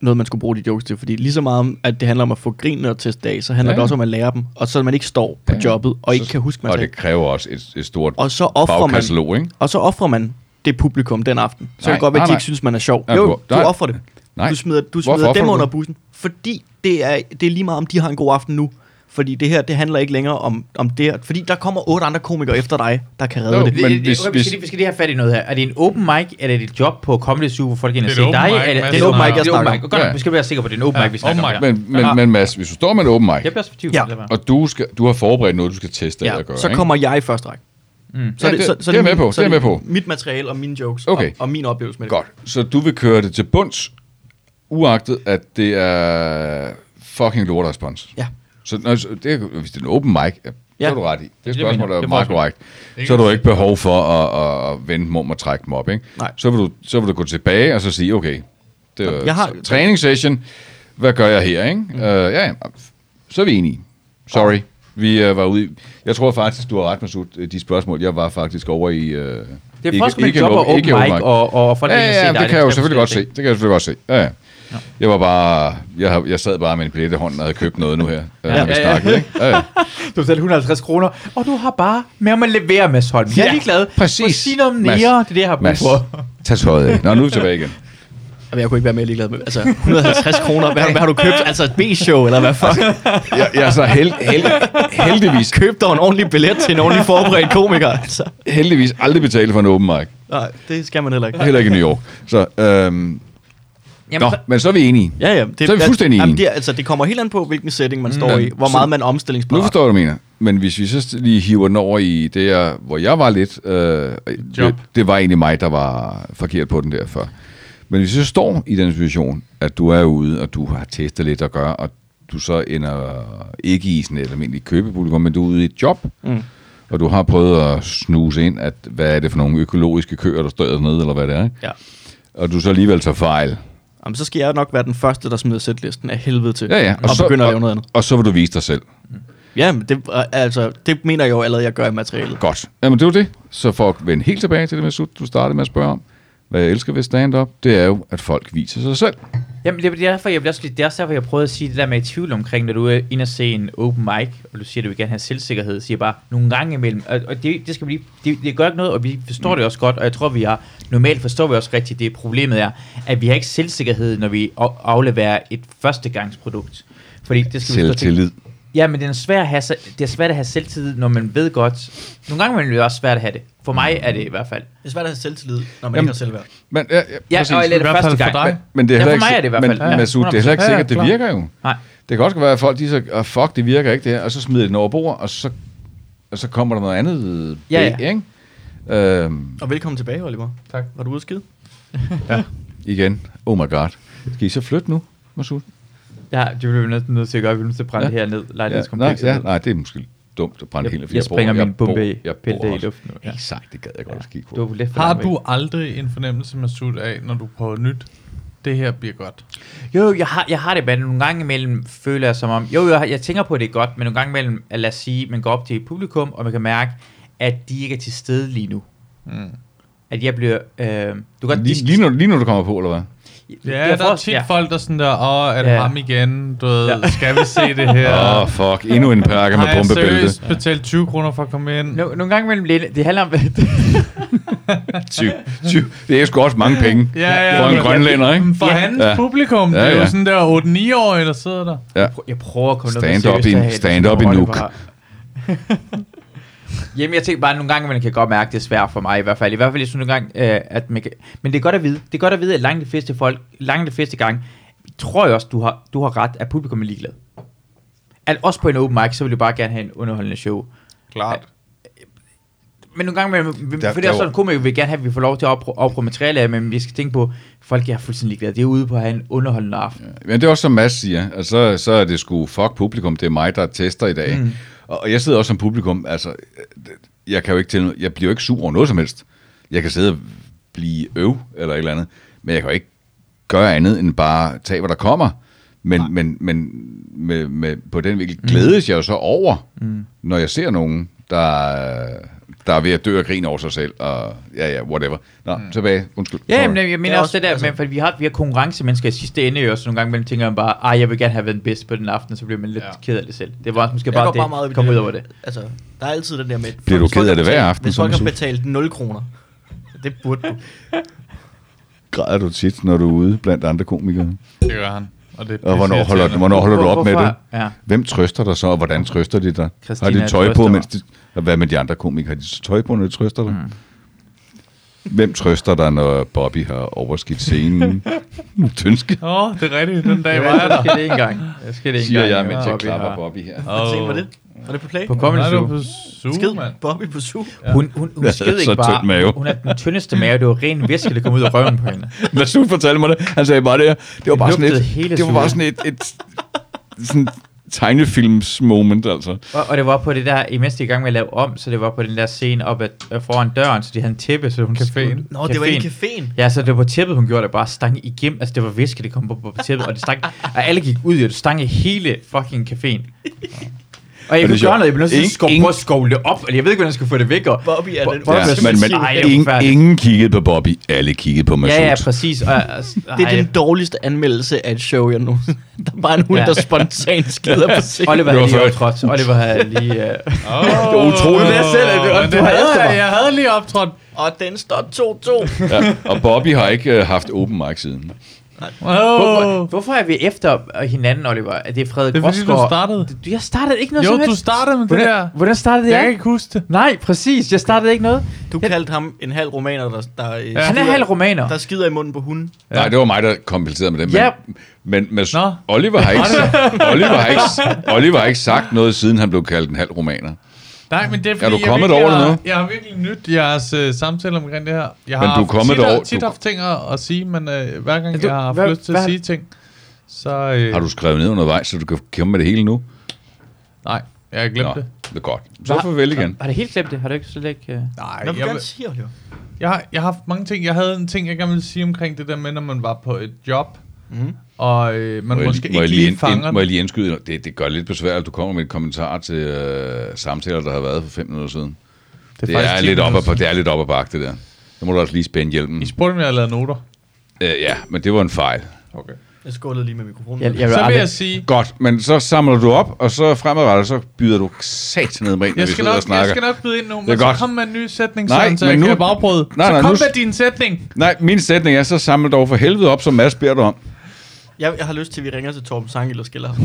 Speaker 4: noget, man skulle bruge de jokes til. Fordi lige så meget om, at det handler om at få grinene og teste af, så handler
Speaker 2: Ja,
Speaker 4: ja. det
Speaker 2: ja.
Speaker 4: også om at lære dem. Og så man ikke står på
Speaker 2: Ja, ja.
Speaker 4: ja. jobbet og ikke
Speaker 2: Så-
Speaker 4: kan huske, man
Speaker 2: Og
Speaker 4: sagde.
Speaker 2: det kræver også et, et stort
Speaker 4: Og så offrer man,
Speaker 2: bagkatalog, ikke?
Speaker 4: og så offrer man det publikum den aften. Så
Speaker 2: Nej,
Speaker 4: nej, kan det godt være,
Speaker 2: nej,
Speaker 4: at de
Speaker 2: nej.
Speaker 4: ikke synes, man er sjov.
Speaker 2: Ja,
Speaker 4: jo,
Speaker 2: du-
Speaker 4: du
Speaker 2: nej.
Speaker 4: offrer det.
Speaker 2: Nej.
Speaker 4: Du smider, du
Speaker 2: Hvorfor
Speaker 4: smider dem
Speaker 2: offrer du
Speaker 4: under
Speaker 2: det?
Speaker 4: bussen. Fordi det er, det er lige meget, om de har en god aften nu. Fordi det her, det handler ikke længere om, om det her. Fordi der kommer otte andre komikere efter dig, der kan redde
Speaker 2: Jo,
Speaker 4: det.
Speaker 2: men hvis-
Speaker 3: okay, vi, skal lige, vi skal lige have fat i noget her. Er det en open mic, eller er det et job på Comedy Zoo, hvor folk er inde og
Speaker 1: Det er
Speaker 3: se
Speaker 1: et open
Speaker 3: dig?
Speaker 1: mic,
Speaker 3: Er det,
Speaker 1: Mads.
Speaker 3: det er
Speaker 4: Det
Speaker 3: en
Speaker 4: er
Speaker 3: open
Speaker 4: open mic,
Speaker 3: mic,
Speaker 4: jeg
Speaker 3: det er open mic.
Speaker 4: snakker
Speaker 3: Godt, nok,
Speaker 2: Ja.
Speaker 3: vi skal være sikre på, at det er en open
Speaker 1: Ja,
Speaker 3: mic, vi snakker
Speaker 1: open
Speaker 3: om
Speaker 1: mic.
Speaker 3: her.
Speaker 2: Men, men, men Mads, hvis du står med en open mic,
Speaker 3: Jeg bliver også for tvivl.
Speaker 4: Ja.
Speaker 3: lad være.
Speaker 2: og du, skal, du har forberedt noget, du skal teste af
Speaker 4: Ja,
Speaker 2: og gøre,
Speaker 4: så
Speaker 2: ikke?
Speaker 4: kommer jeg i første række. Mm.
Speaker 2: Ja, det- det er jeg med på,
Speaker 4: så
Speaker 2: det er jeg med
Speaker 4: det
Speaker 2: på.
Speaker 4: Mit materiale og mine jokes
Speaker 2: Okay.
Speaker 4: og, og min oplevelse med det.
Speaker 2: Godt, så du vil køre det til bunds, uagtet at det er fucking lorterespons.
Speaker 4: Ja.
Speaker 2: Så når, så det, er- hvis det er en open mic, ja, det
Speaker 4: Ja.
Speaker 2: har du ret i. Det
Speaker 3: jeg
Speaker 2: spørgsmål
Speaker 3: mener.
Speaker 2: er
Speaker 3: Det er
Speaker 2: meget
Speaker 3: forskellen.
Speaker 2: korrekt. Så har du ikke behov for at, at vende dem om og trække dem op. Ikke?
Speaker 4: Nej.
Speaker 2: Så, vil du, så vil du gå tilbage og så sige, okay, det er
Speaker 4: Jeg har-
Speaker 2: træningssession. Hvad gør jeg her? Ikke? Mm. Uh, ja, ja, så er vi enige. Sorry. Vi øh, var ude i, Jeg tror faktisk, du har ret, Masud, øh, de spørgsmål. Jeg var faktisk over i... Øh, det
Speaker 3: Det er først med job og open mic, og, og folk
Speaker 2: ja,
Speaker 3: er inde og se
Speaker 2: ja,
Speaker 3: dig.
Speaker 2: ja, det kan jeg jo selvfølgelig godt se.
Speaker 3: forstår
Speaker 2: Det kan jeg selvfølgelig godt se. Ja, ja. Jeg var bare, jeg, har- jeg sad bare med en billet i hånden og havde købt noget nu her. øh, Ja, ja,
Speaker 3: ja, ja.
Speaker 2: ja. Ikke? Ja, ja.
Speaker 3: jeg ikke. Du betalte 150 kroner, og du har bare med om at levere, Mads Holm. Jeg er ligeglad.
Speaker 2: præcis.
Speaker 3: Må sige noget om
Speaker 2: Mads.
Speaker 3: nære, det er det, jeg har brug
Speaker 2: Mads,
Speaker 3: for.
Speaker 2: tag tøjet af. Nå, nu er vi tilbage igen.
Speaker 4: Jamen, jeg kunne ikke være mere ligeglad med Altså, 150 kroner, hvad, hvad har du købt? Altså et B-show, eller hvad fuck?
Speaker 2: Jeg, jeg er så held, held, heldigvis,
Speaker 4: Køb dig en ordentlig billet til en ordentlig forberedt komiker, altså.
Speaker 2: heldigvis aldrig betalt for en open mic.
Speaker 4: Nej, det skal man heller ikke.
Speaker 2: Heller ikke i New York. Så, øhm,
Speaker 3: Jamen,
Speaker 2: nå,
Speaker 3: så-
Speaker 2: men så er vi enige.
Speaker 4: Ja, ja. Det,
Speaker 2: Så er vi fuldstændig
Speaker 4: jamen,
Speaker 2: enige.
Speaker 4: det, er- altså, det kommer helt an på, hvilken setting man står
Speaker 2: Ja,
Speaker 4: i. Hvor
Speaker 2: så-
Speaker 4: meget man er
Speaker 2: Nu
Speaker 4: omstillingsparat.
Speaker 2: forstår jeg, hvad du mener. Men hvis vi så lige hiver den over i det, jeg, hvor jeg var lidt... Øh, det, det var egentlig mig, der var forkert på den der før. Men hvis vi så står i den situation, at du er ude, og du har testet lidt at gøre, og du så ender ikke i sådan et almindeligt købepublikum, men du er ude i et job, mm. og du har prøvet at snuse ind, at hvad er det for nogle økologiske køer, der står dernede, eller hvad det er, ikke?
Speaker 4: Ja.
Speaker 2: og du så alligevel tager fejl.
Speaker 4: Jamen, så skal jeg nok være den første, der smider sætlisten af helvede til.
Speaker 2: Ja, ja.
Speaker 4: Og, og
Speaker 2: så,
Speaker 4: begynder at lave noget andet.
Speaker 2: Og så vil du vise dig selv.
Speaker 4: Ja, men det, altså, det mener jeg jo allerede, jeg gør i materialet.
Speaker 2: Godt. Jamen, det var det. Så for at vende helt tilbage til det, med, Sut, du startede med at spørge om, hvad jeg elsker ved stand-up, det er jo, at folk viser sig selv.
Speaker 3: Jamen, det er derfor, jeg bliver også, lidt- det er også derfor, jeg prøvede at sige det der med i tvivl omkring, når du er inde og se en open mic, og du siger, at du vil gerne have selvsikkerhed, siger jeg bare nogle gange imellem, og, og det, det, skal vi lige, det, det, gør ikke noget, og vi forstår
Speaker 2: Mm.
Speaker 3: det også godt, og jeg tror, vi har, normalt forstår vi også rigtigt, det problemet er, at vi har ikke selvsikkerhed, når vi a- afleverer et førstegangsprodukt. Fordi det skal vi forstå-
Speaker 2: Selvtillid.
Speaker 3: Ja, men det er, svært at have, se- det er svært at have selvtillid, når man ved godt. Nogle gange er det også svært at have det. For mig er det i hvert fald.
Speaker 4: Det er svært at have selvtillid, når man
Speaker 2: Jamen-
Speaker 4: ikke har selvværd.
Speaker 2: Men, ja, ja,
Speaker 3: Ja,
Speaker 2: præcis.
Speaker 3: og eller
Speaker 1: I hvert
Speaker 3: første
Speaker 1: fald
Speaker 3: gang.
Speaker 1: for dig.
Speaker 2: men det er
Speaker 3: Ja,
Speaker 2: heller
Speaker 3: for
Speaker 2: ikke,
Speaker 3: mig er det i hvert fald.
Speaker 2: Men,
Speaker 3: Ja,
Speaker 2: ja, Masud, det er heller ikke
Speaker 1: ja,
Speaker 2: sikkert, det
Speaker 1: klar.
Speaker 2: virker jo.
Speaker 3: Nej.
Speaker 2: Det kan også være, at folk de så, oh, fuck, det virker ikke det her, og så smider de den over bord, og så, og så kommer der noget andet øh,
Speaker 3: Ja,
Speaker 2: bag, ikke? Øhm,
Speaker 4: Og velkommen tilbage, Oliver. Tak. Var du ude at skide?
Speaker 2: igen, oh my god. Skal I så flytte nu, Masud?
Speaker 3: Ja, det bliver vi næsten nødt til at gøre. Vi bliver nødt til at brænde
Speaker 2: Ja.
Speaker 3: det her ned.
Speaker 2: nej,
Speaker 3: Lejlighedskomplekset.
Speaker 2: ja, nej, det er måske dumt at brænde
Speaker 3: Jeg-
Speaker 2: hele for
Speaker 3: jeg springer
Speaker 2: bor-
Speaker 3: min bombe i-
Speaker 2: bor- jeg
Speaker 3: pille
Speaker 2: bor
Speaker 3: det i
Speaker 2: også-
Speaker 3: luften nu, ja.
Speaker 2: Exakt, det gad jeg godt at skide
Speaker 3: Du
Speaker 2: på.
Speaker 3: er lidt for
Speaker 1: Har
Speaker 3: langt væk.
Speaker 1: du aldrig en fornemmelse, Masud, af, når du prøver nyt? Det her bliver godt.
Speaker 3: Jo, jeg har, jeg har det med det. Nogle gange imellem føler jeg som om... Jo, jeg, har- jeg tænker på, at det er godt, men nogle gange imellem, at lad os sige, man går op til et publikum, og man kan mærke, at de ikke er til stede lige nu.
Speaker 1: Mm.
Speaker 3: At jeg bliver... Øh, du kan godt,
Speaker 2: Lige, lige, nu, lige nu du kommer på, eller hvad?
Speaker 1: Ja, der er tit ja. folk, der sådan der, åh, er det
Speaker 3: Ja.
Speaker 1: ja. ham igen? Du ved,
Speaker 3: Ja.
Speaker 1: ja. skal vi se det her?
Speaker 2: Åh, oh, fuck. Endnu en pakke med
Speaker 1: Har jeg
Speaker 2: pumpebælte.
Speaker 1: seriøst betalt 20 kroner for at komme ind?
Speaker 3: No, nogle gange imellem... lidt- Det handler om...
Speaker 2: Syv. Syv. Det er sgu også mange penge. For en
Speaker 1: men-
Speaker 2: grønlænder, ikke?
Speaker 1: For
Speaker 3: Ja.
Speaker 1: ja. hans
Speaker 2: Ja.
Speaker 1: ja. publikum, ja, ja.
Speaker 2: Ja,
Speaker 1: det er
Speaker 2: ja.
Speaker 1: jo sådan der 8-9-årige, der sidder der.
Speaker 3: Jeg prøver at komme
Speaker 2: Stand up i-
Speaker 3: seriøst af,
Speaker 2: stand up i
Speaker 3: Oliver.
Speaker 2: nuke.
Speaker 3: Jamen, jeg tænker bare, at nogle gange man kan godt mærke, at det er svært for mig i hvert fald. I hvert fald, jeg synes nogle gange, øh, at man kan... Men det er godt at vide, det er godt at vide, at langt de fleste folk, langt de fleste gange, tror jeg også, du har, du har ret, at publikum er ligeglad. At også på en open mic, så vil du bare gerne have en underholdende show.
Speaker 6: Klart.
Speaker 3: Men nogle gange,
Speaker 2: Der-
Speaker 3: man, der, for det
Speaker 2: der
Speaker 3: er
Speaker 2: var-
Speaker 3: også sådan, komiker vil gerne have, at vi får lov til at opprøve, opprøve materiale, af, men vi skal tænke på, folk er fuldstændig ligeglade. De er ude på at have en underholdende aften.
Speaker 2: Men det er også som Mads siger, altså, så- så er det sgu fuck publikum, det er mig, der tester i dag. Mm. Og og jeg sidder også som publikum, altså, jeg kan jo ikke til, jeg bliver jo ikke sur over noget som helst. Jeg kan sidde og blive øv eller et eller andet, men jeg kan jo ikke gøre andet end bare tage, hvad der kommer. Men, men, men med, med, på den vinkel glædes jeg jo så over, mm. når jeg ser nogen, der, der er ved at dø og grine over sig selv, og ja, ja, whatever. Nå, mm. tilbage. Undskyld.
Speaker 3: Ja,
Speaker 2: Sorry.
Speaker 3: men jeg mener
Speaker 4: Det er
Speaker 3: også, det der, altså,
Speaker 4: også-
Speaker 3: men, for vi har, vi har konkurrencemennesker i sidste ende, og så nogle gange man tænker man bare, ej, jeg vil gerne have været den bedste på den aften, og så bliver man lidt
Speaker 6: Ja.
Speaker 3: ja. ked af det selv. Det var også måske
Speaker 4: Jeg
Speaker 3: bare
Speaker 4: går
Speaker 3: det,
Speaker 4: bare meget op i
Speaker 3: kom
Speaker 4: det
Speaker 3: ud
Speaker 4: der
Speaker 3: over
Speaker 4: med-
Speaker 3: det.
Speaker 4: Altså, der er altid den der med...
Speaker 2: Bliver du
Speaker 4: hvis folk
Speaker 2: ked af
Speaker 4: har
Speaker 2: det hver
Speaker 4: betalt-
Speaker 2: aften,
Speaker 4: Hvis
Speaker 2: som
Speaker 4: folk
Speaker 2: man
Speaker 4: har
Speaker 2: siger?
Speaker 4: betalt 0 kroner, det burde du.
Speaker 2: Græder du tit, når du er ude blandt andre komikere?
Speaker 6: Det gør han. Og, det er
Speaker 2: Og hvornår holder,
Speaker 6: pisseirriterende.
Speaker 2: hvornår holder du op med
Speaker 3: Hvorfor-
Speaker 2: det?
Speaker 3: Ja.
Speaker 2: Hvem trøster dig så, og hvordan trøster de dig?
Speaker 3: Christina
Speaker 2: har de tøj på,
Speaker 3: trøster mig.
Speaker 2: mens de, og hvad med de andre komikere? Har de så tøj på, når de trøster dig? Mm. Hvem trøster dig, når Bobby har overskidt scenen? Tønske,
Speaker 1: Åh, oh, det er rigtigt. Den dag var jeg
Speaker 3: Jeg
Speaker 1: der.
Speaker 3: skal det ikke engang. Jeg skal det ikke
Speaker 2: siger
Speaker 3: engang.
Speaker 2: jeg, mens jeg
Speaker 3: Bobby
Speaker 2: klapper
Speaker 3: har-
Speaker 2: Bobby her.
Speaker 4: Hvad scene var det? Var det på play?
Speaker 3: På Comedy
Speaker 1: Nej, det var
Speaker 3: Zoo.
Speaker 1: på Zoo,
Speaker 4: Skid
Speaker 1: mand.
Speaker 4: Bobby på su.
Speaker 3: Hun, hun, hun
Speaker 2: Ja,
Speaker 3: sked
Speaker 2: så
Speaker 3: ikke
Speaker 2: tynd
Speaker 3: bare.
Speaker 2: mave.
Speaker 3: Hun, hun er den tyndeste mave. Det var ren væske, der kom ud af røven på hende.
Speaker 2: Masud fortalte mig det. Han sagde bare det her. Det var bare sådan
Speaker 3: lugtede
Speaker 2: et,
Speaker 3: hele
Speaker 2: det var bare sådan et, et sådan tegnefilms moment, altså.
Speaker 3: Og, og, det var på det der, imens de er i gang med at lave om, så det var på den der scene op ad, øh, foran døren, så de havde en tæppe, så hun
Speaker 1: Caféen.
Speaker 4: Nå, det var i caféen.
Speaker 3: Ja, så det var tæppet, hun gjorde det bare stang igennem. Altså, det var væske, det kom på, på tæppet, og det stang... Og alle gik ud, og det stang i hele fucking caféen. Og jeg
Speaker 2: det
Speaker 3: kunne
Speaker 2: sjovt?
Speaker 3: gøre noget, jeg blev nødt til at
Speaker 2: Ingen-
Speaker 3: skov,
Speaker 2: ingen-
Speaker 3: prøve at skovle det op, eller jeg ved ikke, hvordan jeg skal få det væk. Og,
Speaker 4: Bobby er den
Speaker 3: Bobby
Speaker 2: Ja,
Speaker 3: er
Speaker 4: ondeste
Speaker 2: men,
Speaker 3: sindssyg.
Speaker 4: scene.
Speaker 3: Ej, det
Speaker 2: men
Speaker 3: er
Speaker 2: ingen,
Speaker 3: forfærdeligt.
Speaker 2: ingen kiggede på Bobby. Alle kiggede på Masud.
Speaker 3: ja, ja, præcis. Og, og, og,
Speaker 4: Det er den dårligste anmeldelse af et show, jeg nu. Der er bare en hund,
Speaker 3: Ja.
Speaker 4: der spontant skider på scenen.
Speaker 3: Oliver
Speaker 2: Det var
Speaker 3: havde lige
Speaker 2: før.
Speaker 3: optrådt. Oliver havde lige... Øh,
Speaker 1: Oh,
Speaker 2: Det var utroligt.
Speaker 1: Det
Speaker 2: Det
Speaker 1: er
Speaker 2: er
Speaker 1: selv, det, det,
Speaker 3: du har elsket
Speaker 1: havde,
Speaker 3: mig.
Speaker 1: jeg, jeg havde lige optrådt.
Speaker 4: Og den står 2-2.
Speaker 2: ja. Og Bobby har ikke øh, haft open mic siden.
Speaker 3: Hvor,
Speaker 1: Oh.
Speaker 3: hvorfor er vi efter hinanden, Oliver? Er det Frederik
Speaker 1: Det er fordi, du
Speaker 3: Rosgaard?
Speaker 1: startede.
Speaker 3: Du- Jeg startede ikke noget
Speaker 1: Jo,
Speaker 3: som
Speaker 1: du
Speaker 3: helst.
Speaker 1: startede med det der.
Speaker 3: Hvordan, hvordan startede
Speaker 1: Jeg
Speaker 3: jeg?
Speaker 1: kan ikke huske det.
Speaker 3: Nej, præcis. Jeg startede ikke noget.
Speaker 4: Du kaldte ham en halv romaner, der, der, ja.
Speaker 3: Han er halv romaner.
Speaker 4: der skider i munden på hunden.
Speaker 2: Ja. Nej, det var mig, der komplicerede med det. Men,
Speaker 3: Ja.
Speaker 2: men med
Speaker 1: Nå.
Speaker 2: Oliver, har ikke, Oliver, har ikke, Oliver har ikke sagt noget, siden han blev kaldt en halv romaner.
Speaker 1: Nej, men det er fordi,
Speaker 2: du
Speaker 1: jeg
Speaker 2: kommet
Speaker 1: virkelig
Speaker 2: over det
Speaker 1: har-
Speaker 2: nu?
Speaker 1: Jeg har virkelig nyt jeres øh, samtale omkring det her. Jeg
Speaker 2: Men
Speaker 1: har
Speaker 2: du er kommet
Speaker 1: tit,
Speaker 2: over-
Speaker 1: tit
Speaker 2: du-
Speaker 1: haft ting at, at sige, men øh, hver gang
Speaker 3: du-
Speaker 1: jeg har haft
Speaker 3: hvad-
Speaker 1: lyst til at
Speaker 3: hvad-
Speaker 1: sige ting, så... Øh,
Speaker 2: Har du skrevet ned undervejs, så du kan komme med det hele nu?
Speaker 1: Nej, jeg har glemt
Speaker 2: Nå,
Speaker 1: det.
Speaker 2: det er godt. Så farvel igen.
Speaker 3: Har det helt glemt det? Har du ikke slet ikke... Øh...
Speaker 1: Nej,
Speaker 4: Nå, vil
Speaker 1: jeg,
Speaker 4: du gerne sige, Oliver.
Speaker 1: jeg, har, jeg har haft mange ting. Jeg havde en ting, jeg gerne ville sige omkring det der med, når man var på et job,
Speaker 3: Mhm.
Speaker 1: mm. og øh, man
Speaker 2: Må jeg,
Speaker 1: måske
Speaker 2: lige- må, jeg
Speaker 1: ikke
Speaker 2: lige
Speaker 1: lige
Speaker 2: ind, ind,
Speaker 1: fanger
Speaker 2: må jeg lige indskyde? Det, det gør lidt besvær, at du kommer med et kommentar til øh, samtaler, der har været for fem minutter siden. Det er, det er, lidt, op ad, det er lidt op ad bakke, det der. Så må du også lige spænde hjælpen.
Speaker 1: I spurgte, om jeg havde lavet noter.
Speaker 2: Øh, ja, men det var en fejl.
Speaker 1: Okay.
Speaker 4: Jeg skålede lige med mikrofonen.
Speaker 3: Jeg, jeg,
Speaker 1: Så vil
Speaker 3: aldrig-
Speaker 1: jeg sige,
Speaker 2: Godt, men så samler du op, og så fremadrettet, så byder du sat ned med ind, når
Speaker 1: Jeg
Speaker 2: vi
Speaker 1: skal,
Speaker 2: sidder og
Speaker 1: nok, jeg
Speaker 2: snakker.
Speaker 1: skal nok byde ind nu,
Speaker 2: Det
Speaker 1: men
Speaker 2: er
Speaker 1: så
Speaker 2: godt.
Speaker 1: kom med en ny sætning,
Speaker 2: Nej,
Speaker 1: sådan, så
Speaker 2: men
Speaker 1: jeg nu...
Speaker 2: nu-
Speaker 1: kan bagbrød.
Speaker 2: Nej,
Speaker 1: så
Speaker 2: nej,
Speaker 1: kom
Speaker 2: nu-
Speaker 1: med din sætning.
Speaker 2: Nej, min sætning er, så samle dig over for helvede op, som Mads beder dig om.
Speaker 4: Jeg, jeg har lyst til, at vi ringer til Torben Sangel og skiller ham.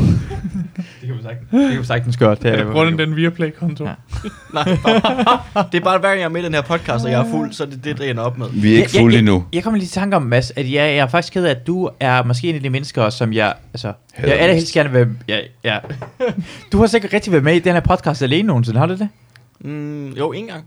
Speaker 3: Det kan vi sagtens, det kan vi sagtens gøre. Det er,
Speaker 1: Jeg bruger den, den via Play-konto.
Speaker 3: Ja.
Speaker 4: Nej, bare, det er bare, hver gang jeg er med i den her podcast, og jeg er fuld, så er det det, der ender op med.
Speaker 2: Vi er ikke fulde endnu.
Speaker 3: Jeg, jeg kommer lige i tanke om, Mads, at jeg, jeg er faktisk ked af, at du er måske en af de mennesker, som jeg... Altså,
Speaker 2: Hader
Speaker 3: jeg allerhelst gerne vil... være- Ja, ja. Du har sikkert rigtig været med i den her podcast alene nogensinde, har du det?
Speaker 4: Mm, jo, en gang.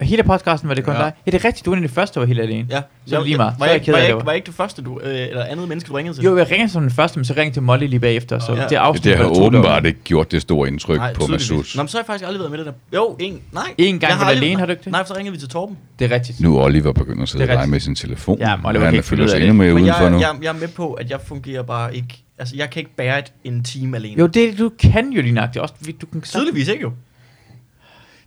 Speaker 3: Og hele podcasten var det kun
Speaker 1: Ja.
Speaker 3: ja. dig. Ja, det er rigtigt, du er en af de første, der var helt alene.
Speaker 4: Ja.
Speaker 3: Så er det lige meget.
Speaker 4: Var
Speaker 3: Så er
Speaker 4: jeg,
Speaker 3: jeg ked
Speaker 4: var,
Speaker 3: af
Speaker 4: jeg,
Speaker 3: det,
Speaker 4: ikke- var jeg ikke det første, du, øh, eller andet menneske, du ringede til?
Speaker 3: Jo, jeg ringer som den første, men så ringer til Molly lige bagefter, så
Speaker 4: Ja.
Speaker 3: altså- ja. det er
Speaker 2: Det
Speaker 3: afsnit.
Speaker 2: har
Speaker 3: hvor der er to
Speaker 2: åbenbart
Speaker 3: derude.
Speaker 2: ikke gjort det store indtryk
Speaker 4: Nej,
Speaker 2: på
Speaker 4: tydeligvis.
Speaker 2: Masud.
Speaker 4: Nå, men så har jeg faktisk aldrig været med i det der. Jo, en, nej.
Speaker 3: En gang
Speaker 4: Jeg
Speaker 3: var
Speaker 4: har
Speaker 3: du
Speaker 4: aldrig-
Speaker 3: alene, har du ikke det?
Speaker 4: Nej, for så ringede vi til Torben.
Speaker 3: Det er rigtigt.
Speaker 2: Nu er Oliver begyndt at sidde og
Speaker 3: Det er
Speaker 2: lege
Speaker 3: rigtigt.
Speaker 2: med sin telefon.
Speaker 3: Ja, men Oliver kan
Speaker 2: han
Speaker 3: ikke finde
Speaker 2: føler
Speaker 3: ud af
Speaker 2: sig
Speaker 3: det.
Speaker 2: endnu mere
Speaker 4: Men
Speaker 2: udenfor
Speaker 4: jeg,
Speaker 2: nu.
Speaker 4: jeg, jeg er med på, at jeg fungerer bare ikke... Altså, jeg kan ikke bære et, en time alene.
Speaker 3: Jo, det du kan jo lige nøjagtigt også. Du kan
Speaker 4: Tydeligvis ikke jo.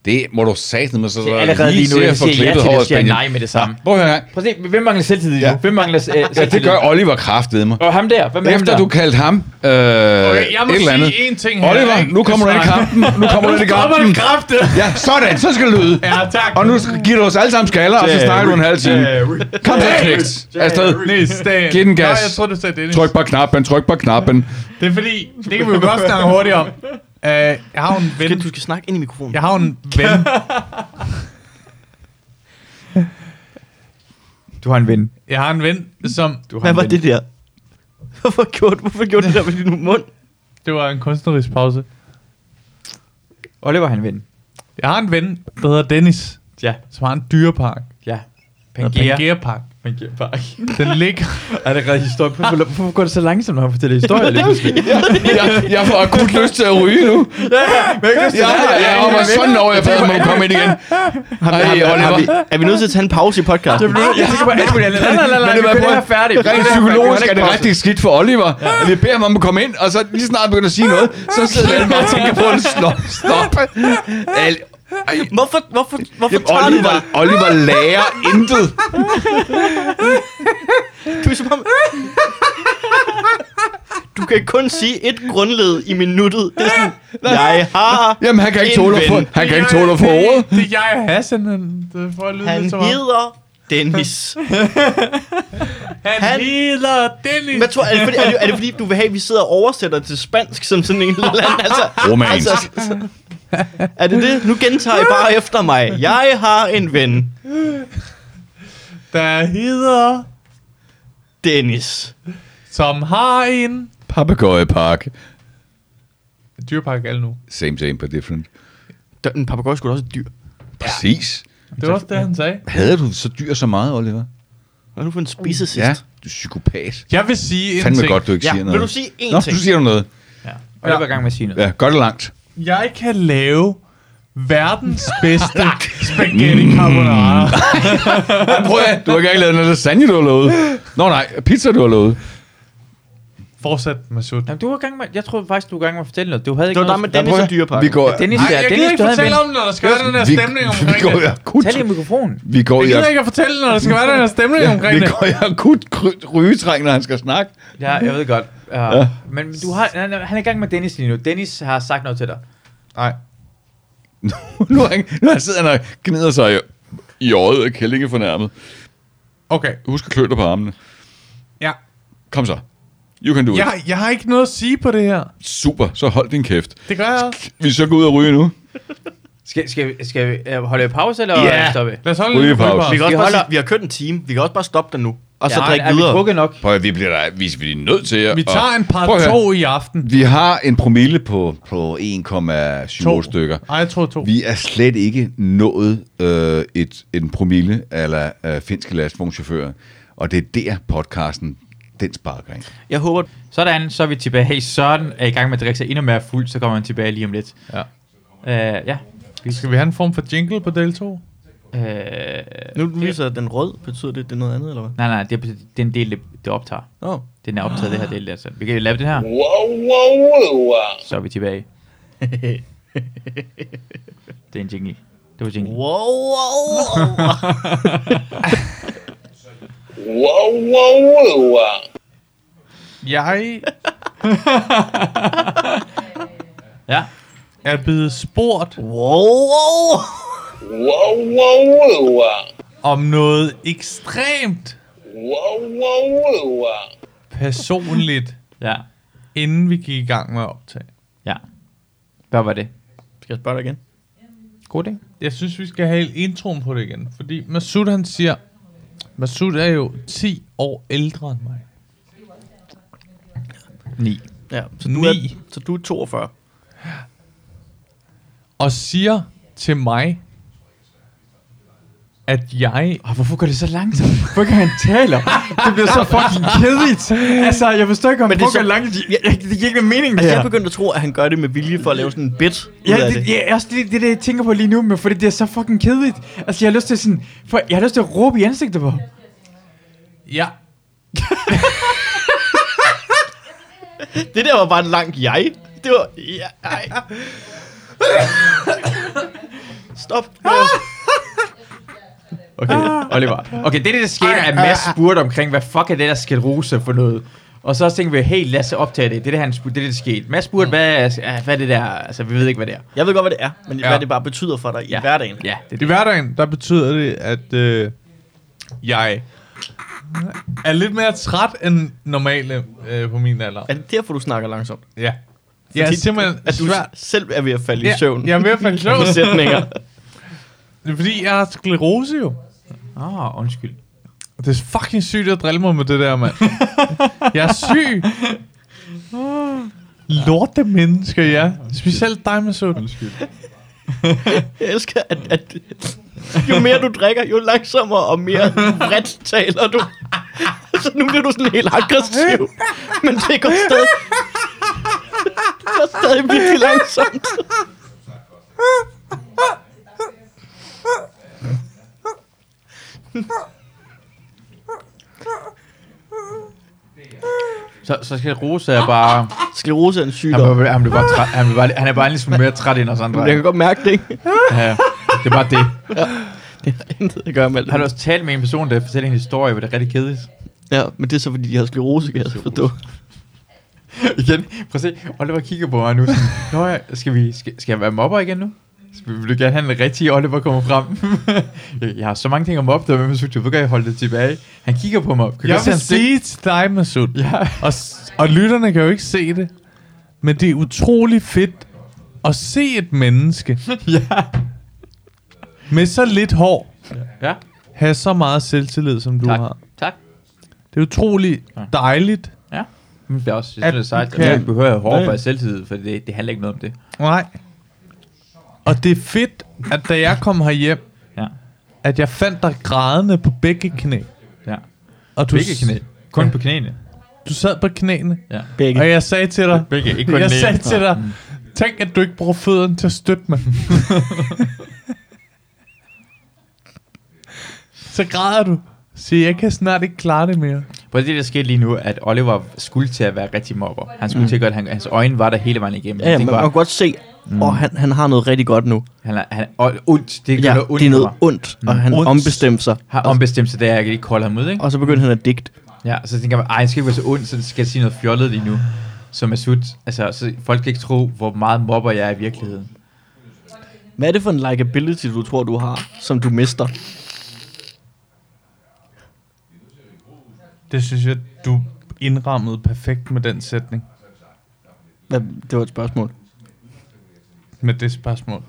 Speaker 2: Det må du satme med, så
Speaker 3: Det er allerede lige nu,
Speaker 2: til
Speaker 3: jeg
Speaker 2: at få
Speaker 3: siger ja
Speaker 2: klippet
Speaker 3: til det,
Speaker 2: håret
Speaker 3: siger
Speaker 2: Spanien.
Speaker 3: nej med det samme.
Speaker 2: Prøv at høre en gang.
Speaker 3: Prøv at se, hvem mangler selvtillid ja.
Speaker 2: Ja.
Speaker 3: nu? Hvem mangler øh,
Speaker 2: Ja,
Speaker 3: selvtillid?
Speaker 2: det gør Oliver kraftede mig.
Speaker 3: Og ham der, hvad med ham
Speaker 2: Efter
Speaker 3: der?
Speaker 2: du kaldte ham øh, okay,
Speaker 1: jeg må
Speaker 2: et eller andet.
Speaker 1: sige én ting her,
Speaker 2: Oliver,
Speaker 1: ikke?
Speaker 2: nu kommer du ind i kampen. Nu kommer du ind i kampen.
Speaker 1: kræfte!
Speaker 2: Ja, sådan, så skal det lyde.
Speaker 1: Ja, tak.
Speaker 2: Og nu giver du os alle sammen skaller, og så snakker du en halv time. Kom her, knægt. Afsted.
Speaker 1: Næste dag.
Speaker 2: Giv den gas.
Speaker 1: Nå, jeg tror, du sagde Dennis.
Speaker 2: Tryk på knappen, tryk på knappen.
Speaker 1: Det er fordi, det kan vi jo godt snakke hurtigt om. Øh, jeg har jo en ven...
Speaker 4: Skal, du skal snakke ind i mikrofonen.
Speaker 1: Jeg har jo en ven...
Speaker 3: Du har en ven.
Speaker 1: Jeg har en ven, som...
Speaker 3: Du har
Speaker 4: Hvad
Speaker 3: en
Speaker 4: var
Speaker 3: ven.
Speaker 4: det der? Hvorfor gjorde, hvorfor gjorde du det der med din mund?
Speaker 1: Det var en kunstnerisk pause.
Speaker 3: Oliver har en ven.
Speaker 1: Jeg har en ven, der hedder Dennis,
Speaker 3: Ja,
Speaker 1: som har en dyrepark.
Speaker 3: ja.
Speaker 1: Der hedder
Speaker 3: Pangea.
Speaker 1: Pangea Park.
Speaker 3: Pangea Park.
Speaker 1: Den ligger... Ah.
Speaker 3: Er det rigtig historie? Hvorfor, hvorfor går det så langsomt, når han fortæller historier? lige pludselig?
Speaker 2: Jeg, jeg får akut lyst til at ryge nu. Ja, ja, ja, og var sådan over, jeg fader må komme ind igen. Ej,
Speaker 4: Har vi,
Speaker 2: Oliver.
Speaker 4: er vi nødt til at tage en pause i podcasten?
Speaker 3: Jeg tænker bare, alt muligt andet. Nej, nej, nej, nej,
Speaker 2: Men det var
Speaker 3: vi
Speaker 2: på-
Speaker 3: er færdig.
Speaker 2: Rent psykologisk er det rigtig skidt for Oliver. Ja. Vi beder ham om at komme ind, og så lige snart han begynder at sige noget, så sidder han bare og tænker på en stop. stop. Al- Ej,
Speaker 4: Hvorfor, hvorfor, hvorfor
Speaker 2: Jamen,
Speaker 4: tager du
Speaker 2: Oliver,
Speaker 4: dig?
Speaker 2: Oliver lærer intet.
Speaker 4: Du, er som om, du kan kun sige et grundled i minuttet. Det er sådan, jeg har...
Speaker 2: Jamen, han kan ikke
Speaker 4: En
Speaker 2: tåle at få,
Speaker 4: ven.
Speaker 2: han kan ikke tåle at få ordet.
Speaker 1: Det er jeg og Hassan, han- Mm, det får at lyde
Speaker 4: Han
Speaker 1: lidt så meget.
Speaker 4: hedder Dennis.
Speaker 1: Han
Speaker 4: han-
Speaker 1: hedder Dennis.
Speaker 4: Hvad tror, er, det fordi, er, det, er det fordi, du vil have, at vi sidder og oversætter til spansk som sådan en eller anden? Altså,
Speaker 2: Romansk.
Speaker 4: Altså, altså, er det det? Nu gentager jeg bare efter mig. Jeg har en ven,
Speaker 1: Der hedder,
Speaker 4: Dennis.
Speaker 1: som har en...
Speaker 2: Papagøjepark.
Speaker 1: Dyrepark alle nu.
Speaker 2: Same, same, but different.
Speaker 4: Der- En papagøj skulle også et dyr.
Speaker 2: Præcis.
Speaker 1: Det var også det, han sagde.
Speaker 2: Hader du så dyr så meget, Oliver?
Speaker 4: Hvad er du for en spisesist?
Speaker 2: Ja, du er psykopat.
Speaker 1: Jeg vil sige en
Speaker 2: Fandme
Speaker 1: ting.
Speaker 2: godt, du ikke
Speaker 4: Uh, Ja,
Speaker 2: siger
Speaker 4: vil
Speaker 2: noget.
Speaker 4: du sige én
Speaker 2: Nå,
Speaker 4: ting?
Speaker 2: du siger du noget.
Speaker 3: Og jeg var i gang med at sige noget.
Speaker 2: Ja, godt og langt.
Speaker 1: Jeg kan lave verdens bedste
Speaker 2: Mm.
Speaker 1: spaghetti carbonara.
Speaker 2: Prøv at, du har ikke engang lavet noget lasagne, du har lovet. Nå nej, pizza, du har lovet.
Speaker 1: Fortsæt med sut.
Speaker 3: Jamen, du var i gang med, jeg troede faktisk, du var i gang med at fortælle noget. Du havde
Speaker 4: Det
Speaker 3: ikke
Speaker 4: var der
Speaker 3: noget...
Speaker 4: med
Speaker 2: Ja,
Speaker 4: Dennis
Speaker 2: prøv
Speaker 4: og
Speaker 2: at-
Speaker 4: dyreparken.
Speaker 2: Vi går...
Speaker 3: Dennis
Speaker 1: Nej,
Speaker 3: der,
Speaker 1: jeg
Speaker 3: Dennis,
Speaker 1: gider ikke
Speaker 3: du havde en
Speaker 1: fortælle
Speaker 3: ven.
Speaker 1: om, det, når der skal være den der
Speaker 2: vi,
Speaker 1: stemning omkring
Speaker 2: vi går i
Speaker 1: det.
Speaker 2: akut...
Speaker 3: Tal i mikrofonen.
Speaker 2: Vi går
Speaker 1: Jeg
Speaker 2: i
Speaker 1: gider
Speaker 2: akut...
Speaker 1: ikke at fortælle, når der skal være den der stemning omkring
Speaker 2: Vi
Speaker 1: det.
Speaker 2: går i akut kry- rygetræng, når han skal snakke.
Speaker 3: Ja, jeg ved godt. Uh, ja. Men du har, han, er- han er i gang med Dennis lige nu. Dennis har sagt noget til dig.
Speaker 1: Nej.
Speaker 2: nu, er han, nu er han sidder han og gnider sig i, i øjet og kællinge fornærmet.
Speaker 1: Okay.
Speaker 2: Husk at klø dig på armene.
Speaker 1: Ja.
Speaker 2: Kom så. You can do it.
Speaker 1: Jeg, jeg har ikke noget at sige på det her.
Speaker 2: Super, så hold din kæft.
Speaker 1: Det gør jeg.
Speaker 2: Vi så gå ud og ryge nu.
Speaker 3: Skal, skal, vi- skal vi øh, holde pause, eller
Speaker 4: Ja.
Speaker 3: stoppe?
Speaker 1: Lad os holde en lille
Speaker 2: Rygepause.
Speaker 4: Vi kan
Speaker 1: rygepause.
Speaker 4: også
Speaker 3: Vi
Speaker 4: bare
Speaker 3: holder-
Speaker 4: sige, vi har kørt en time. Vi kan også bare stoppe den nu. Og så
Speaker 3: Ja,
Speaker 4: drikke
Speaker 3: er vi
Speaker 4: videre.
Speaker 3: drukket nok?
Speaker 2: Prøv at, vi bliver der, vi, vi er nødt til at...
Speaker 1: Vi tager en par
Speaker 2: Prøv at høre.
Speaker 1: to i aften.
Speaker 2: Vi har en promille på, på 1,7 stykker.
Speaker 1: Nej, jeg tror to.
Speaker 2: Vi er slet ikke nået øh, et, en promille eller øh, finske lastvognchauffører. Og det er der podcasten, den sparker ind.
Speaker 4: Jeg håber,
Speaker 3: Sådan, så er vi tilbage. Hey, Søren er i gang med at drikke sig endnu mere fuld, så kommer han tilbage lige om lidt.
Speaker 1: Ja.
Speaker 3: Uh, ja.
Speaker 1: Skal vi have en form for jingle på del 2?
Speaker 3: Uh,
Speaker 4: nu viser den rød. Betyder det, det er noget andet, eller hvad?
Speaker 3: nej, nej, det er, det er en del, det, det optager.
Speaker 4: Nå.
Speaker 3: Den er optaget, det her del. Altså. Vi kan lave det her. Så er vi tilbage. det er en jingle. Det var jingle.
Speaker 4: Wow, wow, wow.
Speaker 1: Jeg
Speaker 3: Ja.
Speaker 1: er blevet spurgt
Speaker 4: wow, wow.
Speaker 1: om noget ekstremt personligt,
Speaker 3: Ja.
Speaker 1: inden vi gik i gang med at optage.
Speaker 3: Ja. Hvad var det?
Speaker 4: Skal jeg spørge dig igen?
Speaker 3: God ting.
Speaker 1: Jeg synes, vi skal have introen på det igen, fordi Masud han siger, Masud er jo 10 år ældre end mig.
Speaker 3: 9.
Speaker 4: Ja, så
Speaker 1: du
Speaker 4: du,
Speaker 1: er-
Speaker 4: er, så du er 42.
Speaker 1: Og siger til mig, at jeg...
Speaker 3: Og hvorfor går det så langsomt? Hvorfor kan han taler? Det bliver så fucking kedeligt. Altså, jeg forstår ikke, om
Speaker 4: Men det er så-
Speaker 3: langsomt. Jeg, jeg, det giver ikke nogen mening,
Speaker 4: Altså, jeg begyndte at tro, at han gør det med vilje for at lave sådan en bit
Speaker 3: Ja,
Speaker 4: ud af
Speaker 3: det,
Speaker 4: det.
Speaker 3: det. Ja, også det, det, er det, jeg tænker på lige nu, men fordi det er så fucking kedeligt. Altså, jeg har lyst til sådan, for, jeg har lyst til at råbe i ansigtet på ham.
Speaker 1: Ja,
Speaker 4: Det der var bare et langt jeg. Det var... Ja, ej. Stop.
Speaker 3: Okay, Oliver. Okay, det, der skete, er, at Mads spurgte omkring, hvad fuck er det der skældruse for noget? Og så tænkte vi, hey, Lasse optage det. Det er det, han spurgte, det, er det, der skete. Mads spurgte, hvad, er- hvad er det der? Altså, vi ved ikke, hvad det er.
Speaker 4: Jeg ved godt, hvad det er, men ja.
Speaker 1: Ja.
Speaker 4: hvad det bare betyder for dig i
Speaker 3: Ja.
Speaker 4: hverdagen.
Speaker 3: Ja, det er
Speaker 1: I
Speaker 3: det.
Speaker 1: hverdagen, der betyder det, at øh, jeg er lidt mere træt end normale øh, på min alder.
Speaker 4: Er det derfor, du snakker langsomt?
Speaker 1: Ja.
Speaker 6: Jeg er simpelthen
Speaker 4: at du
Speaker 6: svært.
Speaker 4: selv er ved at falde i søvn.
Speaker 6: Jeg er ved at falde i søvn.
Speaker 4: På sætninger.
Speaker 6: Det er fordi, jeg har sklerose jo.
Speaker 3: Ah, undskyld.
Speaker 6: Det er fucking sygt at drille mig med det der, mand. jeg er syg. Lorte mennesker, ja. Specielt dig, Masud.
Speaker 4: Jeg elsker, at, at jo mere du drikker, jo langsommere og mere vredt taler du. Så nu bliver du sådan helt aggressiv. Men det går stadig... Det går stadig virkelig langsomt.
Speaker 3: Så, så skal Rosa er bare...
Speaker 4: Sklerose er en
Speaker 3: Han,
Speaker 4: sygdom.
Speaker 3: var, han, blev bare træt, han, blev bare, han er bare en lille smule mere træt end os andre.
Speaker 4: Jeg kan godt mærke det, ikke?
Speaker 3: Ja, det er bare det.
Speaker 4: Det har intet at gøre med
Speaker 3: Har du
Speaker 4: det.
Speaker 3: også talt med en person, der fortæller en historie, hvor det er rigtig kedeligt?
Speaker 4: Ja, men det er så, fordi de har sklerose, kan jeg forstå.
Speaker 3: igen, prøv at se, Oliver kigger på mig nu. Sådan, Nå ja, skal, vi, skal, skal jeg være mobber igen nu? Skal, vil du gerne have en rigtig Oliver kommer frem? jeg, jeg har så mange ting at mobbe dig med, men du ved godt, jeg holde det tilbage. Han kigger på mig. Kan du
Speaker 1: Jeg
Speaker 3: godt se,
Speaker 1: vil
Speaker 3: han stik-
Speaker 1: sige til dig, Masud,
Speaker 3: Ja.
Speaker 1: og, s- og lytterne kan jo ikke se det, men det er utrolig fedt at se et menneske
Speaker 3: ja.
Speaker 1: med så lidt hår
Speaker 3: Ja.
Speaker 1: have så meget selvtillid, som du
Speaker 3: Tak.
Speaker 1: har.
Speaker 3: Tak.
Speaker 1: Det er utrolig dejligt.
Speaker 3: Men Det er også jeg synes, det er sejt.
Speaker 1: At-
Speaker 3: Jeg ikke behøver at hårde for selvtid, for det, det handler ikke noget om det.
Speaker 1: Nej. Og det er fedt, at da jeg kom herhjem,
Speaker 3: Ja.
Speaker 1: at jeg fandt dig grædende på begge knæ.
Speaker 3: Ja.
Speaker 1: Og du,
Speaker 3: Begge
Speaker 1: s-
Speaker 3: knæ. Kun på knæene.
Speaker 1: Du sad på knæene,
Speaker 4: Begge.
Speaker 1: og jeg sagde til dig,
Speaker 3: Begge, ikke kun
Speaker 1: jeg
Speaker 3: den ene.
Speaker 1: sagde til dig, tænk at du ikke bruger fødderne til at støtte mig. Så græder du. Siger, jeg kan snart ikke klare det mere.
Speaker 3: Prøv at se, det der skete lige nu, at Oliver skulle til at være rigtig mobber. Han skulle til at gøre, at han, hans øjne var der hele vejen igennem.
Speaker 4: Ja, ja,
Speaker 3: Jeg
Speaker 4: men
Speaker 3: tænkte
Speaker 4: man
Speaker 3: bare,
Speaker 4: kan godt se, og han, han har noget rigtig godt nu.
Speaker 3: han, er- han, og, ondt, det gør
Speaker 4: Ja,
Speaker 3: noget ondt
Speaker 4: det er
Speaker 3: på
Speaker 4: noget
Speaker 3: mig. Mm.
Speaker 4: ondt, og han
Speaker 1: Ondt.
Speaker 4: ombestemte sig.
Speaker 3: har ombestemt sig, da jeg ikke kolder ham ud, ikke?
Speaker 4: Og så begyndte han at digte.
Speaker 3: Ja, så tænker man, ej, jeg skal ikke være så ond, så skal jeg sige noget fjollet lige nu, som er sut. Altså, så folk kan ikke tro, hvor meget mobber jeg er i virkeligheden.
Speaker 4: Hvad er det for en likability, du tror, du har, som du mister?
Speaker 1: Det synes jeg, du indrammede perfekt med den sætning.
Speaker 4: Hvad, det var et spørgsmål.
Speaker 1: Med det spørgsmål.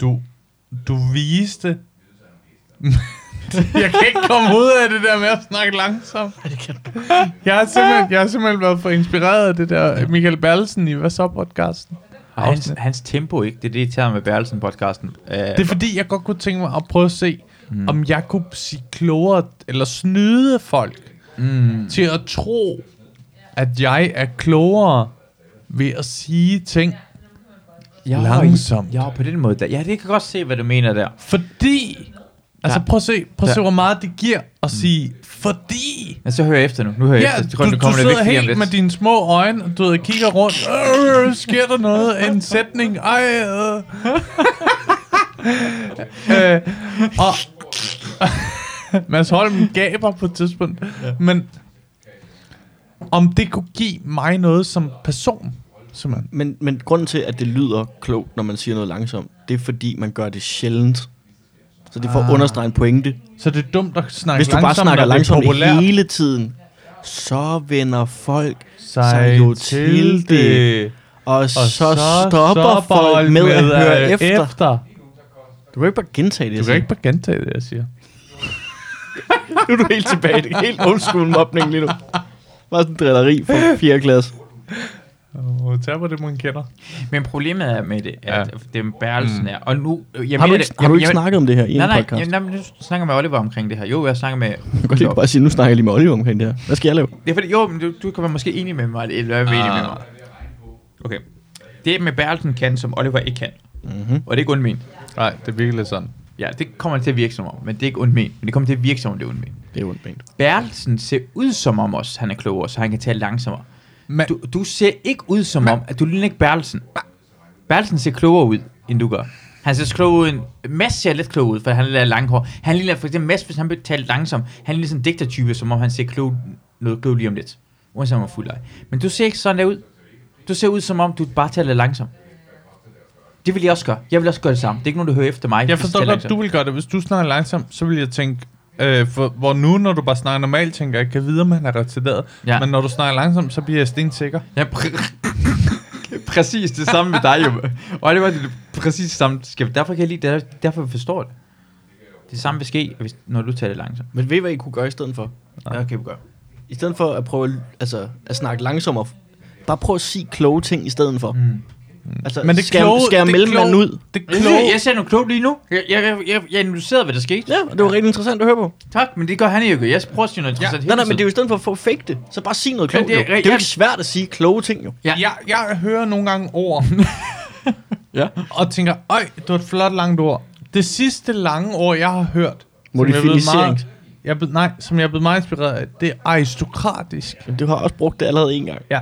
Speaker 1: Du, du viste... jeg kan ikke komme ud af det der med at snakke langsomt. Jeg har simpelthen, jeg har simpelthen været for inspireret af det der Michael Berlsen i Hvad så podcasten.
Speaker 3: Og hans,
Speaker 1: Afsnit.
Speaker 3: hans tempo, ikke? Det er det, jeg tager med Bærelsen-podcasten. Uh,
Speaker 1: Det er fordi, jeg godt kunne tænke mig at prøve at se, mm. om jeg kunne sige klogere, eller snyde folk mm. til at tro, at jeg er klogere ved at sige ting.
Speaker 3: jeg
Speaker 1: langsomt.
Speaker 3: Ja, på den måde. Der. Ja, det kan jeg godt se, hvad du mener der.
Speaker 1: Fordi, altså
Speaker 3: Ja.
Speaker 1: prøv at se, prøv at se
Speaker 3: Ja.
Speaker 1: hvor meget det giver at sige, fordi.
Speaker 3: Men så hører jeg efter nu. Nu hører jeg
Speaker 1: Ja,
Speaker 3: efter.
Speaker 1: du, du, du sidder
Speaker 3: vigtigt lige om
Speaker 1: helt med
Speaker 3: lidt.
Speaker 1: dine små øjne, og du ved, kigger rundt, øh, sker der noget, en sætning, ej, øh. øh, og Mads Holm gaber på et tidspunkt, men om det kunne give mig noget som person, simpelthen.
Speaker 4: Men, men grunden til, at det lyder klogt, når man siger noget langsomt, det er fordi, man gør det sjældent. Så det får ah. understreget en pointe.
Speaker 1: Så det er dumt at snakke
Speaker 4: Hvis du
Speaker 1: langsomt,
Speaker 4: bare snakker
Speaker 1: når det er
Speaker 4: langsomt
Speaker 1: populært.
Speaker 4: hele tiden, så vender folk sig,
Speaker 1: Sig
Speaker 4: jo til det. Og, og så, så stopper folk med at høre efter. efter. Du kan ikke bare gentage det.
Speaker 1: Du kan ikke bare gentage det, jeg siger.
Speaker 4: nu er du helt tilbage. Det er helt old school mobning lige nu. Bare sådan en drilleri fra 4. klasse.
Speaker 1: Og tag på det, man kender.
Speaker 3: Men problemet er med det, at ja. det med Bærelsen er... Og nu... øh, Jeg
Speaker 4: Mm. Har du
Speaker 3: mener
Speaker 4: ikke,
Speaker 3: det-
Speaker 4: har du
Speaker 3: jeg-
Speaker 4: ikke
Speaker 3: jeg-
Speaker 4: snakket om det her i
Speaker 3: Nej,
Speaker 4: en
Speaker 3: nej,
Speaker 4: podcast?
Speaker 3: jeg, nej, men nu snakker jeg med Oliver omkring det her. Jo, jeg snakker med...
Speaker 4: Du kan ikke bare sige, nu snakker jeg lige med Oliver omkring det her. Hvad skal jeg lave?
Speaker 3: Det er fordi, jo, men du, du kan være måske enig med mig, eller er ah. enig med mig. Okay. Det med Bertelsen kan, som Oliver ikke kan. Mm-hmm. Og det er ikke ondt ment.
Speaker 1: Nej, det er virkelig sådan.
Speaker 3: Ja, det kommer til at virke som om, men det er ikke ondt ment. Men det kommer til at virke som om, det er ondt ment.
Speaker 4: Det er ondt ment.
Speaker 3: Bertelsen ser ud som om også, han er klogere, så han kan tale langsommere.
Speaker 1: Men,
Speaker 3: Du, du ser ikke ud som om, at du ligner ikke Bertelsen. Bertelsen ser klogere ud, end du gør. Han ser klogere ud end... Mads ser lidt klogere ud, for han er langhår. Han ligner for eksempel Mads, hvis han bliver talt langsomt. Han ligner sådan en digtertype, som om han ser klog, noget klog lige om lidt. Uanset om han er fuld ej. Men du ser ikke sådan der ud. Du ser ud som om, du bare taler langsomt. Det vil jeg også gøre. Jeg vil også gøre det samme. Det er ikke nogen, der hører efter mig.
Speaker 1: jeg forstår
Speaker 3: taler
Speaker 1: godt, du
Speaker 3: langsomt.
Speaker 1: vil gøre det. Hvis du snakker langsomt, så vil jeg tænke, Øh, for, hvor nu, når du bare snakker normalt, tænker jeg, kan vide, om han er retarderet.
Speaker 3: Ja.
Speaker 1: Ja. Men når du snakker langsomt, så bliver jeg stensikker.
Speaker 3: Ja, pr- præcis det samme med dig, jo. Og det var det præcis samme. Skal- Derfor kan jeg lide det, der- derfor forstår jeg det. Det samme vil ske, hvis, når du tager det langsomt.
Speaker 4: Men ved I, hvad I kunne gøre i stedet for?
Speaker 3: Ja, okay, vi gør.
Speaker 4: I stedet for at prøve at- altså, at snakke langsommere, bare prøv at sige kloge ting i stedet for. Mm. Altså,
Speaker 1: Men det
Speaker 4: skær,
Speaker 1: kloge-
Speaker 4: skær
Speaker 1: det
Speaker 4: mellemmanden
Speaker 1: kloge-
Speaker 4: ud.
Speaker 1: Det
Speaker 3: Jeg,
Speaker 1: kloge,
Speaker 3: siger- jeg sagde noget klogt lige nu. Jeg, jeg, jeg, jeg, jeg analyserede, hvad der skete.
Speaker 4: Ja, og det var rigtig interessant at høre på.
Speaker 3: Tak, men det gør han ikke. Jeg prøver at sige noget interessant
Speaker 4: Nej, nej, men
Speaker 3: hele
Speaker 4: det er
Speaker 3: tiden.
Speaker 4: jo i stedet for at få fake det, så bare sig noget klogt.
Speaker 3: det er-
Speaker 4: Det, det, det er
Speaker 3: ja.
Speaker 4: jo ikke svært at sige kloge ting, jo.
Speaker 1: jeg, jeg hører nogle gange ord.
Speaker 4: Ja.
Speaker 1: Og tænker, øj, det var et flot langt ord. Det sidste lange ord, jeg har hørt. som jeg er blevet
Speaker 4: Modificering.
Speaker 1: meget- Jeg er blevet, nej, som jeg er blevet meget inspireret af, det er aristokratisk.
Speaker 4: Du har også brugt det allerede en gang.
Speaker 1: Ja.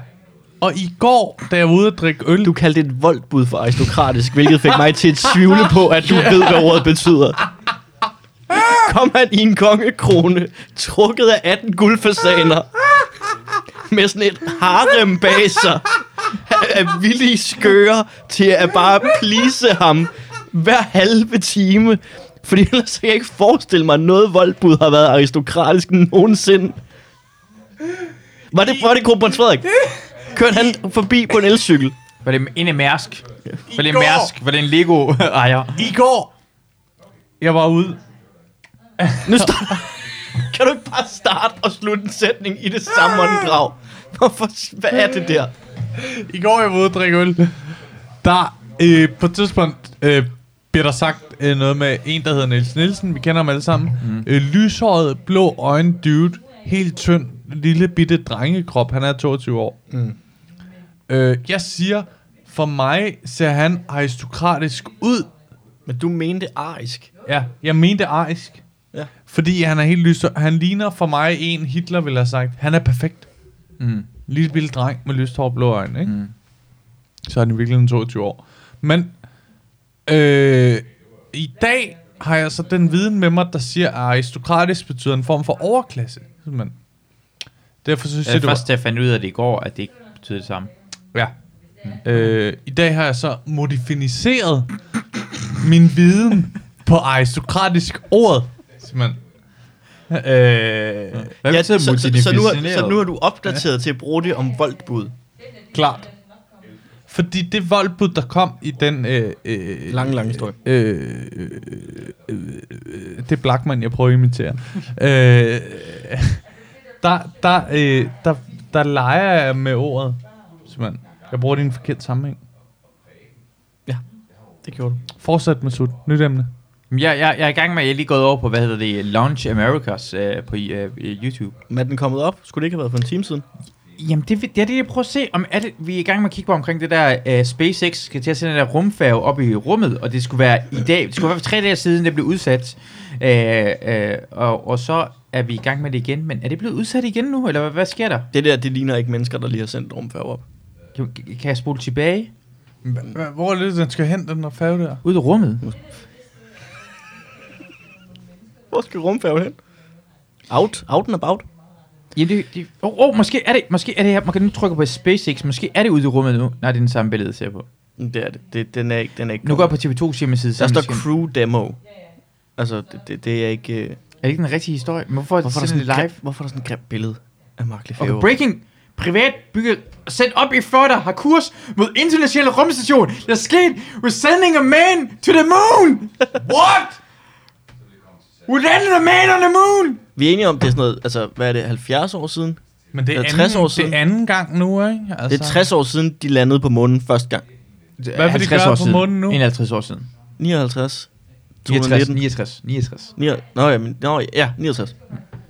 Speaker 1: Og i går, da jeg var ude at drikke øl,
Speaker 4: Du kaldte et voldbud for aristokratisk, hvilket fik mig til at tvivle på, at du ved, hvad ordet betyder. Kom han i en kongekrone, trukket af 18 guldfasaner, med sådan et harem bag sig, af villige skøger til at bare plise ham hver halve time. Fordi ellers så kan jeg ikke forestille mig, at noget voldbud har været aristokratisk nogensinde. Var det, var det kronprins Frederik? Kørte han forbi på en elcykel?
Speaker 3: Var det en af Mærsk? Var det en Mærsk? Var det en Lego ejer?
Speaker 1: i går, jeg var ude
Speaker 4: Nu starter... kan du ikke bare starte og slutte en sætning i det
Speaker 3: Ah!
Speaker 4: samme åndedrag? Hvorfor... Hvad er det der?
Speaker 1: I går jeg var ude at drikke øl. Der øh, på et tidspunkt øh, bliver der sagt øh, noget med en, der hedder Niels Nielsen. Vi kender ham alle sammen. Mm. Øh, lyshåret, blå øjne, dude. Helt tynd, lille bitte drengekrop. Han er 22 år. Mm. Øh, jeg siger, for mig ser han aristokratisk ud.
Speaker 4: Men du mente arisk.
Speaker 1: Ja, jeg mente arisk.
Speaker 4: Ja.
Speaker 1: Fordi han er helt lys. Han ligner for mig en, Hitler ville have sagt. Han er perfekt.
Speaker 3: Mm.
Speaker 1: Lille bitte dreng med lyst hår og blå øjne, ikke? Mm. Så er han i virkeligheden 22 år. Men øh, i dag har jeg så den viden med mig, der siger, at aristokratisk betyder en form for overklasse. Simpelthen. Derfor synes jeg,
Speaker 3: Det
Speaker 1: det
Speaker 3: var
Speaker 1: var...
Speaker 3: først, da jeg fandt ud af det i går, at det ikke betyder det samme.
Speaker 1: Ja. Øh, I dag har jeg så modificeret min viden på aristokratisk ordet. Simpelthen. Øh,
Speaker 3: Hvad
Speaker 4: Ja,
Speaker 3: betyder
Speaker 4: så, så, så, nu er, så
Speaker 3: multidimensioneret?
Speaker 4: nu er du opdateret ja. til at bruge det om voldbud.
Speaker 1: klart. Fordi det voldbud, der kom i den øh, øh,
Speaker 4: Lang, lang historie.
Speaker 1: øh, øh, øh, det er Blackman, jeg prøver at imitere. øh, der, der, øh, der, der leger jeg med ordet, simpelthen. Jeg bruger det i en forkert sammenhæng.
Speaker 4: Det gjorde du.
Speaker 1: Fortsæt med sut. Nyt emne.
Speaker 3: Jamen, Jeg, jeg, jeg er i gang med, jeg er lige gået over på, hvad hedder det, Launch Americas øh, på øh, YouTube.
Speaker 4: Men er den kommet op? Skulle det ikke have været for en time siden?
Speaker 3: Jamen, det, det er det, jeg prøver at se. Om, er det, vi er i gang med at kigge på omkring det der uh, SpaceX skal til at sende den der rumfærge op i rummet, og det skulle være i dag. Det skulle være for tre dage siden, det blev udsat. Uh, uh, og, og så er vi i gang med det igen. Men er det blevet udsat igen nu, eller hvad, hvad sker der?
Speaker 4: Det der, det ligner ikke mennesker, der lige har sendt rumfærge op.
Speaker 3: Kan, kan jeg spole tilbage?
Speaker 1: Hvor er det, den skal hen, den der færge der?
Speaker 3: Ud i rummet?
Speaker 4: Hvor skal rumfærgen hen? Out. Out and about.
Speaker 3: Ja, det, det, oh, oh, måske er det, måske er det her. Man kan nu trykke på SpaceX. Måske er det ude i rummet nu. Nej, det er den samme billede, jeg ser på.
Speaker 4: Men Mm, Det er det. det den er ikke, den er ikke
Speaker 3: Nu går jeg
Speaker 4: kommet.
Speaker 3: på TV2's hjemmeside.
Speaker 4: Der
Speaker 3: så
Speaker 4: står
Speaker 3: måske-
Speaker 4: crew demo. Altså, det, det, det er ikke... øh,
Speaker 3: Er det ikke den rigtige historie? Men Hvorfor,
Speaker 4: Hvorfor er, der
Speaker 3: sender
Speaker 4: sådan
Speaker 3: det
Speaker 4: et
Speaker 3: live?
Speaker 4: grimt, hvorfor er der sådan et grimt billede af Mark Lefebvre?
Speaker 3: Okay, breaking. Privat bygget sendt op i Florida har kurs mod internationale rumstation. Der er sket. We're sending a man to the moon. What? We're landing a man on the moon.
Speaker 4: Vi er enige om, det er sådan noget, altså, hvad er det, 70 år siden? Altså.
Speaker 1: Men det er,
Speaker 4: Det er 60
Speaker 1: anden,
Speaker 4: år siden.
Speaker 1: Det er anden gang nu, ikke? Altså,
Speaker 4: Det er 60 år siden, de landede på månen første gang.
Speaker 1: Hvad vil de
Speaker 3: 50
Speaker 1: gøre
Speaker 3: år
Speaker 1: på
Speaker 3: siden.
Speaker 1: månen nu?
Speaker 3: 51 år siden.
Speaker 4: 59,
Speaker 3: 69,
Speaker 4: 219,
Speaker 3: 69, 69.
Speaker 4: 69. Nå, ja, men, nå, ja, 59.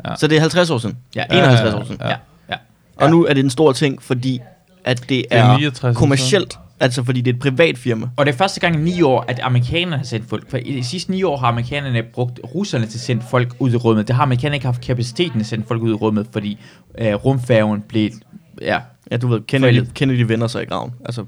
Speaker 4: Ja. Så det er 50 år siden.
Speaker 3: Ja,
Speaker 4: 51 år siden.
Speaker 3: Ja, ja. ja.
Speaker 4: Og nu er det en stor ting, fordi at det
Speaker 1: er
Speaker 4: er,
Speaker 1: 69 år siden.
Speaker 4: kommercielt. Altså, fordi det er et privat firma.
Speaker 3: Og det er første gang i ni år, at amerikanerne har sendt folk. For i de sidste ni år har amerikanerne brugt russerne til at sende folk ud i rummet. Det har amerikanerne ikke haft kapaciteten til at sende folk ud i rummet, fordi øh, rumfærgen blev... Ja,
Speaker 4: Ja, du ved,
Speaker 3: Forældet.
Speaker 4: Kennedy, Kennedy vender sig i graven. Altså,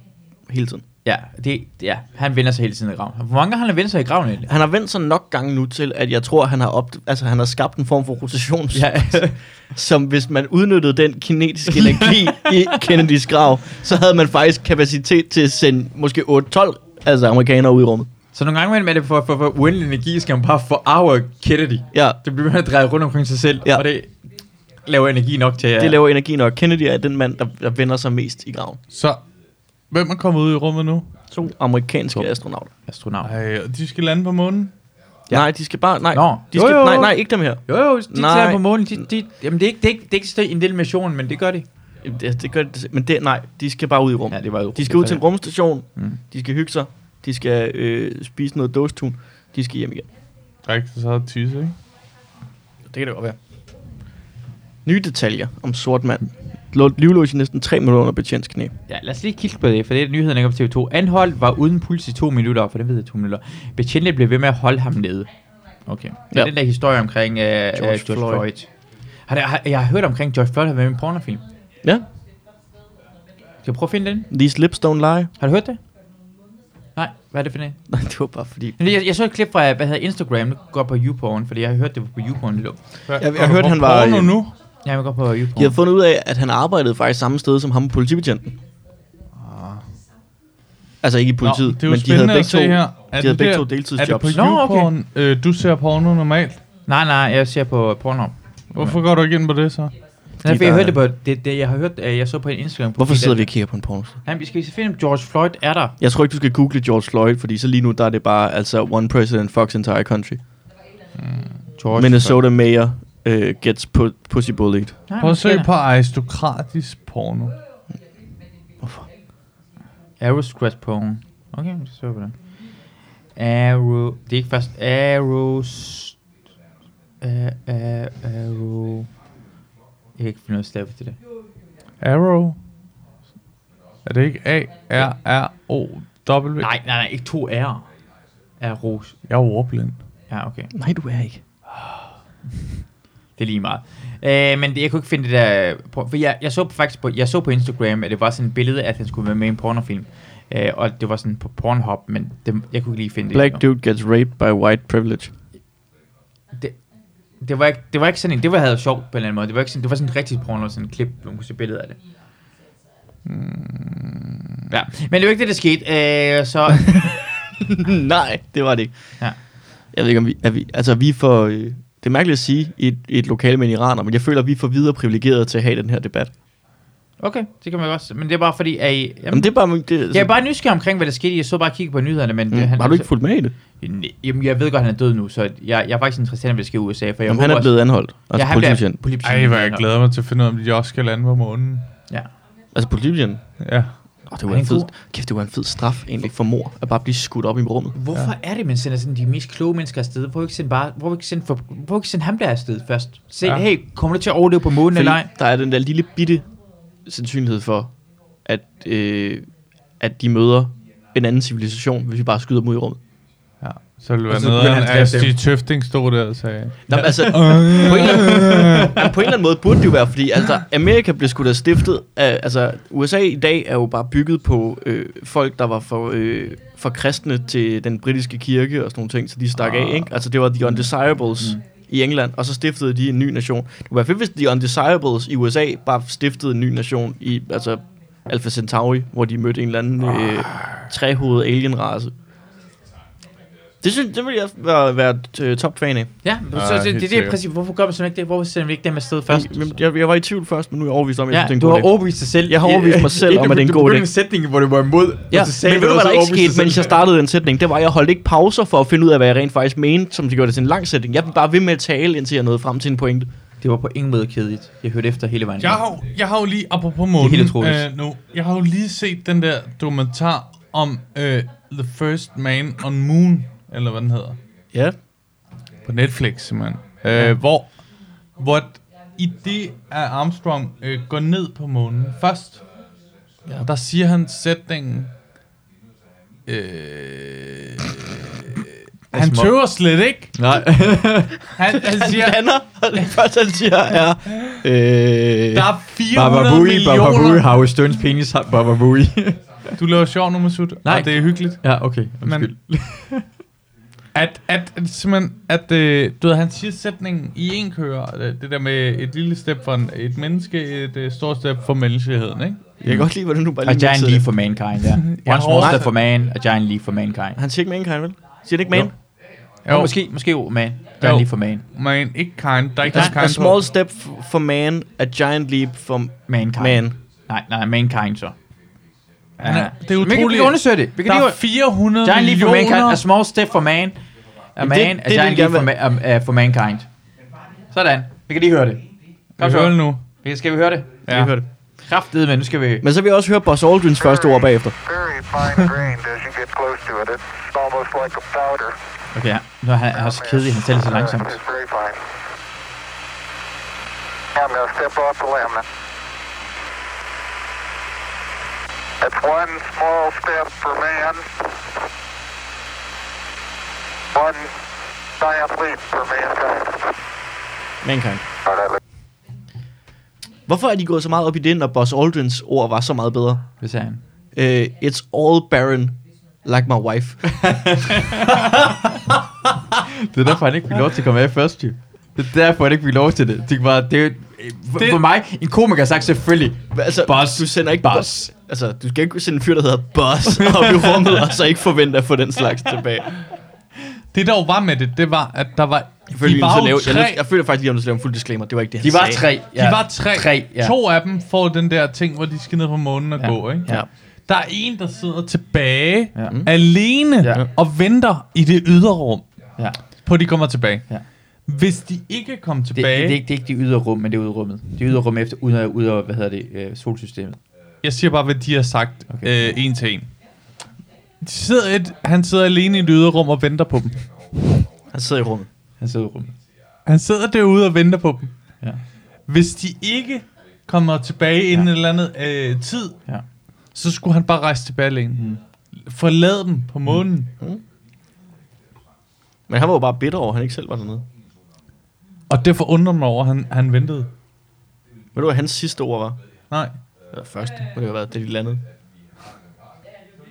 Speaker 4: hele tiden.
Speaker 3: Ja, det, ja, han vender sig hele tiden i graven. Hvor mange gange har han vendt sig i graven egentlig?
Speaker 4: Han har vendt sig nok gange nu til, at jeg tror, han har, op, altså, han har skabt en form for rotation, ja. som hvis man udnyttede den kinetiske energi i Kennedys grav, så havde man faktisk kapacitet til at sende måske 8-12 altså amerikanere ud i rummet.
Speaker 3: Så nogle gange imellem er det for, for, for uendelig energi, skal man bare for our Kennedy.
Speaker 4: Ja,
Speaker 3: Det bliver man at dreje rundt omkring sig selv,
Speaker 4: Ja.
Speaker 3: ja. og det laver energi nok til at...
Speaker 4: det laver energi nok. Kennedy er den mand, der, der vender sig mest i graven.
Speaker 1: Så, hvem er kommet ud i rummet nu?
Speaker 4: To amerikanske astronauter.
Speaker 3: astronaut.
Speaker 1: Ej, og de skal lande på månen.
Speaker 4: Ja. Nej, de skal bare... Nej,
Speaker 3: Nå.
Speaker 4: de skal,
Speaker 3: Jo, jo.
Speaker 4: nej, nej, ikke dem her.
Speaker 3: Jo, jo, de
Speaker 4: Nej.
Speaker 3: nej. tager på månen. De, de, jamen, det er ikke, det er ikke, det er ikke stø- en del af missionen, men det gør de.
Speaker 4: Jamen, Det, det gør det, men det, nej, de skal bare ud i rummet.
Speaker 3: det var jo...
Speaker 4: De skal ud til en rumstation, mm. de skal hygge sig, de skal øh, spise noget dåstun, de skal hjem igen.
Speaker 1: Der er ikke så meget tisse, ikke?
Speaker 4: Det kan det godt være. Nye detaljer om sort mand. Lå livløs i næsten 3 minutter under betjents knæ.
Speaker 3: Ja, lad os lige kigge på det, for det er nyheden, ikke om TV2. Anholdt var uden puls i to minutter, for det ved jeg to minutter. Betjente blev ved med at holde ham nede. Okay. Det er
Speaker 4: Ja.
Speaker 3: ja. den der historie omkring uh, George, uh, George
Speaker 4: Floyd.
Speaker 3: Floyd. Floyd. Har, der, har, jeg har hørt omkring George Floyd, har været med i en pornofilm.
Speaker 4: Ja,
Speaker 3: Skal jeg prøve at finde den?
Speaker 4: these lips don't lie.
Speaker 3: Har du hørt det? Nej, hvad er det for en?
Speaker 4: Nej, det var bare fordi...
Speaker 3: Men Jeg, jeg så et klip fra, hvad hedder Instagram, nu går jeg på YouPorn, fordi jeg har hørt det var på YouPorn lidt op.
Speaker 4: Jeg, jeg, jeg hørte, han var...
Speaker 1: Porno
Speaker 4: øh,
Speaker 1: nu?
Speaker 3: Ja, jeg går på YouPorn.
Speaker 4: De havde fundet ud af, at han arbejdede faktisk samme sted som ham på politibetjenten. Ah. Altså ikke i
Speaker 1: Nå,
Speaker 4: politiet,
Speaker 1: det er jo
Speaker 4: men de havde
Speaker 1: spændende
Speaker 4: begge
Speaker 1: at
Speaker 4: to,
Speaker 1: se her. Er
Speaker 4: de havde
Speaker 1: det
Speaker 4: begge
Speaker 1: der-
Speaker 4: to
Speaker 1: Er det
Speaker 4: deltidsjobs.
Speaker 1: på
Speaker 3: Nå,
Speaker 1: YouPorn, øh, du ser porno normalt?
Speaker 3: Nej, nej, jeg ser på porno.
Speaker 1: Hvorfor går du ikke ind på det så?
Speaker 3: Nej, for
Speaker 4: der
Speaker 3: jeg
Speaker 4: er-
Speaker 3: hørte det på, det, det, jeg har hørt, øh, jeg så på en Instagram.
Speaker 4: Hvorfor sidder vi og kigger på en porno?
Speaker 3: Han, vi skal se film, George Floyd er der.
Speaker 4: Jeg tror ikke, du skal google George Floyd, fordi så lige nu der er det bare altså one president fucks entire country.
Speaker 3: George
Speaker 4: Minnesota mayor øh, gets pu- pussy bullied.
Speaker 3: Nej,
Speaker 1: Prøv at
Speaker 3: måske
Speaker 1: søg
Speaker 3: der.
Speaker 1: på aristokratisk porno.
Speaker 3: Aeroscratch porn. Okay, så så på det. Aero... Det er ikke først... Aeros... Uh, aero... Jeg kan ikke finde noget stav til det.
Speaker 1: Arrow? Er det ikke A-R-R-O-W?
Speaker 3: Nej, nej, nej, ikke to R'er. Aeros...
Speaker 1: Jeg er ordblind.
Speaker 3: Ja, okay.
Speaker 4: Nej, du er ikke.
Speaker 3: Det er lige meget. Øh, men det, jeg kunne ikke finde det der... porno- For jeg, jeg så faktisk på, jeg så på Instagram, at det var sådan et billede, at han skulle være med i en pornofilm. Øh, og det var sådan på Pornhub, men det, jeg kunne ikke lige finde det.
Speaker 4: Black dude gets raped by white privilege.
Speaker 3: det var ikke, det var ikke sådan en, det var jeg havde sjovt på en eller anden måde. Det var ikke sådan, det var sådan en rigtig porno, sådan en klip, hvor man kunne se billeder af det. Mm. Ja, men det var ikke det, der skete. Øh, så
Speaker 4: Nej, det var det ikke.
Speaker 3: Ja.
Speaker 4: Jeg ved ikke, om vi... Er vi altså, vi får... Øh, det er mærkeligt at sige i et, i et lokale med en iraner, men jeg føler, at vi er for videre privilegerede til at have den her debat. Jamen,
Speaker 3: okay, det kan man godt. se. Men det er bare fordi, at I, jamen,
Speaker 4: Jamen det er bare... Det,
Speaker 3: jeg er bare nysgerrig omkring, hvad der skete. Jeg så bare kigge på nyhederne, men
Speaker 4: mm,
Speaker 3: det, han,
Speaker 4: har du ikke fulgt med i det?
Speaker 3: Nej, Jamen, jeg ved godt, han er død nu, så jeg, jeg er faktisk interesseret, i, hvad der sker i USA, for jeg
Speaker 4: Jamen,
Speaker 3: håber
Speaker 4: han er
Speaker 3: også-
Speaker 4: blevet anholdt. Altså,
Speaker 3: ja,
Speaker 4: ja,
Speaker 3: han bliver
Speaker 4: politibetjent.
Speaker 3: politibetjent.
Speaker 1: Ej, hvor jeg glæder mig til at finde ud af, om de også skal lande på månen.
Speaker 3: Ja.
Speaker 4: Altså, politibetjent.
Speaker 1: Ja.
Speaker 4: Oh, det var
Speaker 3: Han er
Speaker 4: en fed,
Speaker 3: god.
Speaker 4: kæft, det var en fed straf egentlig for mor, at bare blive skudt op i rummet.
Speaker 3: Hvorfor ja. er det, man sender sådan de mest kloge mennesker afsted? Hvorfor ikke sende, bare, hvorfor ikke sende, for, hvorfor ikke sende ham der afsted først? Se, ja.
Speaker 1: Ja.
Speaker 3: hey, kommer du til at overleve på månen eller ej?
Speaker 4: der er den der lille bitte sandsynlighed for, at, øh, at de møder en anden civilisation, hvis vi bare skyder dem ud i rummet.
Speaker 1: ja. Så ville det
Speaker 3: Og
Speaker 1: være
Speaker 3: så begynder
Speaker 1: nederen,
Speaker 3: han at
Speaker 1: at
Speaker 3: dræbe dem.
Speaker 1: Stig Tøfting stod der og sagde,
Speaker 4: Nå, men altså, på, en eller anden, jamen, på en eller anden måde burde det jo være, fordi altså, Amerika blev sgu da stiftet af, altså USA i dag er jo bare bygget på øh, folk, der var for, øh, for kristne til den britiske kirke og sådan nogle ting, så de stak af, ikke? Altså det var The Undesirables mm. i England, og så stiftede de en ny nation. Det var i hvert fald, hvis The Undesirables i USA bare stiftede en ny nation i, altså Alpha Centauri, hvor de mødte en eller anden øh, trehovedet alien-race. Det, synes, det vil jeg være, være øh, top-fan af.
Speaker 3: Ja, så, så,
Speaker 1: Ah,
Speaker 3: det,
Speaker 1: helt
Speaker 3: det, det er
Speaker 1: sikkert.
Speaker 3: præcis. Hvorfor gør man sådan ikke det? Hvorfor sender vi ikke dem afsted først?
Speaker 4: Jamen, Jeg, jeg var i tvivl først, men nu er jeg overbevist om, at jeg
Speaker 3: Ja,
Speaker 4: synes, det
Speaker 3: du
Speaker 4: er
Speaker 3: har
Speaker 4: en god idé.
Speaker 3: overbevist dig selv.
Speaker 4: Jeg har overbevist mig selv om, at det er en god idé.
Speaker 3: en sætning, hvor det var imod.
Speaker 4: Ja, men ved du, hvad der ikke skete, mens jeg startede den sætning? Det var, at jeg holdt ikke pauser for at finde ud af, hvad jeg rent faktisk mente, som det gjorde det til en lang sætning. Jeg blev bare ved med at tale, indtil jeg nåede frem til en pointe.
Speaker 3: Det var på ingen måde kedeligt. Jeg hørte efter hele vejen.
Speaker 1: Jeg har, jo- jeg har jo lige, apropos månen,
Speaker 3: helt utroligt.
Speaker 1: øh, nu, jeg har jo lige set den der dokumentar om øh, The First Man on Moon, eller hvad den hedder,
Speaker 4: Ja.
Speaker 1: på Netflix simpelthen, øh, ja. hvor, hvor i det at Armstrong øh, går ned på månen først, ja. der siger han sætningen, øh, han
Speaker 3: små-
Speaker 1: tøver slet ikke.
Speaker 3: Nej.
Speaker 1: Han, han siger,
Speaker 4: Lander, og det første, han siger, er... Øh,
Speaker 1: der er 400 millioner.
Speaker 3: har jo Støns penis. Bababui.
Speaker 1: Du laver sjov nummer sut,
Speaker 3: Nej.
Speaker 1: og det er hyggeligt.
Speaker 3: ja, okay.
Speaker 1: Men, at, at, at, simpelthen, at øh, du ved, han siger sætningen i en kører, øh, det der med et lille step for en, et menneske, et øh, stort step for menneskeheden, ikke?
Speaker 4: Jeg kan godt lide, hvordan du bare
Speaker 3: A
Speaker 4: lige
Speaker 3: giant
Speaker 4: mixede
Speaker 3: leap
Speaker 4: det.
Speaker 3: for mankind, ja. Once
Speaker 1: hårdt.
Speaker 3: more step for man, a giant leap for mankind.
Speaker 4: Han siger ikke mankind, vel? Siger han ikke man?
Speaker 1: Jo,
Speaker 3: Jo. Måske, måske jo, man.
Speaker 1: Jo.
Speaker 3: Giant leap for man.
Speaker 1: man, ikke kind. Der er ikke
Speaker 4: A,
Speaker 1: noget kind
Speaker 4: a small
Speaker 1: på.
Speaker 4: step f- for man, a giant leap for
Speaker 3: Mankind.
Speaker 4: man.
Speaker 3: Nej, nej, mankind så. Ja.
Speaker 1: Nej, det er
Speaker 3: Vi kan, vi
Speaker 1: utroligt.
Speaker 3: kan undersøge det. Vi kan
Speaker 1: Der
Speaker 3: lige,
Speaker 1: er 400
Speaker 3: giant leap for mankind, a
Speaker 1: millioner.
Speaker 3: small step for man, a
Speaker 4: Jamen,
Speaker 3: man, det,
Speaker 4: det- det
Speaker 3: a
Speaker 4: vil
Speaker 3: giant
Speaker 4: jeg
Speaker 3: leap for,
Speaker 4: gerne
Speaker 3: ma- um, uh, for mankind. Sådan. Vi kan lige høre det. Kom
Speaker 1: Kan du
Speaker 3: så.
Speaker 1: høre det nu?
Speaker 3: Vi- Skal vi høre det?
Speaker 1: Ja.
Speaker 4: høre det.
Speaker 3: Kraftede, men nu skal vi...
Speaker 4: Men så vil jeg også høre Buzz Aldrins første ord bagefter.
Speaker 8: Very fine grained as you get close to it. It's almost like a powder.
Speaker 3: Okay, ja. nu er han han er også kedelig, han tæller så langsomt.
Speaker 8: It's very fine. I'm going to step off the limb. That's one small step for man, one giant leap for mankind.
Speaker 4: Mankind.
Speaker 8: All right, let's
Speaker 4: Hvorfor er de gået så meget op i det, når Buzz Aldrins ord var så meget bedre?
Speaker 3: Det sagde han.
Speaker 4: Uh, it's all barren, like my wife.
Speaker 3: Det er derfor, han ikke fik lov til at komme af først, jo. Det er derfor, han ikke fik lov til det. Det var, det, er jo- for, for mig, en komiker har sagt selvfølgelig.
Speaker 4: altså,
Speaker 3: Buzz.
Speaker 4: du sender ikke
Speaker 3: Buzz.
Speaker 4: Altså, du skal ikke sende en fyr, der hedder Buzz op i rummet, og så ikke forvente at få den slags tilbage.
Speaker 1: Det der jo var med det, det var, at der var...
Speaker 4: Jeg føler,
Speaker 1: de
Speaker 4: vi
Speaker 1: var
Speaker 4: er nødt til at
Speaker 1: jo
Speaker 4: lave, jeg, er nødt-
Speaker 1: tre.
Speaker 4: jeg føler faktisk, lige, at jeg er nødt til at lave en fuld disclaimer. Det var ikke det, han
Speaker 3: De var
Speaker 4: sagde.
Speaker 3: tre.
Speaker 1: De var tre.
Speaker 3: tre ja.
Speaker 1: To af dem får den der ting, hvor de skal ned på månen og
Speaker 3: Ja.
Speaker 1: gå, ikke?
Speaker 4: Ja.
Speaker 1: Der er en, der sidder tilbage
Speaker 3: Ja. Mm.
Speaker 1: alene
Speaker 3: Ja.
Speaker 1: og venter i det ydre rum,
Speaker 3: Ja.
Speaker 1: på at de kommer tilbage.
Speaker 3: Ja.
Speaker 1: Hvis de ikke kom
Speaker 3: Det, det,
Speaker 1: tilbage...
Speaker 3: det, er ikke, det er ikke det ydre rum, men det er udrummet. Det er ydre rum efter, uden ud af, hvad hedder det, øh, solsystemet.
Speaker 1: Jeg siger bare, hvad de har sagt okay. øh, en til en. De sidder et, han sidder alene i et yderrum og venter på dem.
Speaker 4: Han sidder i rummet.
Speaker 3: Han sidder i rummet.
Speaker 1: Han sidder derude og venter på dem.
Speaker 3: Ja.
Speaker 1: Hvis de ikke kommer tilbage inden ja. eller andet øh, tid,
Speaker 3: Ja.
Speaker 1: så skulle han bare rejse tilbage alene. Mm. Forlade dem på månen. Mm.
Speaker 4: Men han var jo bare bitter over, at han ikke selv var dernede.
Speaker 1: Og derfor undrer mig over, at han, han ventede.
Speaker 4: Ved du, hvad hans sidste ord var?
Speaker 1: Nej.
Speaker 4: Eller første, må det have været, det de landede.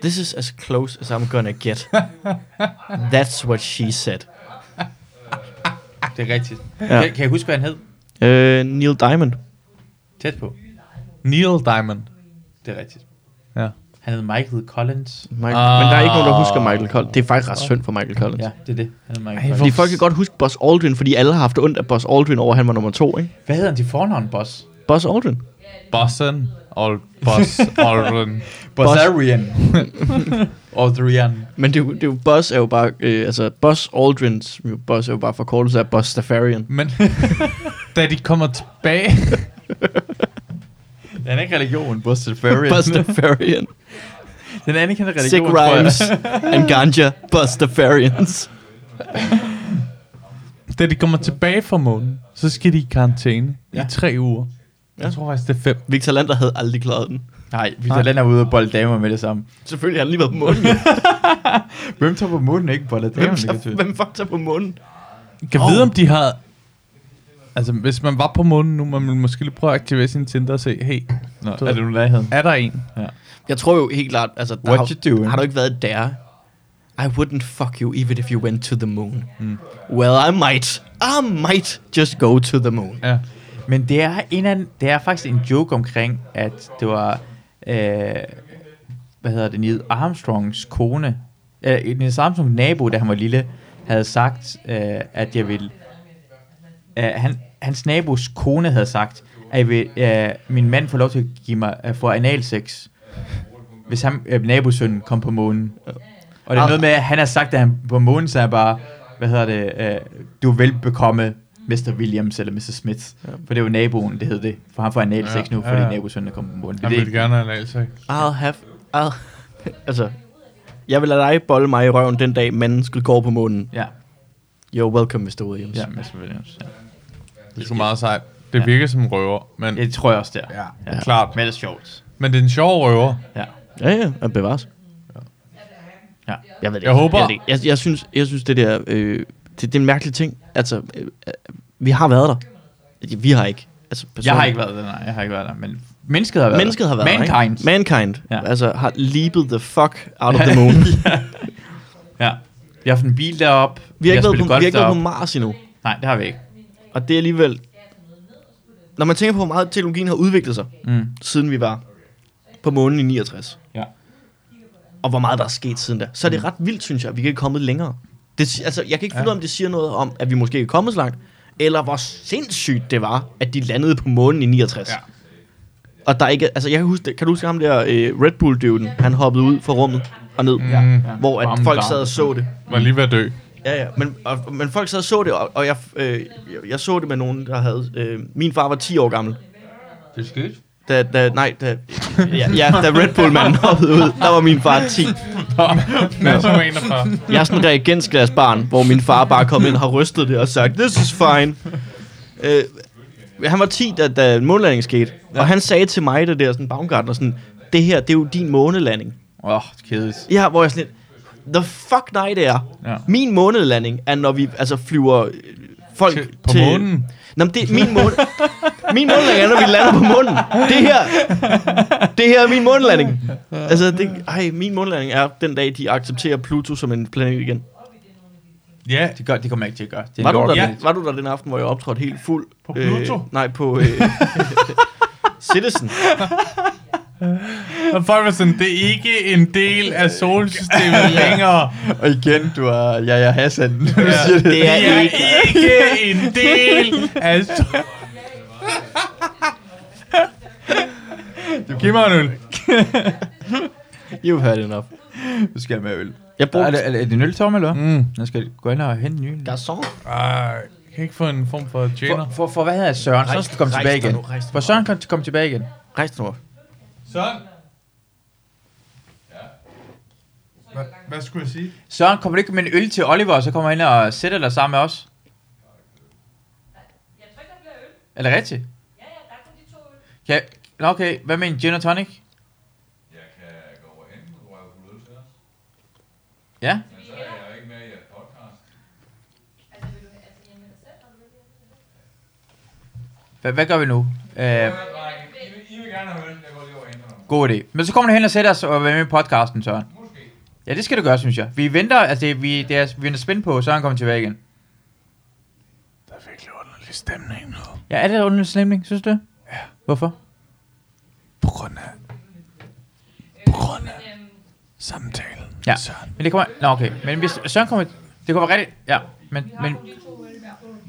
Speaker 4: This is as close as I'm gonna get. That's what she said.
Speaker 3: Det er rigtigt.
Speaker 4: Ja.
Speaker 3: Kan, kan jeg huske, hvad han hed?
Speaker 4: Uh, Neil Diamond.
Speaker 3: Tæt på.
Speaker 1: Neil Diamond.
Speaker 3: Det er rigtigt.
Speaker 1: Ja.
Speaker 3: Han hed Michael Collins.
Speaker 4: Michael. Uh, men der er ikke nogen, der husker Michael Collins. Det er faktisk ret synd for Michael Collins.
Speaker 3: Ah. Ja,
Speaker 4: Ja.
Speaker 3: det er det. Han hed Michael
Speaker 1: Ej,
Speaker 3: Collins.
Speaker 1: hvor-
Speaker 4: Fordi folk kan godt huske Buzz Aldrin, fordi alle har haft ondt af Buzz Aldrin over, at han var nummer to, ikke?
Speaker 3: Hvad hedder han til fornavn, Boss?
Speaker 4: Buzz Aldrin.
Speaker 1: Bossen. Og Boss Aldrin.
Speaker 3: Bossarian. Aldrian.
Speaker 4: Men det, er jo- det er jo, Buzz er jo bare, øh, altså Buzz Aldrins, jo, Buzz er jo bare forkortelse af Buzz Stafarian.
Speaker 1: Men da de kommer tilbage...
Speaker 3: Den er ikke religion, Boss Safarian.
Speaker 4: Buzz Stafarian.
Speaker 3: Den anden kan religion.
Speaker 4: Sick
Speaker 3: tror jeg.
Speaker 4: Rhymes and Ganja, Buzz Stafarians.
Speaker 1: Da de kommer tilbage fra månen, så skal de i karantæne ja.
Speaker 3: Ja.
Speaker 1: i tre uger. Ja.
Speaker 4: Ja.
Speaker 1: Jeg tror faktisk, det er fem.
Speaker 4: Victor Lander havde aldrig klaret den.
Speaker 3: Nej, vi tager lander ude og bolde damer med det samme.
Speaker 4: Selvfølgelig har han lige været på månen.
Speaker 3: Hvem tager på munden ikke bolde damer?
Speaker 4: Hvem,
Speaker 3: det kan
Speaker 4: tager,
Speaker 3: tyde.
Speaker 4: hvem fuck tager på månen?
Speaker 1: Kan oh. vide, om de har... Altså, hvis man var på månen nu, man ville måske lige prøve at aktivere sin Tinder og se, hey,
Speaker 3: Nå,
Speaker 1: Du ved-
Speaker 3: er det nu lærheden?
Speaker 1: er der en?
Speaker 4: Jeg tror jo helt klart, altså, der
Speaker 3: What
Speaker 4: har,
Speaker 3: you doing?
Speaker 4: har du ikke været der? I wouldn't fuck you even if you went to the moon. Mm. Well, I might. I might just go to the moon.
Speaker 1: Ja.
Speaker 3: Men det er, en af, det er faktisk en joke omkring, at det var, øh, hvad hedder det, Neil Armstrongs kone, øh, Neil Armstrongs nabo, da han var lille, havde sagt, øh, at jeg ville, øh, han, hans nabos kone havde sagt, at jeg vil, øh, min mand får lov til at give mig øh, for analsex, hvis han, øh, nabosønnen kom på månen. Og
Speaker 4: Ah.
Speaker 3: det er noget med, at han har sagt, at han på månen, så er bare, hvad hedder det, øh, du er velbekomme Mr. Williams eller Mr. Smith. Ja. For det var naboen, det hed det. For han får analsex ja, nu, fordi
Speaker 1: ja,
Speaker 3: ja,
Speaker 1: ja.
Speaker 3: ja. nabosønnen er kommet på månen.
Speaker 1: Han
Speaker 3: Det, er
Speaker 1: ville
Speaker 3: det,
Speaker 1: gerne have en altså.
Speaker 4: I'll have... I'll, altså, jeg vil lade dig bolle mig i røven den dag, mennesket går på månen.
Speaker 3: ja,
Speaker 4: You're welcome, Mr. Williams.
Speaker 3: ja, Mr. Williams. Ja.
Speaker 1: Det er sgu meget sejt. Det virker som en røver, men
Speaker 3: Ja, det tror jeg også, der. Ja.
Speaker 1: ja. klart.
Speaker 3: Men det er sjovt.
Speaker 1: Men det er en sjov røver.
Speaker 3: Ja.
Speaker 4: Ja, ja, han bevares.
Speaker 3: Ja.
Speaker 4: Jeg ved det
Speaker 1: Jeg
Speaker 4: ikke.
Speaker 1: håber-
Speaker 4: Jeg, ved det ikke. jeg, jeg, synes, jeg synes, det der... Øh, det, det, er en mærkelig ting. Altså, øh, øh, vi har været der. Vi har ikke. Altså,
Speaker 3: Jeg har
Speaker 4: personligt.
Speaker 3: ikke været der, nej. Jeg har ikke været der, men mennesket har været
Speaker 4: Mennesket har været
Speaker 3: der.
Speaker 4: der,
Speaker 3: Mankind.
Speaker 4: ikke? Mankind.
Speaker 3: Ja.
Speaker 4: Ja. Altså, har leapet the fuck out of the moon.
Speaker 3: ja. Vi har haft en bil deroppe.
Speaker 4: vi har ikke været
Speaker 3: spillet
Speaker 4: på, vi har
Speaker 3: golf
Speaker 4: ikke været på
Speaker 3: deroppe.
Speaker 4: Mars endnu.
Speaker 3: Nej, det har vi ikke.
Speaker 4: Og det er alligevel... Når man tænker på, hvor meget teknologien har udviklet sig,
Speaker 3: Mm.
Speaker 4: siden vi var på månen i 69.
Speaker 3: Ja.
Speaker 4: Og hvor meget der er sket siden da. Så er det ret vildt, synes jeg, at vi ikke er kommet længere. Det, si- altså, jeg kan ikke finde ud af, om det siger noget om, at vi måske ikke er kommet så langt, eller hvor sindssygt det var, at de landede på månen i 69. Ja. Og der er ikke, altså jeg kan huske, det- kan du huske ham der øh, Red Bull-døden? Han hoppede ud fra rummet og ned, ja, ja. hvor at
Speaker 3: Varmen
Speaker 4: folk
Speaker 3: var.
Speaker 4: sad og så det.
Speaker 1: Var lige ved at dø.
Speaker 4: Ja, ja. Men, og, men folk sad og så det, og, og jeg, øh, jeg, jeg så det med nogen, der havde... Øh, min far var 10 år gammel.
Speaker 3: Det er skødt.
Speaker 4: Da, da, nej, da, ja, ja, da Red Bull-manden hoppede ud, der var min far 10.
Speaker 6: Men så var en, der bare-
Speaker 4: Jeg er sådan en reagensglasbarn, hvor min far bare kom ind og har rystet det og sagt, this is fine. Øh, han var 10, da, da månelandingen skete, ja. og han sagde til mig, det der sådan Baumgartner, sådan, det her, det er jo din månelanding.
Speaker 3: Åh, oh, kedeligt.
Speaker 4: Ja, hvor jeg sådan lidt, the fuck nej det er.
Speaker 3: Ja.
Speaker 4: Min månelanding er, når vi altså flyver øh, folk til...
Speaker 1: På
Speaker 4: til
Speaker 1: månen.
Speaker 4: Nå, men det er min måne... min månelanding er, når vi lander på månen. Det her... Det her er min månelanding. Altså, det, ej, min månelanding er den dag, de accepterer Pluto som en planet igen.
Speaker 1: Ja,
Speaker 3: Det, gør, det kommer jeg ikke til at gøre. Det er
Speaker 4: Var
Speaker 3: en
Speaker 4: du,
Speaker 3: lort.
Speaker 4: der,
Speaker 3: Ja.
Speaker 4: ja. var du der den aften, hvor jeg optrådte helt fuld? På
Speaker 1: Pluto?
Speaker 4: Øh, nej, på... Øh, Citizen.
Speaker 1: og folk var sådan, det er ikke en del af solsystemet længere.
Speaker 3: Og igen, du er ja, ja, Hassan.
Speaker 1: Ja.
Speaker 4: Det
Speaker 1: Det
Speaker 4: er
Speaker 1: er
Speaker 4: ikke...
Speaker 1: ikke en del af sol- Giv mig en øl.
Speaker 4: You've had enough.
Speaker 3: Nu skal jeg med øl.
Speaker 4: Jeg
Speaker 3: Er
Speaker 4: brugte...
Speaker 3: det, er det en øltomme, eller hvad?
Speaker 1: Mm.
Speaker 3: Jeg skal gå ind og hente en ny.
Speaker 4: Garçon.
Speaker 1: Ej, kan jeg ikke få en form for tjener?
Speaker 3: For, for, for hvad hedder Søren? Søren skal komme
Speaker 4: rejs
Speaker 3: tilbage
Speaker 4: dig
Speaker 3: igen.
Speaker 4: nu, rejs dig
Speaker 3: For Søren kom, kom tilbage igen.
Speaker 4: Rejs dig nu op.
Speaker 1: Sådan. Hvad, hvad skulle jeg sige?
Speaker 3: Søren, kommer du ikke med en øl til Oliver, og så kommer han ind og sætter dig sammen med os?
Speaker 7: Jeg tror ikke, der bliver øl.
Speaker 3: Er det rigtigt?
Speaker 7: Ja, ja, der kom de to øl.
Speaker 3: Kan jeg, Nå, okay, hvad med en gin og tonic? Ja,
Speaker 7: Altså, vil du have, altså, hjemme dig selv, når du vil?
Speaker 3: hvad, hvad gør vi nu? Øh, god idé. Men så kommer du hen og sætter os og er med i podcasten, Søren. Ja, det skal du gøre, synes jeg. Vi venter, altså det, vi, det er, vi er spændt på, at Søren kommer tilbage igen.
Speaker 1: Der er virkelig underlig stemning nu.
Speaker 3: Ja, er det under stemning, synes du? Ja. Hvorfor?
Speaker 1: På grund af... På grund af... Samtalen.
Speaker 3: Ja.
Speaker 1: Så.
Speaker 3: Men det kommer... Nå, okay. Men hvis Søren kommer... Det kommer rigtigt... Ja, men... men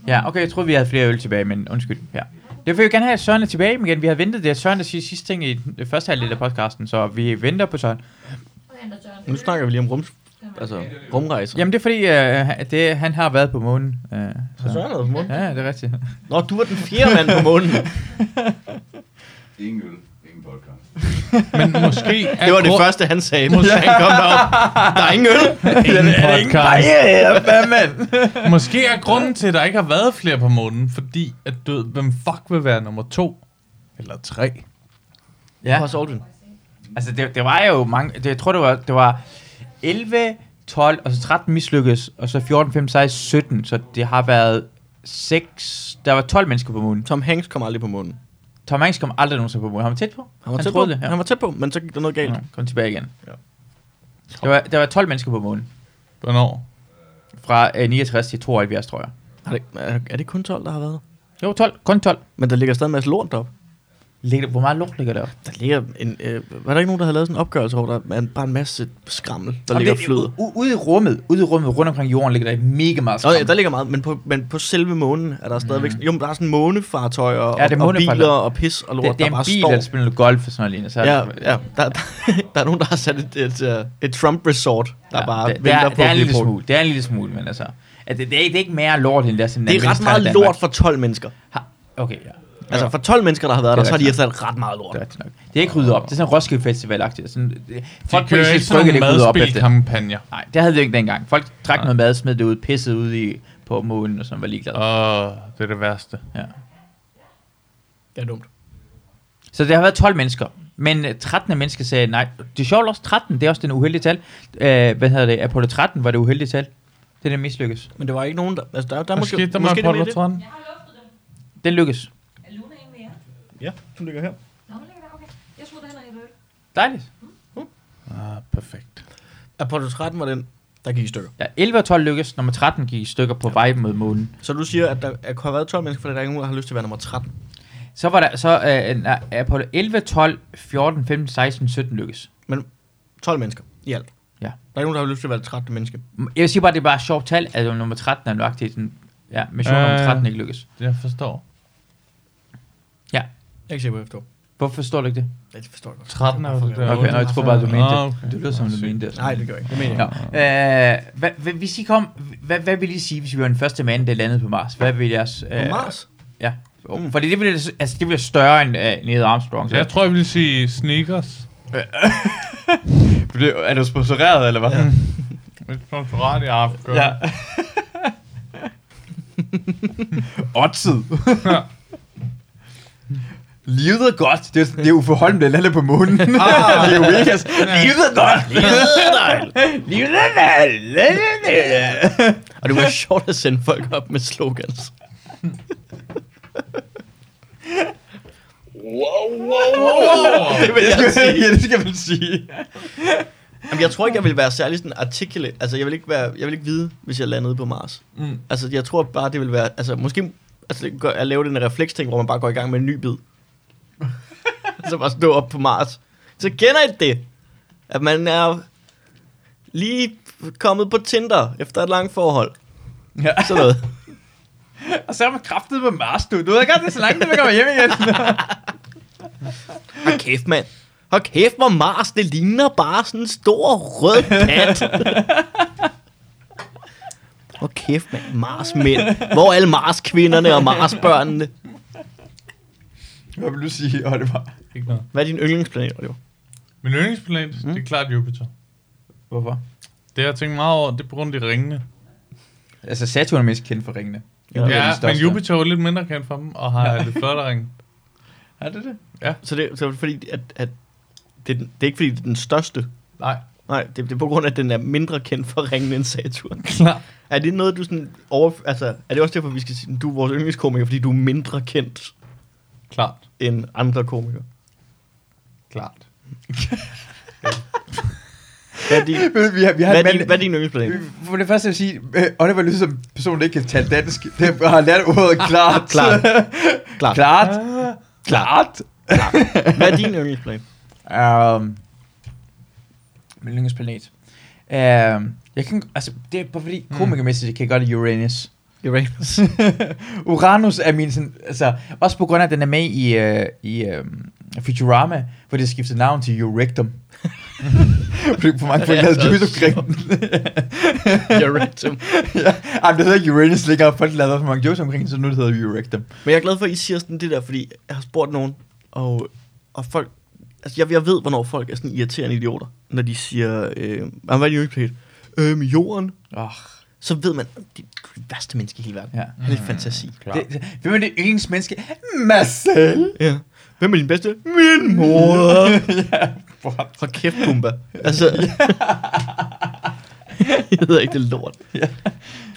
Speaker 3: ja, okay, jeg troede, vi havde flere øl tilbage, men undskyld. Ja. Det vil vi gerne have, at Søren er tilbage igen. Vi har ventet det, er Søren der siger sidste ting i den- det første halvdel af podcasten, så vi venter på Søren.
Speaker 4: Nu snakker vi lige om rum, altså, rumrejser.
Speaker 3: Jamen, det er fordi, øh, det, han har været på månen. Øh,
Speaker 4: Har
Speaker 3: så.
Speaker 4: Søren været på månen?
Speaker 3: Ja, det er rigtigt.
Speaker 4: Nå, du var den fjerde mand på månen.
Speaker 2: Ingen øl, ingen podcast.
Speaker 1: Men måske... er
Speaker 4: Det var det
Speaker 1: gru-
Speaker 4: første, han sagde, da han kom derop. Der er ingen øl.
Speaker 1: Ingen podcast.
Speaker 3: Ja, hvad mand?
Speaker 1: Måske er grunden til, at der ikke har været flere på månen, fordi at du ved, hvem fuck vil være nummer to? Eller tre?
Speaker 3: Ja,
Speaker 4: Hos Aldrin.
Speaker 3: altså det, det var jo mange... Det, jeg tror, det var, det var 11, 12, og så 13 mislykkedes, og så 14, 15, 16, 17, så det har været 6... Der var 12 mennesker på månen.
Speaker 4: Tom Hanks kom aldrig på månen.
Speaker 3: Tom Hanks kom aldrig nogensinde på månen. Han var tæt på.
Speaker 4: Han var, tæt på,
Speaker 3: troede det. Ja.
Speaker 4: han var tæt på, men så gik der noget galt.
Speaker 3: Ja, kom tilbage igen.
Speaker 4: Ja.
Speaker 3: Der var, der var 12 mennesker på månen.
Speaker 1: Hvornår?
Speaker 3: Fra øh, 69 til 72, tror jeg.
Speaker 4: Er, det, er, er det kun 12, der har været?
Speaker 3: Jo, 12. Kun 12.
Speaker 4: Men der ligger stadig en masse lort deroppe.
Speaker 3: Ligger, der- hvor meget lort ligger der?
Speaker 4: Der ligger en... Øh, var der ikke nogen, der havde lavet sådan en opgørelse over, der er en- bare en masse skrammel, der ligger og flyder?
Speaker 3: u- ude i rummet, ude i rummet rundt omkring jorden, ligger der mega meget
Speaker 4: Nå,
Speaker 3: skam.
Speaker 4: ja, der ligger meget, men på, men på selve månen er der stadigvæk... Mm. Jo, men der er sådan månefartøjer og,
Speaker 3: Ja, det er
Speaker 4: og
Speaker 3: månefartøjer.
Speaker 4: biler og pis og lort,
Speaker 3: det, det, er
Speaker 4: der bare
Speaker 3: en bil,
Speaker 4: står.
Speaker 3: der spiller noget golf og sådan noget lignende. Så
Speaker 4: Ja, ja. Der, der, der er nogen, der har sat et, et, øh, et Trump-resort, der ja, bare
Speaker 3: det, det,
Speaker 4: venter
Speaker 3: er,
Speaker 4: på
Speaker 3: det er
Speaker 4: at
Speaker 3: en
Speaker 4: blive
Speaker 3: lille
Speaker 4: brugt.
Speaker 3: smule, det er en lille smule, men altså... At det, det, er, det er ikke mere lort, end der sådan
Speaker 4: Det er ret
Speaker 3: administrerer
Speaker 4: meget
Speaker 3: Danmark.
Speaker 4: lort for 12 mennesker.
Speaker 3: Ha- Okay, ja.
Speaker 4: Altså for 12 mennesker, der har
Speaker 3: Det
Speaker 4: været der,
Speaker 3: er
Speaker 4: så har de altså ret meget lort.
Speaker 3: Det er rigtigt nok. Det er ikke ryddet op. Det er sådan Roskilde Festival-agtigt. Sådan, det-
Speaker 1: De
Speaker 3: folk på
Speaker 1: kører
Speaker 3: Islands
Speaker 1: ikke sådan
Speaker 3: Brygge, det er ikke ryddet op
Speaker 1: nogle
Speaker 3: efter.
Speaker 1: madspilkampagner.
Speaker 3: Nej, det havde vi ikke dengang. Folk drak noget mad, smed det ud, pissede ud i, på månen og sådan var ligeglade.
Speaker 1: Åh, det er det værste.
Speaker 3: Ja.
Speaker 4: Det er dumt.
Speaker 3: Så det har været 12 mennesker. Men øh, 13 af mennesker sagde nej. Det er sjovt også 13, det er også den uheldige tal. Øh, hvad hedder det? Apollo 13 var det uheldige tal. Det er det mislykkes.
Speaker 4: Men det var ikke nogen, der... Altså, der, der
Speaker 1: Hvad
Speaker 4: måske,
Speaker 1: skete der med
Speaker 4: måske
Speaker 1: Apollo
Speaker 4: det.
Speaker 1: 13?
Speaker 7: Jeg har luftet dem.
Speaker 3: Den lykkes.
Speaker 7: Er Luna en mere?
Speaker 4: Ja, som ligger her.
Speaker 7: Nå, hun ligger der, okay. Jeg troede, der havde en øl.
Speaker 3: Dejligt.
Speaker 1: Ah, perfekt.
Speaker 4: Apollo 13 var den, der gik i stykker.
Speaker 3: Ja, 11 og 12 lykkes. Nummer 13 gik i stykker på vej mod månen.
Speaker 4: Så du siger, at der er- har været 12 mennesker, fordi der er ikke nogen, der har lyst til at være nummer 13.
Speaker 3: Så var der så øh, nej, Apollo 11, 12, 14, 15, 16, 17 lykkes.
Speaker 4: Men 12 mennesker i alt.
Speaker 3: Ja.
Speaker 4: Der er ikke nogen, der har lyst til at være det 13. menneske.
Speaker 3: Jeg vil sige bare, det er bare et sjovt tal, at nummer 13 er nøjagtigt sådan, ja, mission øh. nummer
Speaker 1: Øh.
Speaker 3: 13 ikke lykkes.
Speaker 1: Jeg forstår.
Speaker 4: Jeg er ikke sikker på, at jeg forstår.
Speaker 3: Hvorfor forstår du ikke det?
Speaker 4: Ja, det forstår jeg godt.
Speaker 1: 13 er jo det der.
Speaker 3: Okay, nå, jeg tror bare, du mente det.
Speaker 1: Ah, okay.
Speaker 3: Det lyder som, du mente det.
Speaker 4: Nej, det gør jeg ikke. Det mener jeg.
Speaker 3: Nå, øh, hvad, hvad, hvis I kom, hvad, hvad vil I sige, hvis vi var den første mand, der landede på Mars? Hvad vil jeres... Øh,
Speaker 4: På Mars?
Speaker 3: Ja. Mm. Fordi det ville, altså, det ville større end øh, Neil Armstrong. Så.
Speaker 1: Jeg tror, jeg ville sige sneakers.
Speaker 3: Er du sponsoreret, eller hvad?
Speaker 1: Et sponsorat i aften.
Speaker 3: Ja. Oddset. Livet er godt. Det er, det er Uffe Holm, der lander på månen. Ah, det er jo ikke altså. Livet er godt. Livet er dejligt. Livet er dejligt.
Speaker 4: Og det var sjovt at sende folk op med slogans.
Speaker 3: Det vil jeg sige. Ja, det skal man sige.
Speaker 4: Jamen, jeg tror ikke, jeg vil være særlig sådan artikulate. Altså, jeg vil ikke, være, jeg vil ikke vide, hvis jeg landede på Mars. Mm. Altså, jeg tror bare, det vil være... Altså, måske altså, det gør- at lave den refleksting, hvor man bare går i gang med en ny bid. så bare stå op på Mars. Så kender I det? At man er lige kommet på Tinder efter et langt forhold.
Speaker 3: Ja.
Speaker 4: Sådan noget.
Speaker 3: Og så er man kraftet på Mars, du. Du ved ikke, at det er så langt, at man kommer hjem igen.
Speaker 4: Hold kæft, mand. Hold kæft, hvor Mars, det ligner bare sådan en stor rød pat. Hold kæft, mand. Mars mænd. Hvor er alle Mars kvinderne og Mars børnene?
Speaker 3: Hvad vil du sige, Oliver?
Speaker 1: Ikke noget.
Speaker 4: Hvad er din yndlingsplanet, Oliver?
Speaker 1: Min yndlingsplanet, mm. det er klart Jupiter.
Speaker 3: Hvorfor?
Speaker 1: Det har jeg tænkt meget over, det er på grund af de ringene.
Speaker 3: Altså, Saturn er mest kendt for ringene.
Speaker 4: Ja.
Speaker 3: Det er
Speaker 1: Ja,
Speaker 3: den
Speaker 1: men
Speaker 3: største.
Speaker 1: Jupiter er jo lidt mindre kendt for dem, og har lidt flottere ringe.
Speaker 3: Er det det?
Speaker 4: Så det, så er det fordi, at, at det, er den- det er ikke fordi, det er den største.
Speaker 1: Nej.
Speaker 4: Nej, det, det er på grund af, at den er mindre kendt for ringen end Saturn.
Speaker 1: Klar.
Speaker 4: Er det noget, du sådan over... Altså, er det også derfor, vi skal sige, at du er vores yndlingskomiker, fordi du er mindre kendt
Speaker 1: Klart.
Speaker 4: end andre komikere?
Speaker 1: Klart.
Speaker 4: Hvad er din,
Speaker 3: Vi har, vi har
Speaker 4: hvad
Speaker 3: en
Speaker 4: er
Speaker 3: mand-
Speaker 4: din, hvad er din yndlingsplanet?
Speaker 3: For det første vil jeg sige, øh, Oliver lyder som en person, der ikke kan tale dansk. Der har lært ordet klart.
Speaker 4: Klart. Klart.
Speaker 3: Klart. Klart.
Speaker 4: Hvad er din yndlingsplanet?
Speaker 3: Um, min yndlingsplanet. Um, jeg kan, altså, det er bare fordi, komikermæssigt kan jeg godt lide Uranus. Uranus. Uranus er min sådan, altså, også på grund af, at den er med i, øh, i øh, Futurama, hvor de har skiftet navn til Urectum. Fordi for mange folk
Speaker 4: Det er altså
Speaker 3: lavede
Speaker 4: så
Speaker 3: Juice omkring
Speaker 4: Jeg ranked dem.
Speaker 3: ja. Ej, men det hedder Uranus længere, folk lavede for mange jokes omkring, det, så nu det hedder Urectum.
Speaker 4: Men jeg er glad for, at I siger sådan det der, fordi jeg har spurgt nogen, og, og folk... Altså, jeg, jeg ved, hvornår folk er sådan irriterende idioter, når de siger, øh, "Ah, hvad er din yndlingsplanet? Øhm, jorden.
Speaker 3: Oh,
Speaker 4: Så ved man, det er det værste menneske i hele verden.
Speaker 3: ja.
Speaker 4: Han er et fantasi.
Speaker 3: Det, det, hvem er det yndlingsmenneske? Mig selv!
Speaker 4: Ja. Hvem er din bedste? Min mor.
Speaker 3: Fuck.
Speaker 4: Hold kæft, Pumba. Altså... jeg hedder ikke det lort.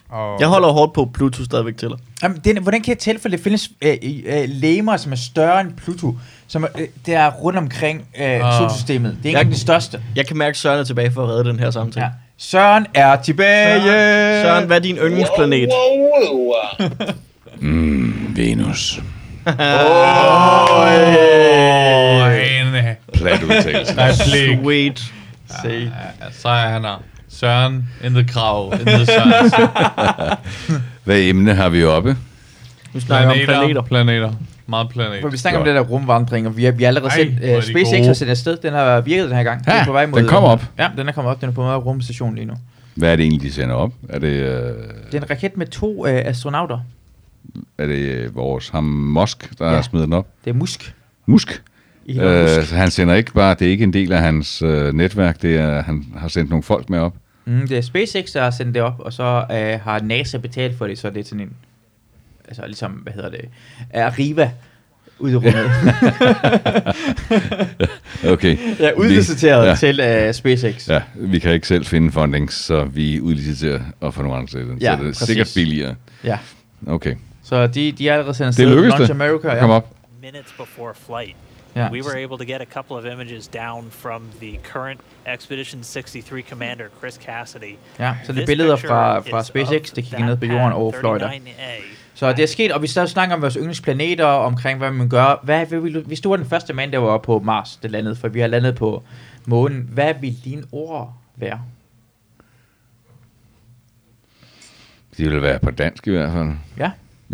Speaker 1: Og
Speaker 4: Jeg holder hårdt på, at Pluto stadigvæk tæller.
Speaker 3: Jamen, den, hvordan kan jeg tælle, for det findes øh, øh, lemer, som er større end Pluto, som er, øh, der er rundt omkring øh,
Speaker 1: Ah.
Speaker 3: solsystemet. Det er ikke engang den største.
Speaker 4: Jeg kan mærke, at Søren er tilbage for at redde den her samtale.
Speaker 3: Ja. Søren er tilbage!
Speaker 4: Søren, hvad er din yndlingsplanet?
Speaker 2: Mm, Venus.
Speaker 1: Og en øh,
Speaker 2: Plat udtalelse.
Speaker 1: replik.
Speaker 4: Sweet. Say.
Speaker 1: Ja, så er han her. Søren, intet krav, intet Sørensen.
Speaker 2: Hvad emne har vi oppe?
Speaker 4: Nu snakker jeg om planeter.
Speaker 1: Planeter. Meget planeter.
Speaker 3: Hvor vi snakker om det der rumvandring, og vi har, vi har allerede
Speaker 1: Ej,
Speaker 3: sendt,
Speaker 1: hvor er
Speaker 3: øh,
Speaker 1: de
Speaker 3: SpaceX
Speaker 1: gode.
Speaker 3: har sendt afsted, den har virket den her gang.
Speaker 2: Ja,
Speaker 3: den er på vej mod,
Speaker 2: den kommer op.
Speaker 3: Ja, den er kommet op, den er på vej mod rumstationen lige nu.
Speaker 2: Hvad er det egentlig, de sender op? Er det, øh,
Speaker 3: Det er en raket med to øh, astronauter.
Speaker 2: er det øh, vores ham Musk, der
Speaker 3: Ja.
Speaker 2: ja. smider den op?
Speaker 3: Det er Musk.
Speaker 2: Musk?
Speaker 3: I
Speaker 2: Øh,
Speaker 3: øh, Musk.
Speaker 2: så han sender ikke bare, det er ikke en del af hans øh, netværk, det er, han har sendt nogle folk med op.
Speaker 3: Mm, det er SpaceX, der har sendt det op, og så øh, har NASA betalt for det, så det er sådan en, altså ligesom, hvad hedder det, Arriva ud i rummet.
Speaker 2: Okay.
Speaker 3: ja, udliciteret ja. til øh, SpaceX. Ja.
Speaker 2: Ja, vi kan ikke selv finde funding, så vi udliciterer og får nogle andre til den.
Speaker 3: Ja,
Speaker 2: så det er
Speaker 3: præcis.
Speaker 2: sikkert billigere.
Speaker 3: ja.
Speaker 2: Okay,
Speaker 3: Så de, de er allerede sendt
Speaker 2: det
Speaker 3: afsted.
Speaker 2: lykkedes
Speaker 3: Launch
Speaker 2: det.
Speaker 3: America, ja.
Speaker 2: Kom op.
Speaker 9: minutes before flight,
Speaker 3: Yeah.
Speaker 9: We were able to get a couple of images down from the current Expedition 63 commander, Chris Cassidy.
Speaker 3: Ja, så det er
Speaker 9: This
Speaker 3: billeder
Speaker 9: picture
Speaker 3: fra, fra
Speaker 9: is
Speaker 3: SpaceX,
Speaker 9: of
Speaker 3: det kigger
Speaker 9: that
Speaker 3: ned på jorden
Speaker 9: pad
Speaker 3: og fløjter.
Speaker 9: 39A.
Speaker 3: Så det er sket, og vi stadig snakker om vores yndlingsplaneter, og omkring hvad man gør. Hvad vil vi, hvis du var den første mand, der var oppe på Mars, det landede, for vi har landet på månen. Hvad vil dine ord være?
Speaker 2: Det ville være på dansk i hvert fald.
Speaker 3: Ja.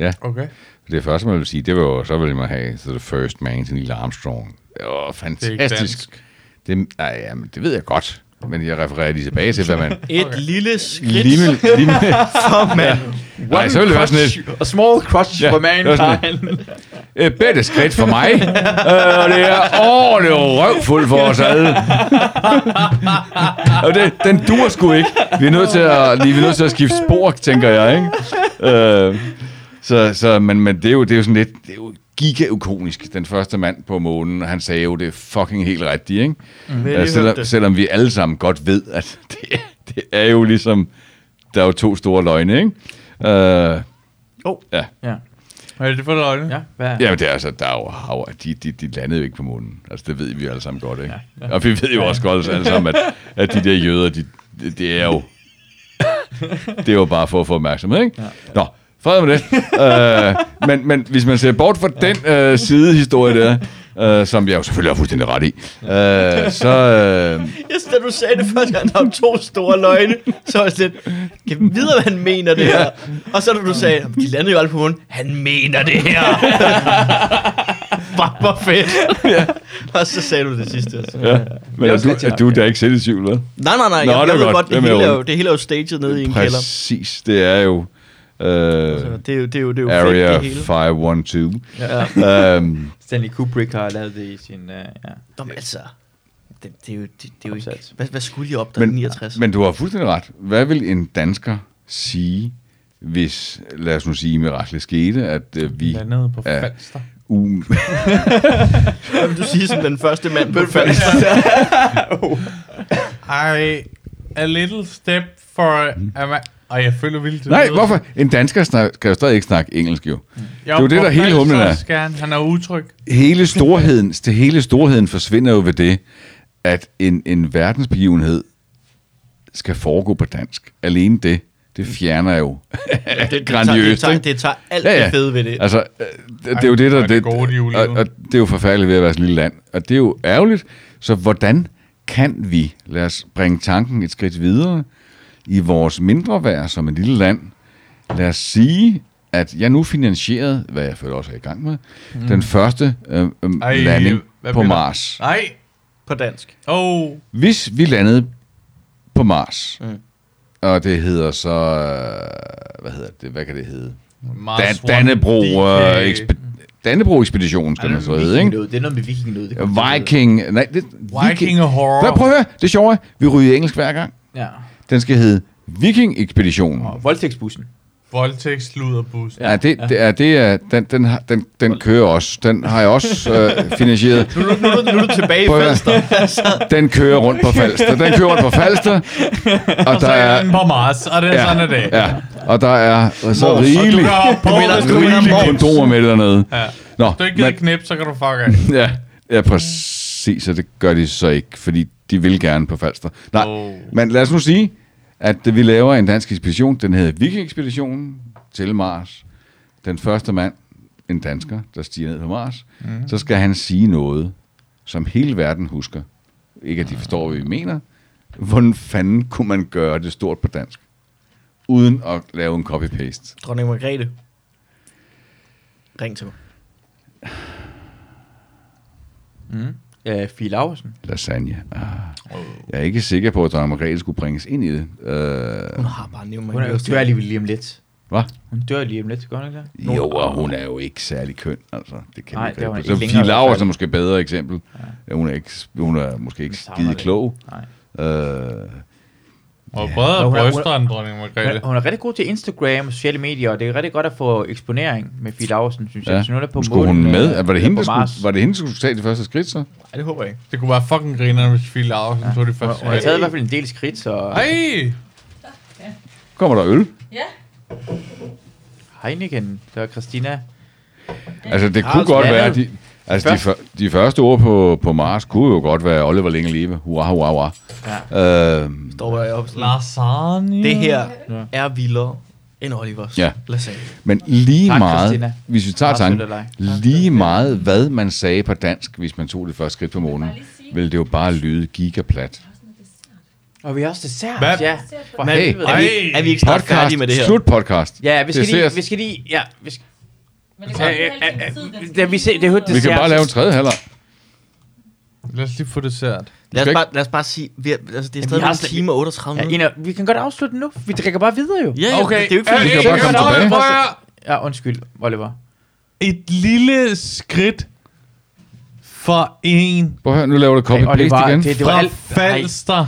Speaker 2: Ja,
Speaker 6: Okay.
Speaker 2: det første, man vil sige, det var jo, så ville man have The First Man til Neil Armstrong. Det var fantastisk.
Speaker 6: dansk.
Speaker 2: Det, nej, jamen, det ved jeg godt. Men jeg refererer lige tilbage til, hvad man...
Speaker 4: Et okay. lille skridt
Speaker 2: Lige med, lige med,
Speaker 4: for man.
Speaker 2: nej, så ville det være sådan et...
Speaker 3: A small crush
Speaker 2: Ja,
Speaker 3: for
Speaker 2: det var sådan
Speaker 3: mankind.
Speaker 2: et bedre skridt for mig. øh, og det er ordentligt røvfuld for os alle. og det, den dur sgu ikke. Vi er nødt til at, lige, vi er nødt til at skifte spor, tænker jeg. Ikke? Øh, så, så, men, men det, er jo, det er jo sådan lidt... Det er jo gigaukonisk, den første mand på månen, og han sagde jo, det er fucking helt rigtigt, ikke? Mm.
Speaker 4: Veldig
Speaker 2: selvom,
Speaker 4: hørt.
Speaker 2: selvom vi alle sammen godt ved, at det, det er jo ligesom, der er jo to store løgne, ikke? Øh,
Speaker 4: Jo.
Speaker 2: Ja.
Speaker 1: Hvad er det for løgne?
Speaker 3: Ja, hvad?
Speaker 2: Ja, men det er altså, der er jo hav, de, de, de landede jo ikke på månen. Altså, det ved vi jo alle sammen godt, ikke? Ja, ja. Og vi ved jo også godt alle sammen, at, at de der jøder, de, det de er jo... det er jo bare for at få opmærksomhed, ikke? Ja. Nå, fred med det. øh, men, men hvis man ser bort fra ja. den øh, sidehistorie der, øh, som jeg jo selvfølgelig har fuldstændig ret i, øh, så... Øh,
Speaker 4: Yes, da du sagde det første gang, der var to store løgne, så var jeg sådan lidt, kan vi vide, hvad han mener det her? Og så da du sagde, de landede jo aldrig på munden, han mener det her. Fuck, hvor fedt. Og så sagde du det sidste. Altså.
Speaker 2: ja. Men
Speaker 3: er
Speaker 2: er
Speaker 3: også
Speaker 2: du,
Speaker 3: rigtigt
Speaker 2: er
Speaker 3: nok,
Speaker 2: du da ikke selv i tvivl, hvad?
Speaker 4: Nej, nej, nej,
Speaker 2: Nå,
Speaker 4: jeg,
Speaker 2: det
Speaker 4: jeg
Speaker 2: er
Speaker 4: ved
Speaker 2: godt.
Speaker 4: godt, det
Speaker 2: Hvem er
Speaker 4: hele, er
Speaker 2: jo-
Speaker 4: jo, det hele er jo staged nede i en kælder.
Speaker 2: Præcis, det er jo... Øh,
Speaker 4: Så Det er jo, det er jo, det er jo fedt,
Speaker 2: Area
Speaker 4: det hele.
Speaker 2: 512.
Speaker 4: Ja.
Speaker 2: Øhm,
Speaker 3: Stanley Kubrick har lavet det i sin... Uh, ja.
Speaker 4: Nå, men altså, det, det, er jo, det, det er jo ikke...
Speaker 3: Opsats.
Speaker 4: Hvad, hvad skulle de opdage i
Speaker 2: men,
Speaker 4: 69?
Speaker 2: men du har fuldstændig ret. Hvad vil en dansker sige, hvis, lad os nu sige, miraklet skete, at øh, vi
Speaker 1: Landet på
Speaker 2: Ja.
Speaker 1: Falster.
Speaker 2: u-
Speaker 4: Hvad vil du sige som den første mand på fast?
Speaker 6: I a little step for... Ama- Ej, jeg føler vildt.
Speaker 2: Mm. Nej, hvorfor? En dansker snak, kan jo stadig ikke snakke engelsk, jo.
Speaker 6: Jeg
Speaker 2: det er jo det, der
Speaker 6: på
Speaker 2: er hele
Speaker 6: Falster
Speaker 2: humlen er.
Speaker 6: skal Han, han er utryg.
Speaker 2: Hele storheden, det hele storheden forsvinder jo ved det, at en, en verdensbegivenhed skal foregå på dansk. Alene det, det fjerner jo det,
Speaker 4: Det, det, tager, det, tager, det tager alt
Speaker 2: Ja, ja.
Speaker 4: det fede ved det.
Speaker 2: Altså, øh, det, det er jo det,
Speaker 6: hvor
Speaker 2: der...
Speaker 6: er det gode, de jo
Speaker 2: og,
Speaker 6: lever.
Speaker 2: og det er jo forfærdeligt ved at være sådan et lille land. Og det er jo ærgerligt. Så hvordan kan vi, lad os bringe tanken et skridt videre, i vores mindre værd som et lille land, lad os sige, at jeg nu finansierede, hvad jeg føler også er i gang med, mm. den første øh, øh,
Speaker 6: Ej,
Speaker 2: landing
Speaker 6: hvad
Speaker 2: på
Speaker 6: bliver der-
Speaker 2: Mars.
Speaker 6: Nej.
Speaker 4: På dansk.
Speaker 6: Oh.
Speaker 2: Hvis vi landede på Mars, mm. og det hedder så... øh, Hvad hedder det? Hvad kan det hedde? Dan,
Speaker 6: Mars
Speaker 2: Dannebro,
Speaker 6: One
Speaker 2: øh,
Speaker 6: DK.
Speaker 2: ekspe, Dannebro-ekspeditionen, skal man så hedde, ikke?
Speaker 3: Det er noget med vikingnød. Det kommer til at hedde.
Speaker 2: Viking, nej, det,
Speaker 6: Viking og horror.
Speaker 2: Prøv, prøv at høre, det sjove er, vi ryger i engelsk hver gang.
Speaker 3: Ja.
Speaker 2: Den skal hedde Viking-ekspeditionen.
Speaker 3: Og voldtægtsbussen.
Speaker 6: Voldtægt, luderbussen.
Speaker 2: Ja, det, det er, det er, den, den, har- den, den kører også. Den har jeg også øh, finansieret.
Speaker 4: Nu, nu, nu, nu er du tilbage i
Speaker 2: Prøv at høre.
Speaker 4: Falster.
Speaker 2: Den kører rundt på Falster. Den kører rundt på Falster. Og der
Speaker 6: Så er den
Speaker 2: er...
Speaker 6: på Mars, og det er ja. sådan er det.
Speaker 2: ja, og der er så
Speaker 6: Og du
Speaker 2: rigeligt,
Speaker 6: kan hoppe på, hvis du vinder
Speaker 2: rigeligt
Speaker 6: Mors.
Speaker 2: kondomer med dernede.
Speaker 6: Ja.
Speaker 2: Nå,
Speaker 6: Hvis du ikke
Speaker 2: men-
Speaker 6: gider knip, så kan du fuck af.
Speaker 2: Ja, ja præcis, og det gør de så ikke, fordi de vil gerne på Falster. Nej, oh.
Speaker 6: Oh.
Speaker 2: men lad os nu sige, at vi laver en dansk ekspedition, den hedder Viking-ekspeditionen til Mars. Den første mand, en dansker, der stiger ned på Mars, mm. så skal han sige noget, som hele verden husker. Ikke at de forstår, hvad vi mener. Hvordan fanden kunne man gøre det stort på dansk? Uden at lave en copy-paste.
Speaker 4: Dronning Margrethe. Ring til mig.
Speaker 3: Øh, Fie Laursen.
Speaker 2: Lasagne. Ah. Jeg er ikke sikker på, at dronning Margrethe skulle bringes ind i det. Øh,
Speaker 4: Hun har bare nævnt
Speaker 3: Hun er jo
Speaker 4: mig.
Speaker 3: dør lige, lige om lidt.
Speaker 2: Hvad?
Speaker 3: Hun dør lige om lidt, gør hun ikke det?
Speaker 2: Jo, og hun er jo ikke særlig køn, altså. Det kan
Speaker 3: Nej,
Speaker 2: vi ikke
Speaker 3: det var
Speaker 2: rigtig- Så
Speaker 3: ikke længere altså.
Speaker 2: Fie
Speaker 3: i hvert
Speaker 2: Laursen
Speaker 3: fald.
Speaker 2: er måske et bedre eksempel. Ja. Hun, er ikke, hun er måske ikke
Speaker 3: savner
Speaker 2: skide
Speaker 3: det.
Speaker 2: klog.
Speaker 3: Nej.
Speaker 2: Øh,
Speaker 6: Og bredere
Speaker 3: Nå, hun er- hun er-
Speaker 6: bryster end dronning Margrethe.
Speaker 3: Hun, hun er rigtig god til Instagram og sociale medier, og det er rigtig godt at få eksponering med Fie Laursen, synes jeg.
Speaker 2: ja.
Speaker 3: Så nu er der på
Speaker 2: Men skulle hun
Speaker 3: månen,
Speaker 2: med?
Speaker 3: øh,
Speaker 2: var, det hende,
Speaker 3: på
Speaker 2: der
Speaker 3: Mars.
Speaker 2: skulle, var det hende, der skulle tage de første skridt, så?
Speaker 4: Nej, det håber jeg ikke.
Speaker 6: Det kunne være fucking griner, hvis Fie Larsen ja. tog det første
Speaker 3: Hun har
Speaker 6: skridt.
Speaker 3: taget i hvert fald en del skridt, så...
Speaker 6: Ej!
Speaker 2: Kommer der øl?
Speaker 7: Ja.
Speaker 3: Heineken, der er Christina.
Speaker 2: Altså, det kunne godt
Speaker 3: Carlsberg.
Speaker 2: være, de, Altså, de, før, de første ord på, på Mars kunne jo godt være Oliver længe leve. Hurra, hurra, hurra. Ja. Øh,
Speaker 4: Står jeg op sådan,
Speaker 3: Lasagne.
Speaker 4: Det her
Speaker 3: Mm.
Speaker 4: er vildere end Olivers
Speaker 2: Ja.
Speaker 4: lasagne.
Speaker 2: men lige
Speaker 3: Tak,
Speaker 2: meget,
Speaker 3: Christina.
Speaker 2: hvis vi tager
Speaker 3: Meget sødt
Speaker 2: tanken,
Speaker 3: af dig.
Speaker 2: lige meget hvad man sagde på dansk, hvis man tog det første skridt på månen, ville det jo bare lyde gigaplat.
Speaker 3: Og vi har også dessert.
Speaker 6: Hvad?
Speaker 3: Ja. For
Speaker 4: Men
Speaker 2: Hey.
Speaker 4: er, vi, er vi ikke snart
Speaker 2: Podcast.
Speaker 4: færdige med det her?
Speaker 2: Slut podcast.
Speaker 3: Ja, vi skal,
Speaker 2: Det
Speaker 3: lige,
Speaker 2: ses.
Speaker 3: vi skal lige... Ja, vi skal,
Speaker 4: Mm.
Speaker 7: Men det
Speaker 3: øh, øh, øh, da vi ser, det er jo et
Speaker 2: Vi kan
Speaker 3: dessert,
Speaker 2: bare lave en
Speaker 3: så-
Speaker 2: tredje halvår.
Speaker 1: Lad os lige få dessert.
Speaker 4: Lad os,
Speaker 2: ikke-
Speaker 4: bare, lad os bare sige, vi er, altså, det er
Speaker 3: vi
Speaker 4: stadig
Speaker 3: har
Speaker 4: en
Speaker 3: slet-
Speaker 4: time og 38
Speaker 3: Ja,
Speaker 4: minutter.
Speaker 3: Ina, vi kan godt afslutte nu. Vi drikker bare videre jo.
Speaker 4: Ja, ja,
Speaker 1: Okay.
Speaker 4: det er jo ikke fordi,
Speaker 2: Vi
Speaker 4: vi
Speaker 2: kan jo bare komme tilbage.
Speaker 6: Prøv at høre.
Speaker 3: Ja, undskyld, Oliver.
Speaker 1: Et lille skridt for en
Speaker 2: Prøv at høre, nu laver du copy-paste
Speaker 3: Oliver,
Speaker 2: igen.
Speaker 3: det, det var alt.
Speaker 1: forfalster.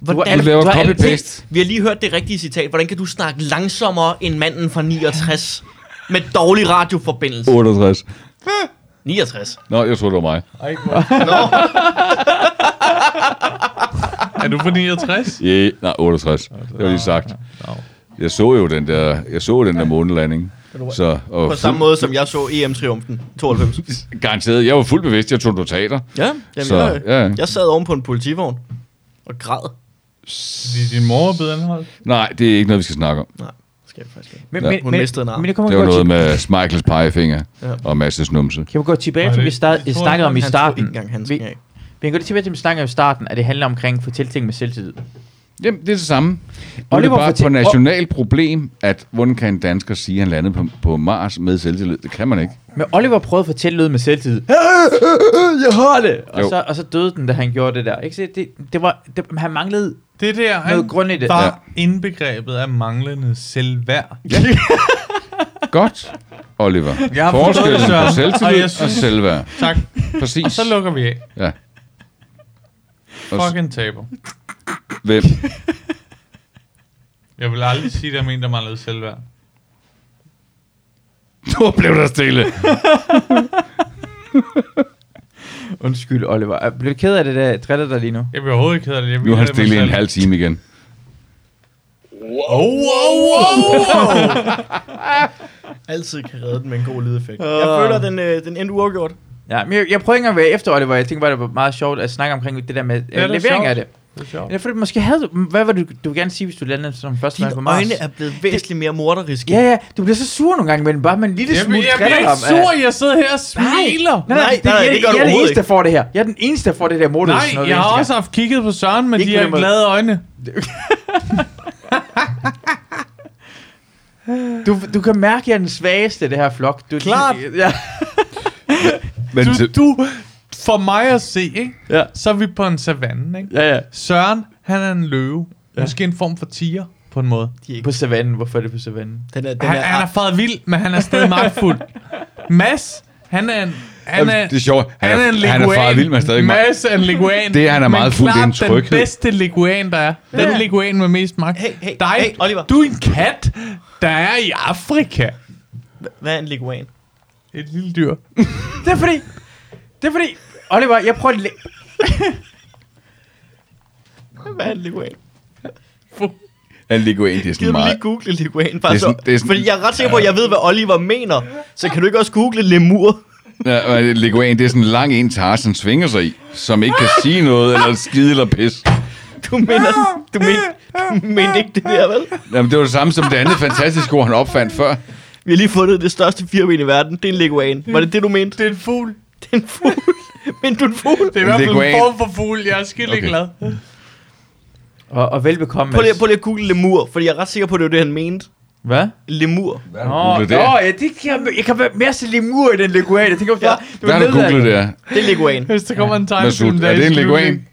Speaker 4: Hvordan,
Speaker 2: Du laver
Speaker 3: du har altid-
Speaker 2: copy-paste.
Speaker 4: Vi har lige hørt det rigtige citat. Hvordan kan du snakke langsommere end manden fra 69 med dårlig radioforbindelse?
Speaker 2: 68.
Speaker 4: 69.
Speaker 2: Nå, jeg tror det var mig.
Speaker 1: Er du på 69?
Speaker 2: Ja, yeah. nej, 68. Det var lige sagt. Jeg så jo den der, jeg så den der månelanding. Så, og
Speaker 4: På samme måde, som jeg så E EM-triumfen 92.
Speaker 2: fuld- Garanteret, jeg var fuldt bevidst, jeg tog notater.
Speaker 4: Ja, jamen,
Speaker 2: Så,
Speaker 4: jeg,
Speaker 2: ja, ja.
Speaker 4: jeg sad oven på en politivogn og græd.
Speaker 1: Fordi din mor er blevet anholdt.
Speaker 2: Nej, det er ikke noget, vi skal snakke om.
Speaker 4: Nej, det skal jeg faktisk ikke.
Speaker 3: Men,
Speaker 2: Ja.
Speaker 3: men,
Speaker 4: Hun
Speaker 3: men,
Speaker 4: mistede en arm.
Speaker 3: Men det kommer
Speaker 2: Det var
Speaker 3: godt
Speaker 2: noget med Michaels pegefinger
Speaker 4: Ja.
Speaker 2: og Mads' numse.
Speaker 3: Kan vi gå tilbage
Speaker 1: Nej,
Speaker 3: til,
Speaker 1: det-
Speaker 3: vi start,
Speaker 1: jeg tror,
Speaker 3: snakkede om i
Speaker 4: Han tog
Speaker 3: starten?
Speaker 4: ikke engang hans
Speaker 3: Vi,
Speaker 4: af.
Speaker 3: vi kan gå tilbage til, vi snakkede om i starten, at det handler omkring at få tilting med selvtillid.
Speaker 2: Jamen, det er det samme. Nu er det
Speaker 3: Oliver
Speaker 2: bare
Speaker 3: fortæl-
Speaker 2: et nationalt problem, at hvordan kan en dansker sige, at han landede på, på Mars med selvtillid? Det kan man ikke.
Speaker 3: Men Oliver prøvede at fortælle noget med selvtillid. Jeg har det! Og
Speaker 2: Jo.
Speaker 3: så, og så døde den, da han gjorde det der. Ikke? Så det, det var, det, han manglede
Speaker 1: Det der,
Speaker 3: noget
Speaker 1: han
Speaker 3: grund i det.
Speaker 1: var indbegrebet af manglende selvværd.
Speaker 2: Godt, Oliver.
Speaker 1: Jeg har forstået
Speaker 2: Forskellen
Speaker 1: det, Søren.
Speaker 2: på
Speaker 1: Og
Speaker 2: selvtillid
Speaker 1: jeg
Speaker 2: og,
Speaker 1: synes-
Speaker 2: selvværd.
Speaker 1: Tak.
Speaker 2: Præcis.
Speaker 1: Og så lukker vi af.
Speaker 2: ja. Og s-
Speaker 1: Fucking taber.
Speaker 2: Hvem?
Speaker 1: Jeg vil aldrig sige, at jeg mente, der manglede selvværd.
Speaker 2: Nu blev der stille.
Speaker 3: Undskyld, Oliver. Er- Blev du ked af det der? Driller dig lige nu?
Speaker 1: Jeg bliver overhovedet ikke ked af det. Jeg
Speaker 2: Nu er
Speaker 1: mener
Speaker 2: han
Speaker 1: det med
Speaker 2: stille i en
Speaker 1: selv.
Speaker 2: halv time igen.
Speaker 4: Altid kan redde den med en god lydeffekt. Jeg føler, den, øh, den endte uafgjort.
Speaker 3: Ja, men jeg, jeg prøver ikke engang at være efter Oliver. Jeg tænker bare, det var meget sjovt at snakke omkring det der med
Speaker 1: er
Speaker 3: øh,
Speaker 1: da
Speaker 3: levering af
Speaker 1: sjovt.
Speaker 3: det.
Speaker 1: Det er sjovt.
Speaker 3: Ja, for måske havde du... Hvad var det, du, du ville gerne sige, hvis du landede som første mand på
Speaker 4: Dine
Speaker 3: Mars?
Speaker 4: øjne er blevet væsentligt mere morderiske.
Speaker 3: Ja, ja. Du bliver så sur nogle gange imellem, bare med en lille
Speaker 1: Jeg,
Speaker 3: smule
Speaker 1: jeg bliver
Speaker 3: driller
Speaker 1: ikke
Speaker 3: om, at-
Speaker 1: sur, jeg sidder her og smiler.
Speaker 3: Nej, nej,
Speaker 4: Nej,
Speaker 3: nej, det,
Speaker 4: nej,
Speaker 3: jeg,
Speaker 4: det
Speaker 3: det
Speaker 4: gør
Speaker 3: jeg,
Speaker 4: du
Speaker 3: er den
Speaker 4: overhovedet
Speaker 3: eneste, der får det her. Jeg er den eneste, der får det der modus.
Speaker 1: Nej, jeg har også haft kigget på Søren med
Speaker 3: Ikke
Speaker 1: de
Speaker 3: på
Speaker 1: her
Speaker 3: den måde.
Speaker 1: glade øjne.
Speaker 3: Du, du kan mærke, at jeg er den svageste i det her flok. Du,
Speaker 1: Klart.
Speaker 3: Ja.
Speaker 2: Men
Speaker 1: Du,
Speaker 2: til-
Speaker 1: du, for mig at se, ikke?
Speaker 3: Ja.
Speaker 1: så er vi på en savanne. Ikke?
Speaker 3: ja, ja.
Speaker 1: Søren, han er en løve. Ja. Måske en form for tiger, på en måde.
Speaker 3: På savannen. Hvorfor er det på savannen?
Speaker 4: Den er, den
Speaker 1: Han,
Speaker 4: er,
Speaker 1: han er faret vild, men han er stadig magtfuld. Mads, han er en... Han er,
Speaker 2: det er sjovt. Han,
Speaker 1: han er en
Speaker 2: er,
Speaker 1: leguan.
Speaker 2: han er far vild, men han er stadig meget.
Speaker 1: Mads er en leguan.
Speaker 2: Det, han er
Speaker 1: men
Speaker 2: meget fuld, det er
Speaker 1: klart
Speaker 2: en tryghed.
Speaker 1: den bedste leguan, der er. Den ja. leguan med mest magt.
Speaker 4: Hey, hey,
Speaker 1: Dig,
Speaker 4: hey, Oliver.
Speaker 1: Du er en kat, der er i Afrika.
Speaker 4: Ah, hvad er en leguan?
Speaker 1: Et lille dyr.
Speaker 3: Det er fordi... Det er fordi... Oliver, jeg prøver at... læ-
Speaker 4: Hvad er en leguan?
Speaker 2: Han ligger ind, det er sådan
Speaker 4: Gider du lige
Speaker 2: meget.
Speaker 4: google leguan? Bare
Speaker 2: Det er sådan-
Speaker 4: så,
Speaker 2: det er sådan-
Speaker 4: fordi jeg er ret sikker på, at jeg ved, hvad Oliver mener. Så kan du ikke også google lemur?
Speaker 2: Ja, leguan, det er sådan en lang en, Tarzan svinger sig i, som ikke kan sige noget, eller skide eller pis.
Speaker 4: Du mener, du mener, du mener ikke det der, vel?
Speaker 2: Jamen, det var det samme som det andet fantastiske ord, han opfandt før.
Speaker 4: Vi har lige fundet det største firben i verden. Det er en leguan. Var det det, du mente? Det er en fugl. Det er en fugl. Men du er en fugl.
Speaker 1: Det er i hvert fald
Speaker 2: leguan.
Speaker 1: en form for fugl. Jeg er skille
Speaker 2: Okay.
Speaker 1: okay. glad.
Speaker 3: Og, og velbekomme,
Speaker 4: Prøv lige,
Speaker 3: Mads.
Speaker 4: prøv lige at google lemur, fordi jeg er ret sikker på, at det var det, han mente.
Speaker 3: Hvad?
Speaker 4: Lemur.
Speaker 2: Hvad
Speaker 3: Nå, nå, ja, det kan jeg, jeg kan være mere til lemur i den leguan. Jeg tænker, hvorfor?
Speaker 4: Ja.
Speaker 3: det
Speaker 2: Hvad
Speaker 3: var
Speaker 2: har du
Speaker 3: nedladende.
Speaker 2: googlet der?
Speaker 4: Det er leguan.
Speaker 1: Hvis der kommer en tegnefilm,
Speaker 2: Masud,
Speaker 1: der
Speaker 2: er det en
Speaker 1: i
Speaker 2: leguan?
Speaker 1: slutningen.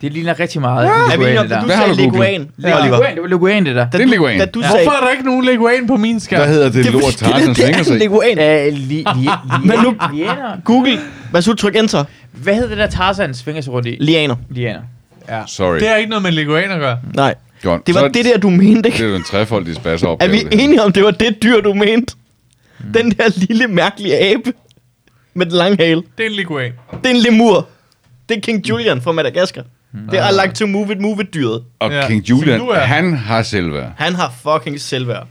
Speaker 3: Det ligner rigtig meget. Ja,
Speaker 4: Er vi enige om, da du
Speaker 2: Hvad har
Speaker 4: sagde
Speaker 2: du googlet?
Speaker 4: leguan,
Speaker 3: Ja,
Speaker 4: Oliver?
Speaker 3: leguan, det var leguan, det der.
Speaker 4: Da
Speaker 2: Det er en
Speaker 4: du-
Speaker 2: leguan.
Speaker 4: Da du sagde...
Speaker 1: Hvorfor er der ikke nogen leguan på min skærm?
Speaker 2: Hvad hedder det,
Speaker 4: Det er
Speaker 2: lort
Speaker 4: fordi,
Speaker 2: Tarzan
Speaker 4: det
Speaker 2: svinger
Speaker 4: er en
Speaker 2: sig i?
Speaker 4: leguan.
Speaker 3: Æh, li, li, li,
Speaker 4: Men nu-
Speaker 3: lianer.
Speaker 4: Google. Masud, tryk enter.
Speaker 3: Hvad hedder det der Tarzan svinger sig rundt i?
Speaker 4: Lianer.
Speaker 3: Lianer.
Speaker 2: Sorry.
Speaker 1: Det har ikke noget med leguan at gøre.
Speaker 4: Nej.
Speaker 2: Godt.
Speaker 4: Det var
Speaker 2: Så
Speaker 4: det der, du mente,
Speaker 2: Det
Speaker 4: ikke?
Speaker 2: er jo en trefoldig spasser op.
Speaker 4: Er vi enige om, det var det dyr, du mente? Den der lille, mærkelige abe med den lange hale.
Speaker 1: Det er en leguan.
Speaker 4: Det er en lemur. Det er King Julian fra Madagaskar. Det er I like to move it, move it dyret.
Speaker 2: Og
Speaker 1: Ja,
Speaker 2: King
Speaker 1: som
Speaker 2: Julian,
Speaker 1: du er.
Speaker 2: han har selvværd.
Speaker 4: Han har fucking selvværd.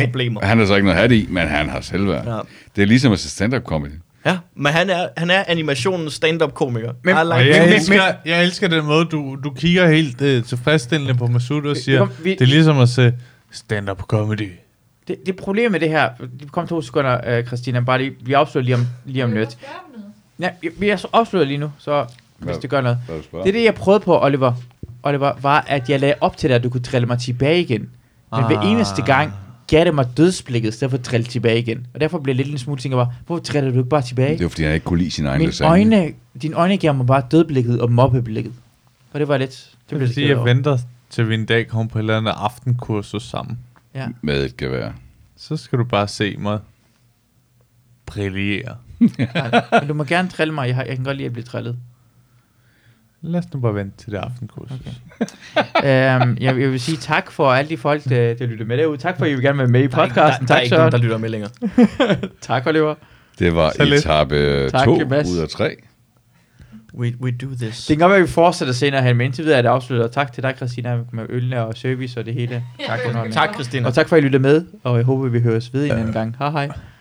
Speaker 4: Problemer.
Speaker 2: Han har så ikke noget hat i, men han har selvværd.
Speaker 4: Ja.
Speaker 2: Det er ligesom at se stand-up comedy.
Speaker 4: Ja, men han er, han er animationens stand-up-komiker.
Speaker 3: Men-
Speaker 4: I
Speaker 1: Og
Speaker 4: like
Speaker 1: jeg,
Speaker 4: men,
Speaker 1: elsker, jeg elsker den måde, du, du kigger helt øh, tilfredsstillende på Masud og siger,
Speaker 3: kom, vi-
Speaker 1: det er ligesom at se stand-up comedy.
Speaker 3: Det, det problem med det her, det kom to sekunder, øh, Christina, bare lige, vi afslutter lige om, lige om lidt. Ja, vi- vi er så afsløret lige nu, så hvis
Speaker 2: Hvad-
Speaker 3: det gør noget.
Speaker 2: Hvad er du spørger?
Speaker 3: Det er det, jeg prøvede på, Oliver. Oliver, var, at jeg lagde op til dig, at du kunne trille mig tilbage igen. Men ah. hver eneste gang gav det mig dødsblikket, i stedet for at trille tilbage igen. Og derfor blev jeg lidt en smule tænker bare, hvorfor triller du ikke bare tilbage?
Speaker 2: Det var, fordi han ikke kunne lide sin egen
Speaker 3: Mine
Speaker 2: lasagne.
Speaker 3: øjne, dine øjne gav mig bare dødblikket og mobbeblikket. Og det var lidt...
Speaker 1: Det
Speaker 3: blev
Speaker 1: vil
Speaker 3: lidt
Speaker 1: sige,
Speaker 3: ked
Speaker 1: at jeg
Speaker 3: over.
Speaker 1: venter til vi en dag kommer på et eller andet aftenkursus sammen.
Speaker 2: Med et gevær.
Speaker 1: Så skal du bare se mig brillere.
Speaker 3: Nej, Men du må gerne trille mig, jeg, har, jeg kan godt lide at blive trillet.
Speaker 1: Lad os nu bare vente til det aftenkursus. Okay.
Speaker 3: øhm, jeg, jeg vil sige tak for alle de folk, der, der lytter med derude. Tak for, at I vil gerne være med i
Speaker 4: der, er ikke-
Speaker 3: podcasten.
Speaker 4: der, der er
Speaker 3: tak,
Speaker 4: ikke nogen,
Speaker 3: Søren.
Speaker 4: der lytter med længere.
Speaker 3: Tak, Oliver.
Speaker 2: Det var
Speaker 1: Så lidt.
Speaker 2: etape
Speaker 3: Tak,
Speaker 2: 2
Speaker 3: Mads.
Speaker 2: ud af 3.
Speaker 4: We, we do this.
Speaker 3: Det kan godt være, at vi fortsætter senere hen, men indtil videre er det afsluttet. Og tak til dig, Christina, med ølene og service og det hele. Tak,
Speaker 4: Tak, Christina.
Speaker 3: og tak for, at I lyttede med, og jeg håber, vi høres ved en anden gang. Hej hej.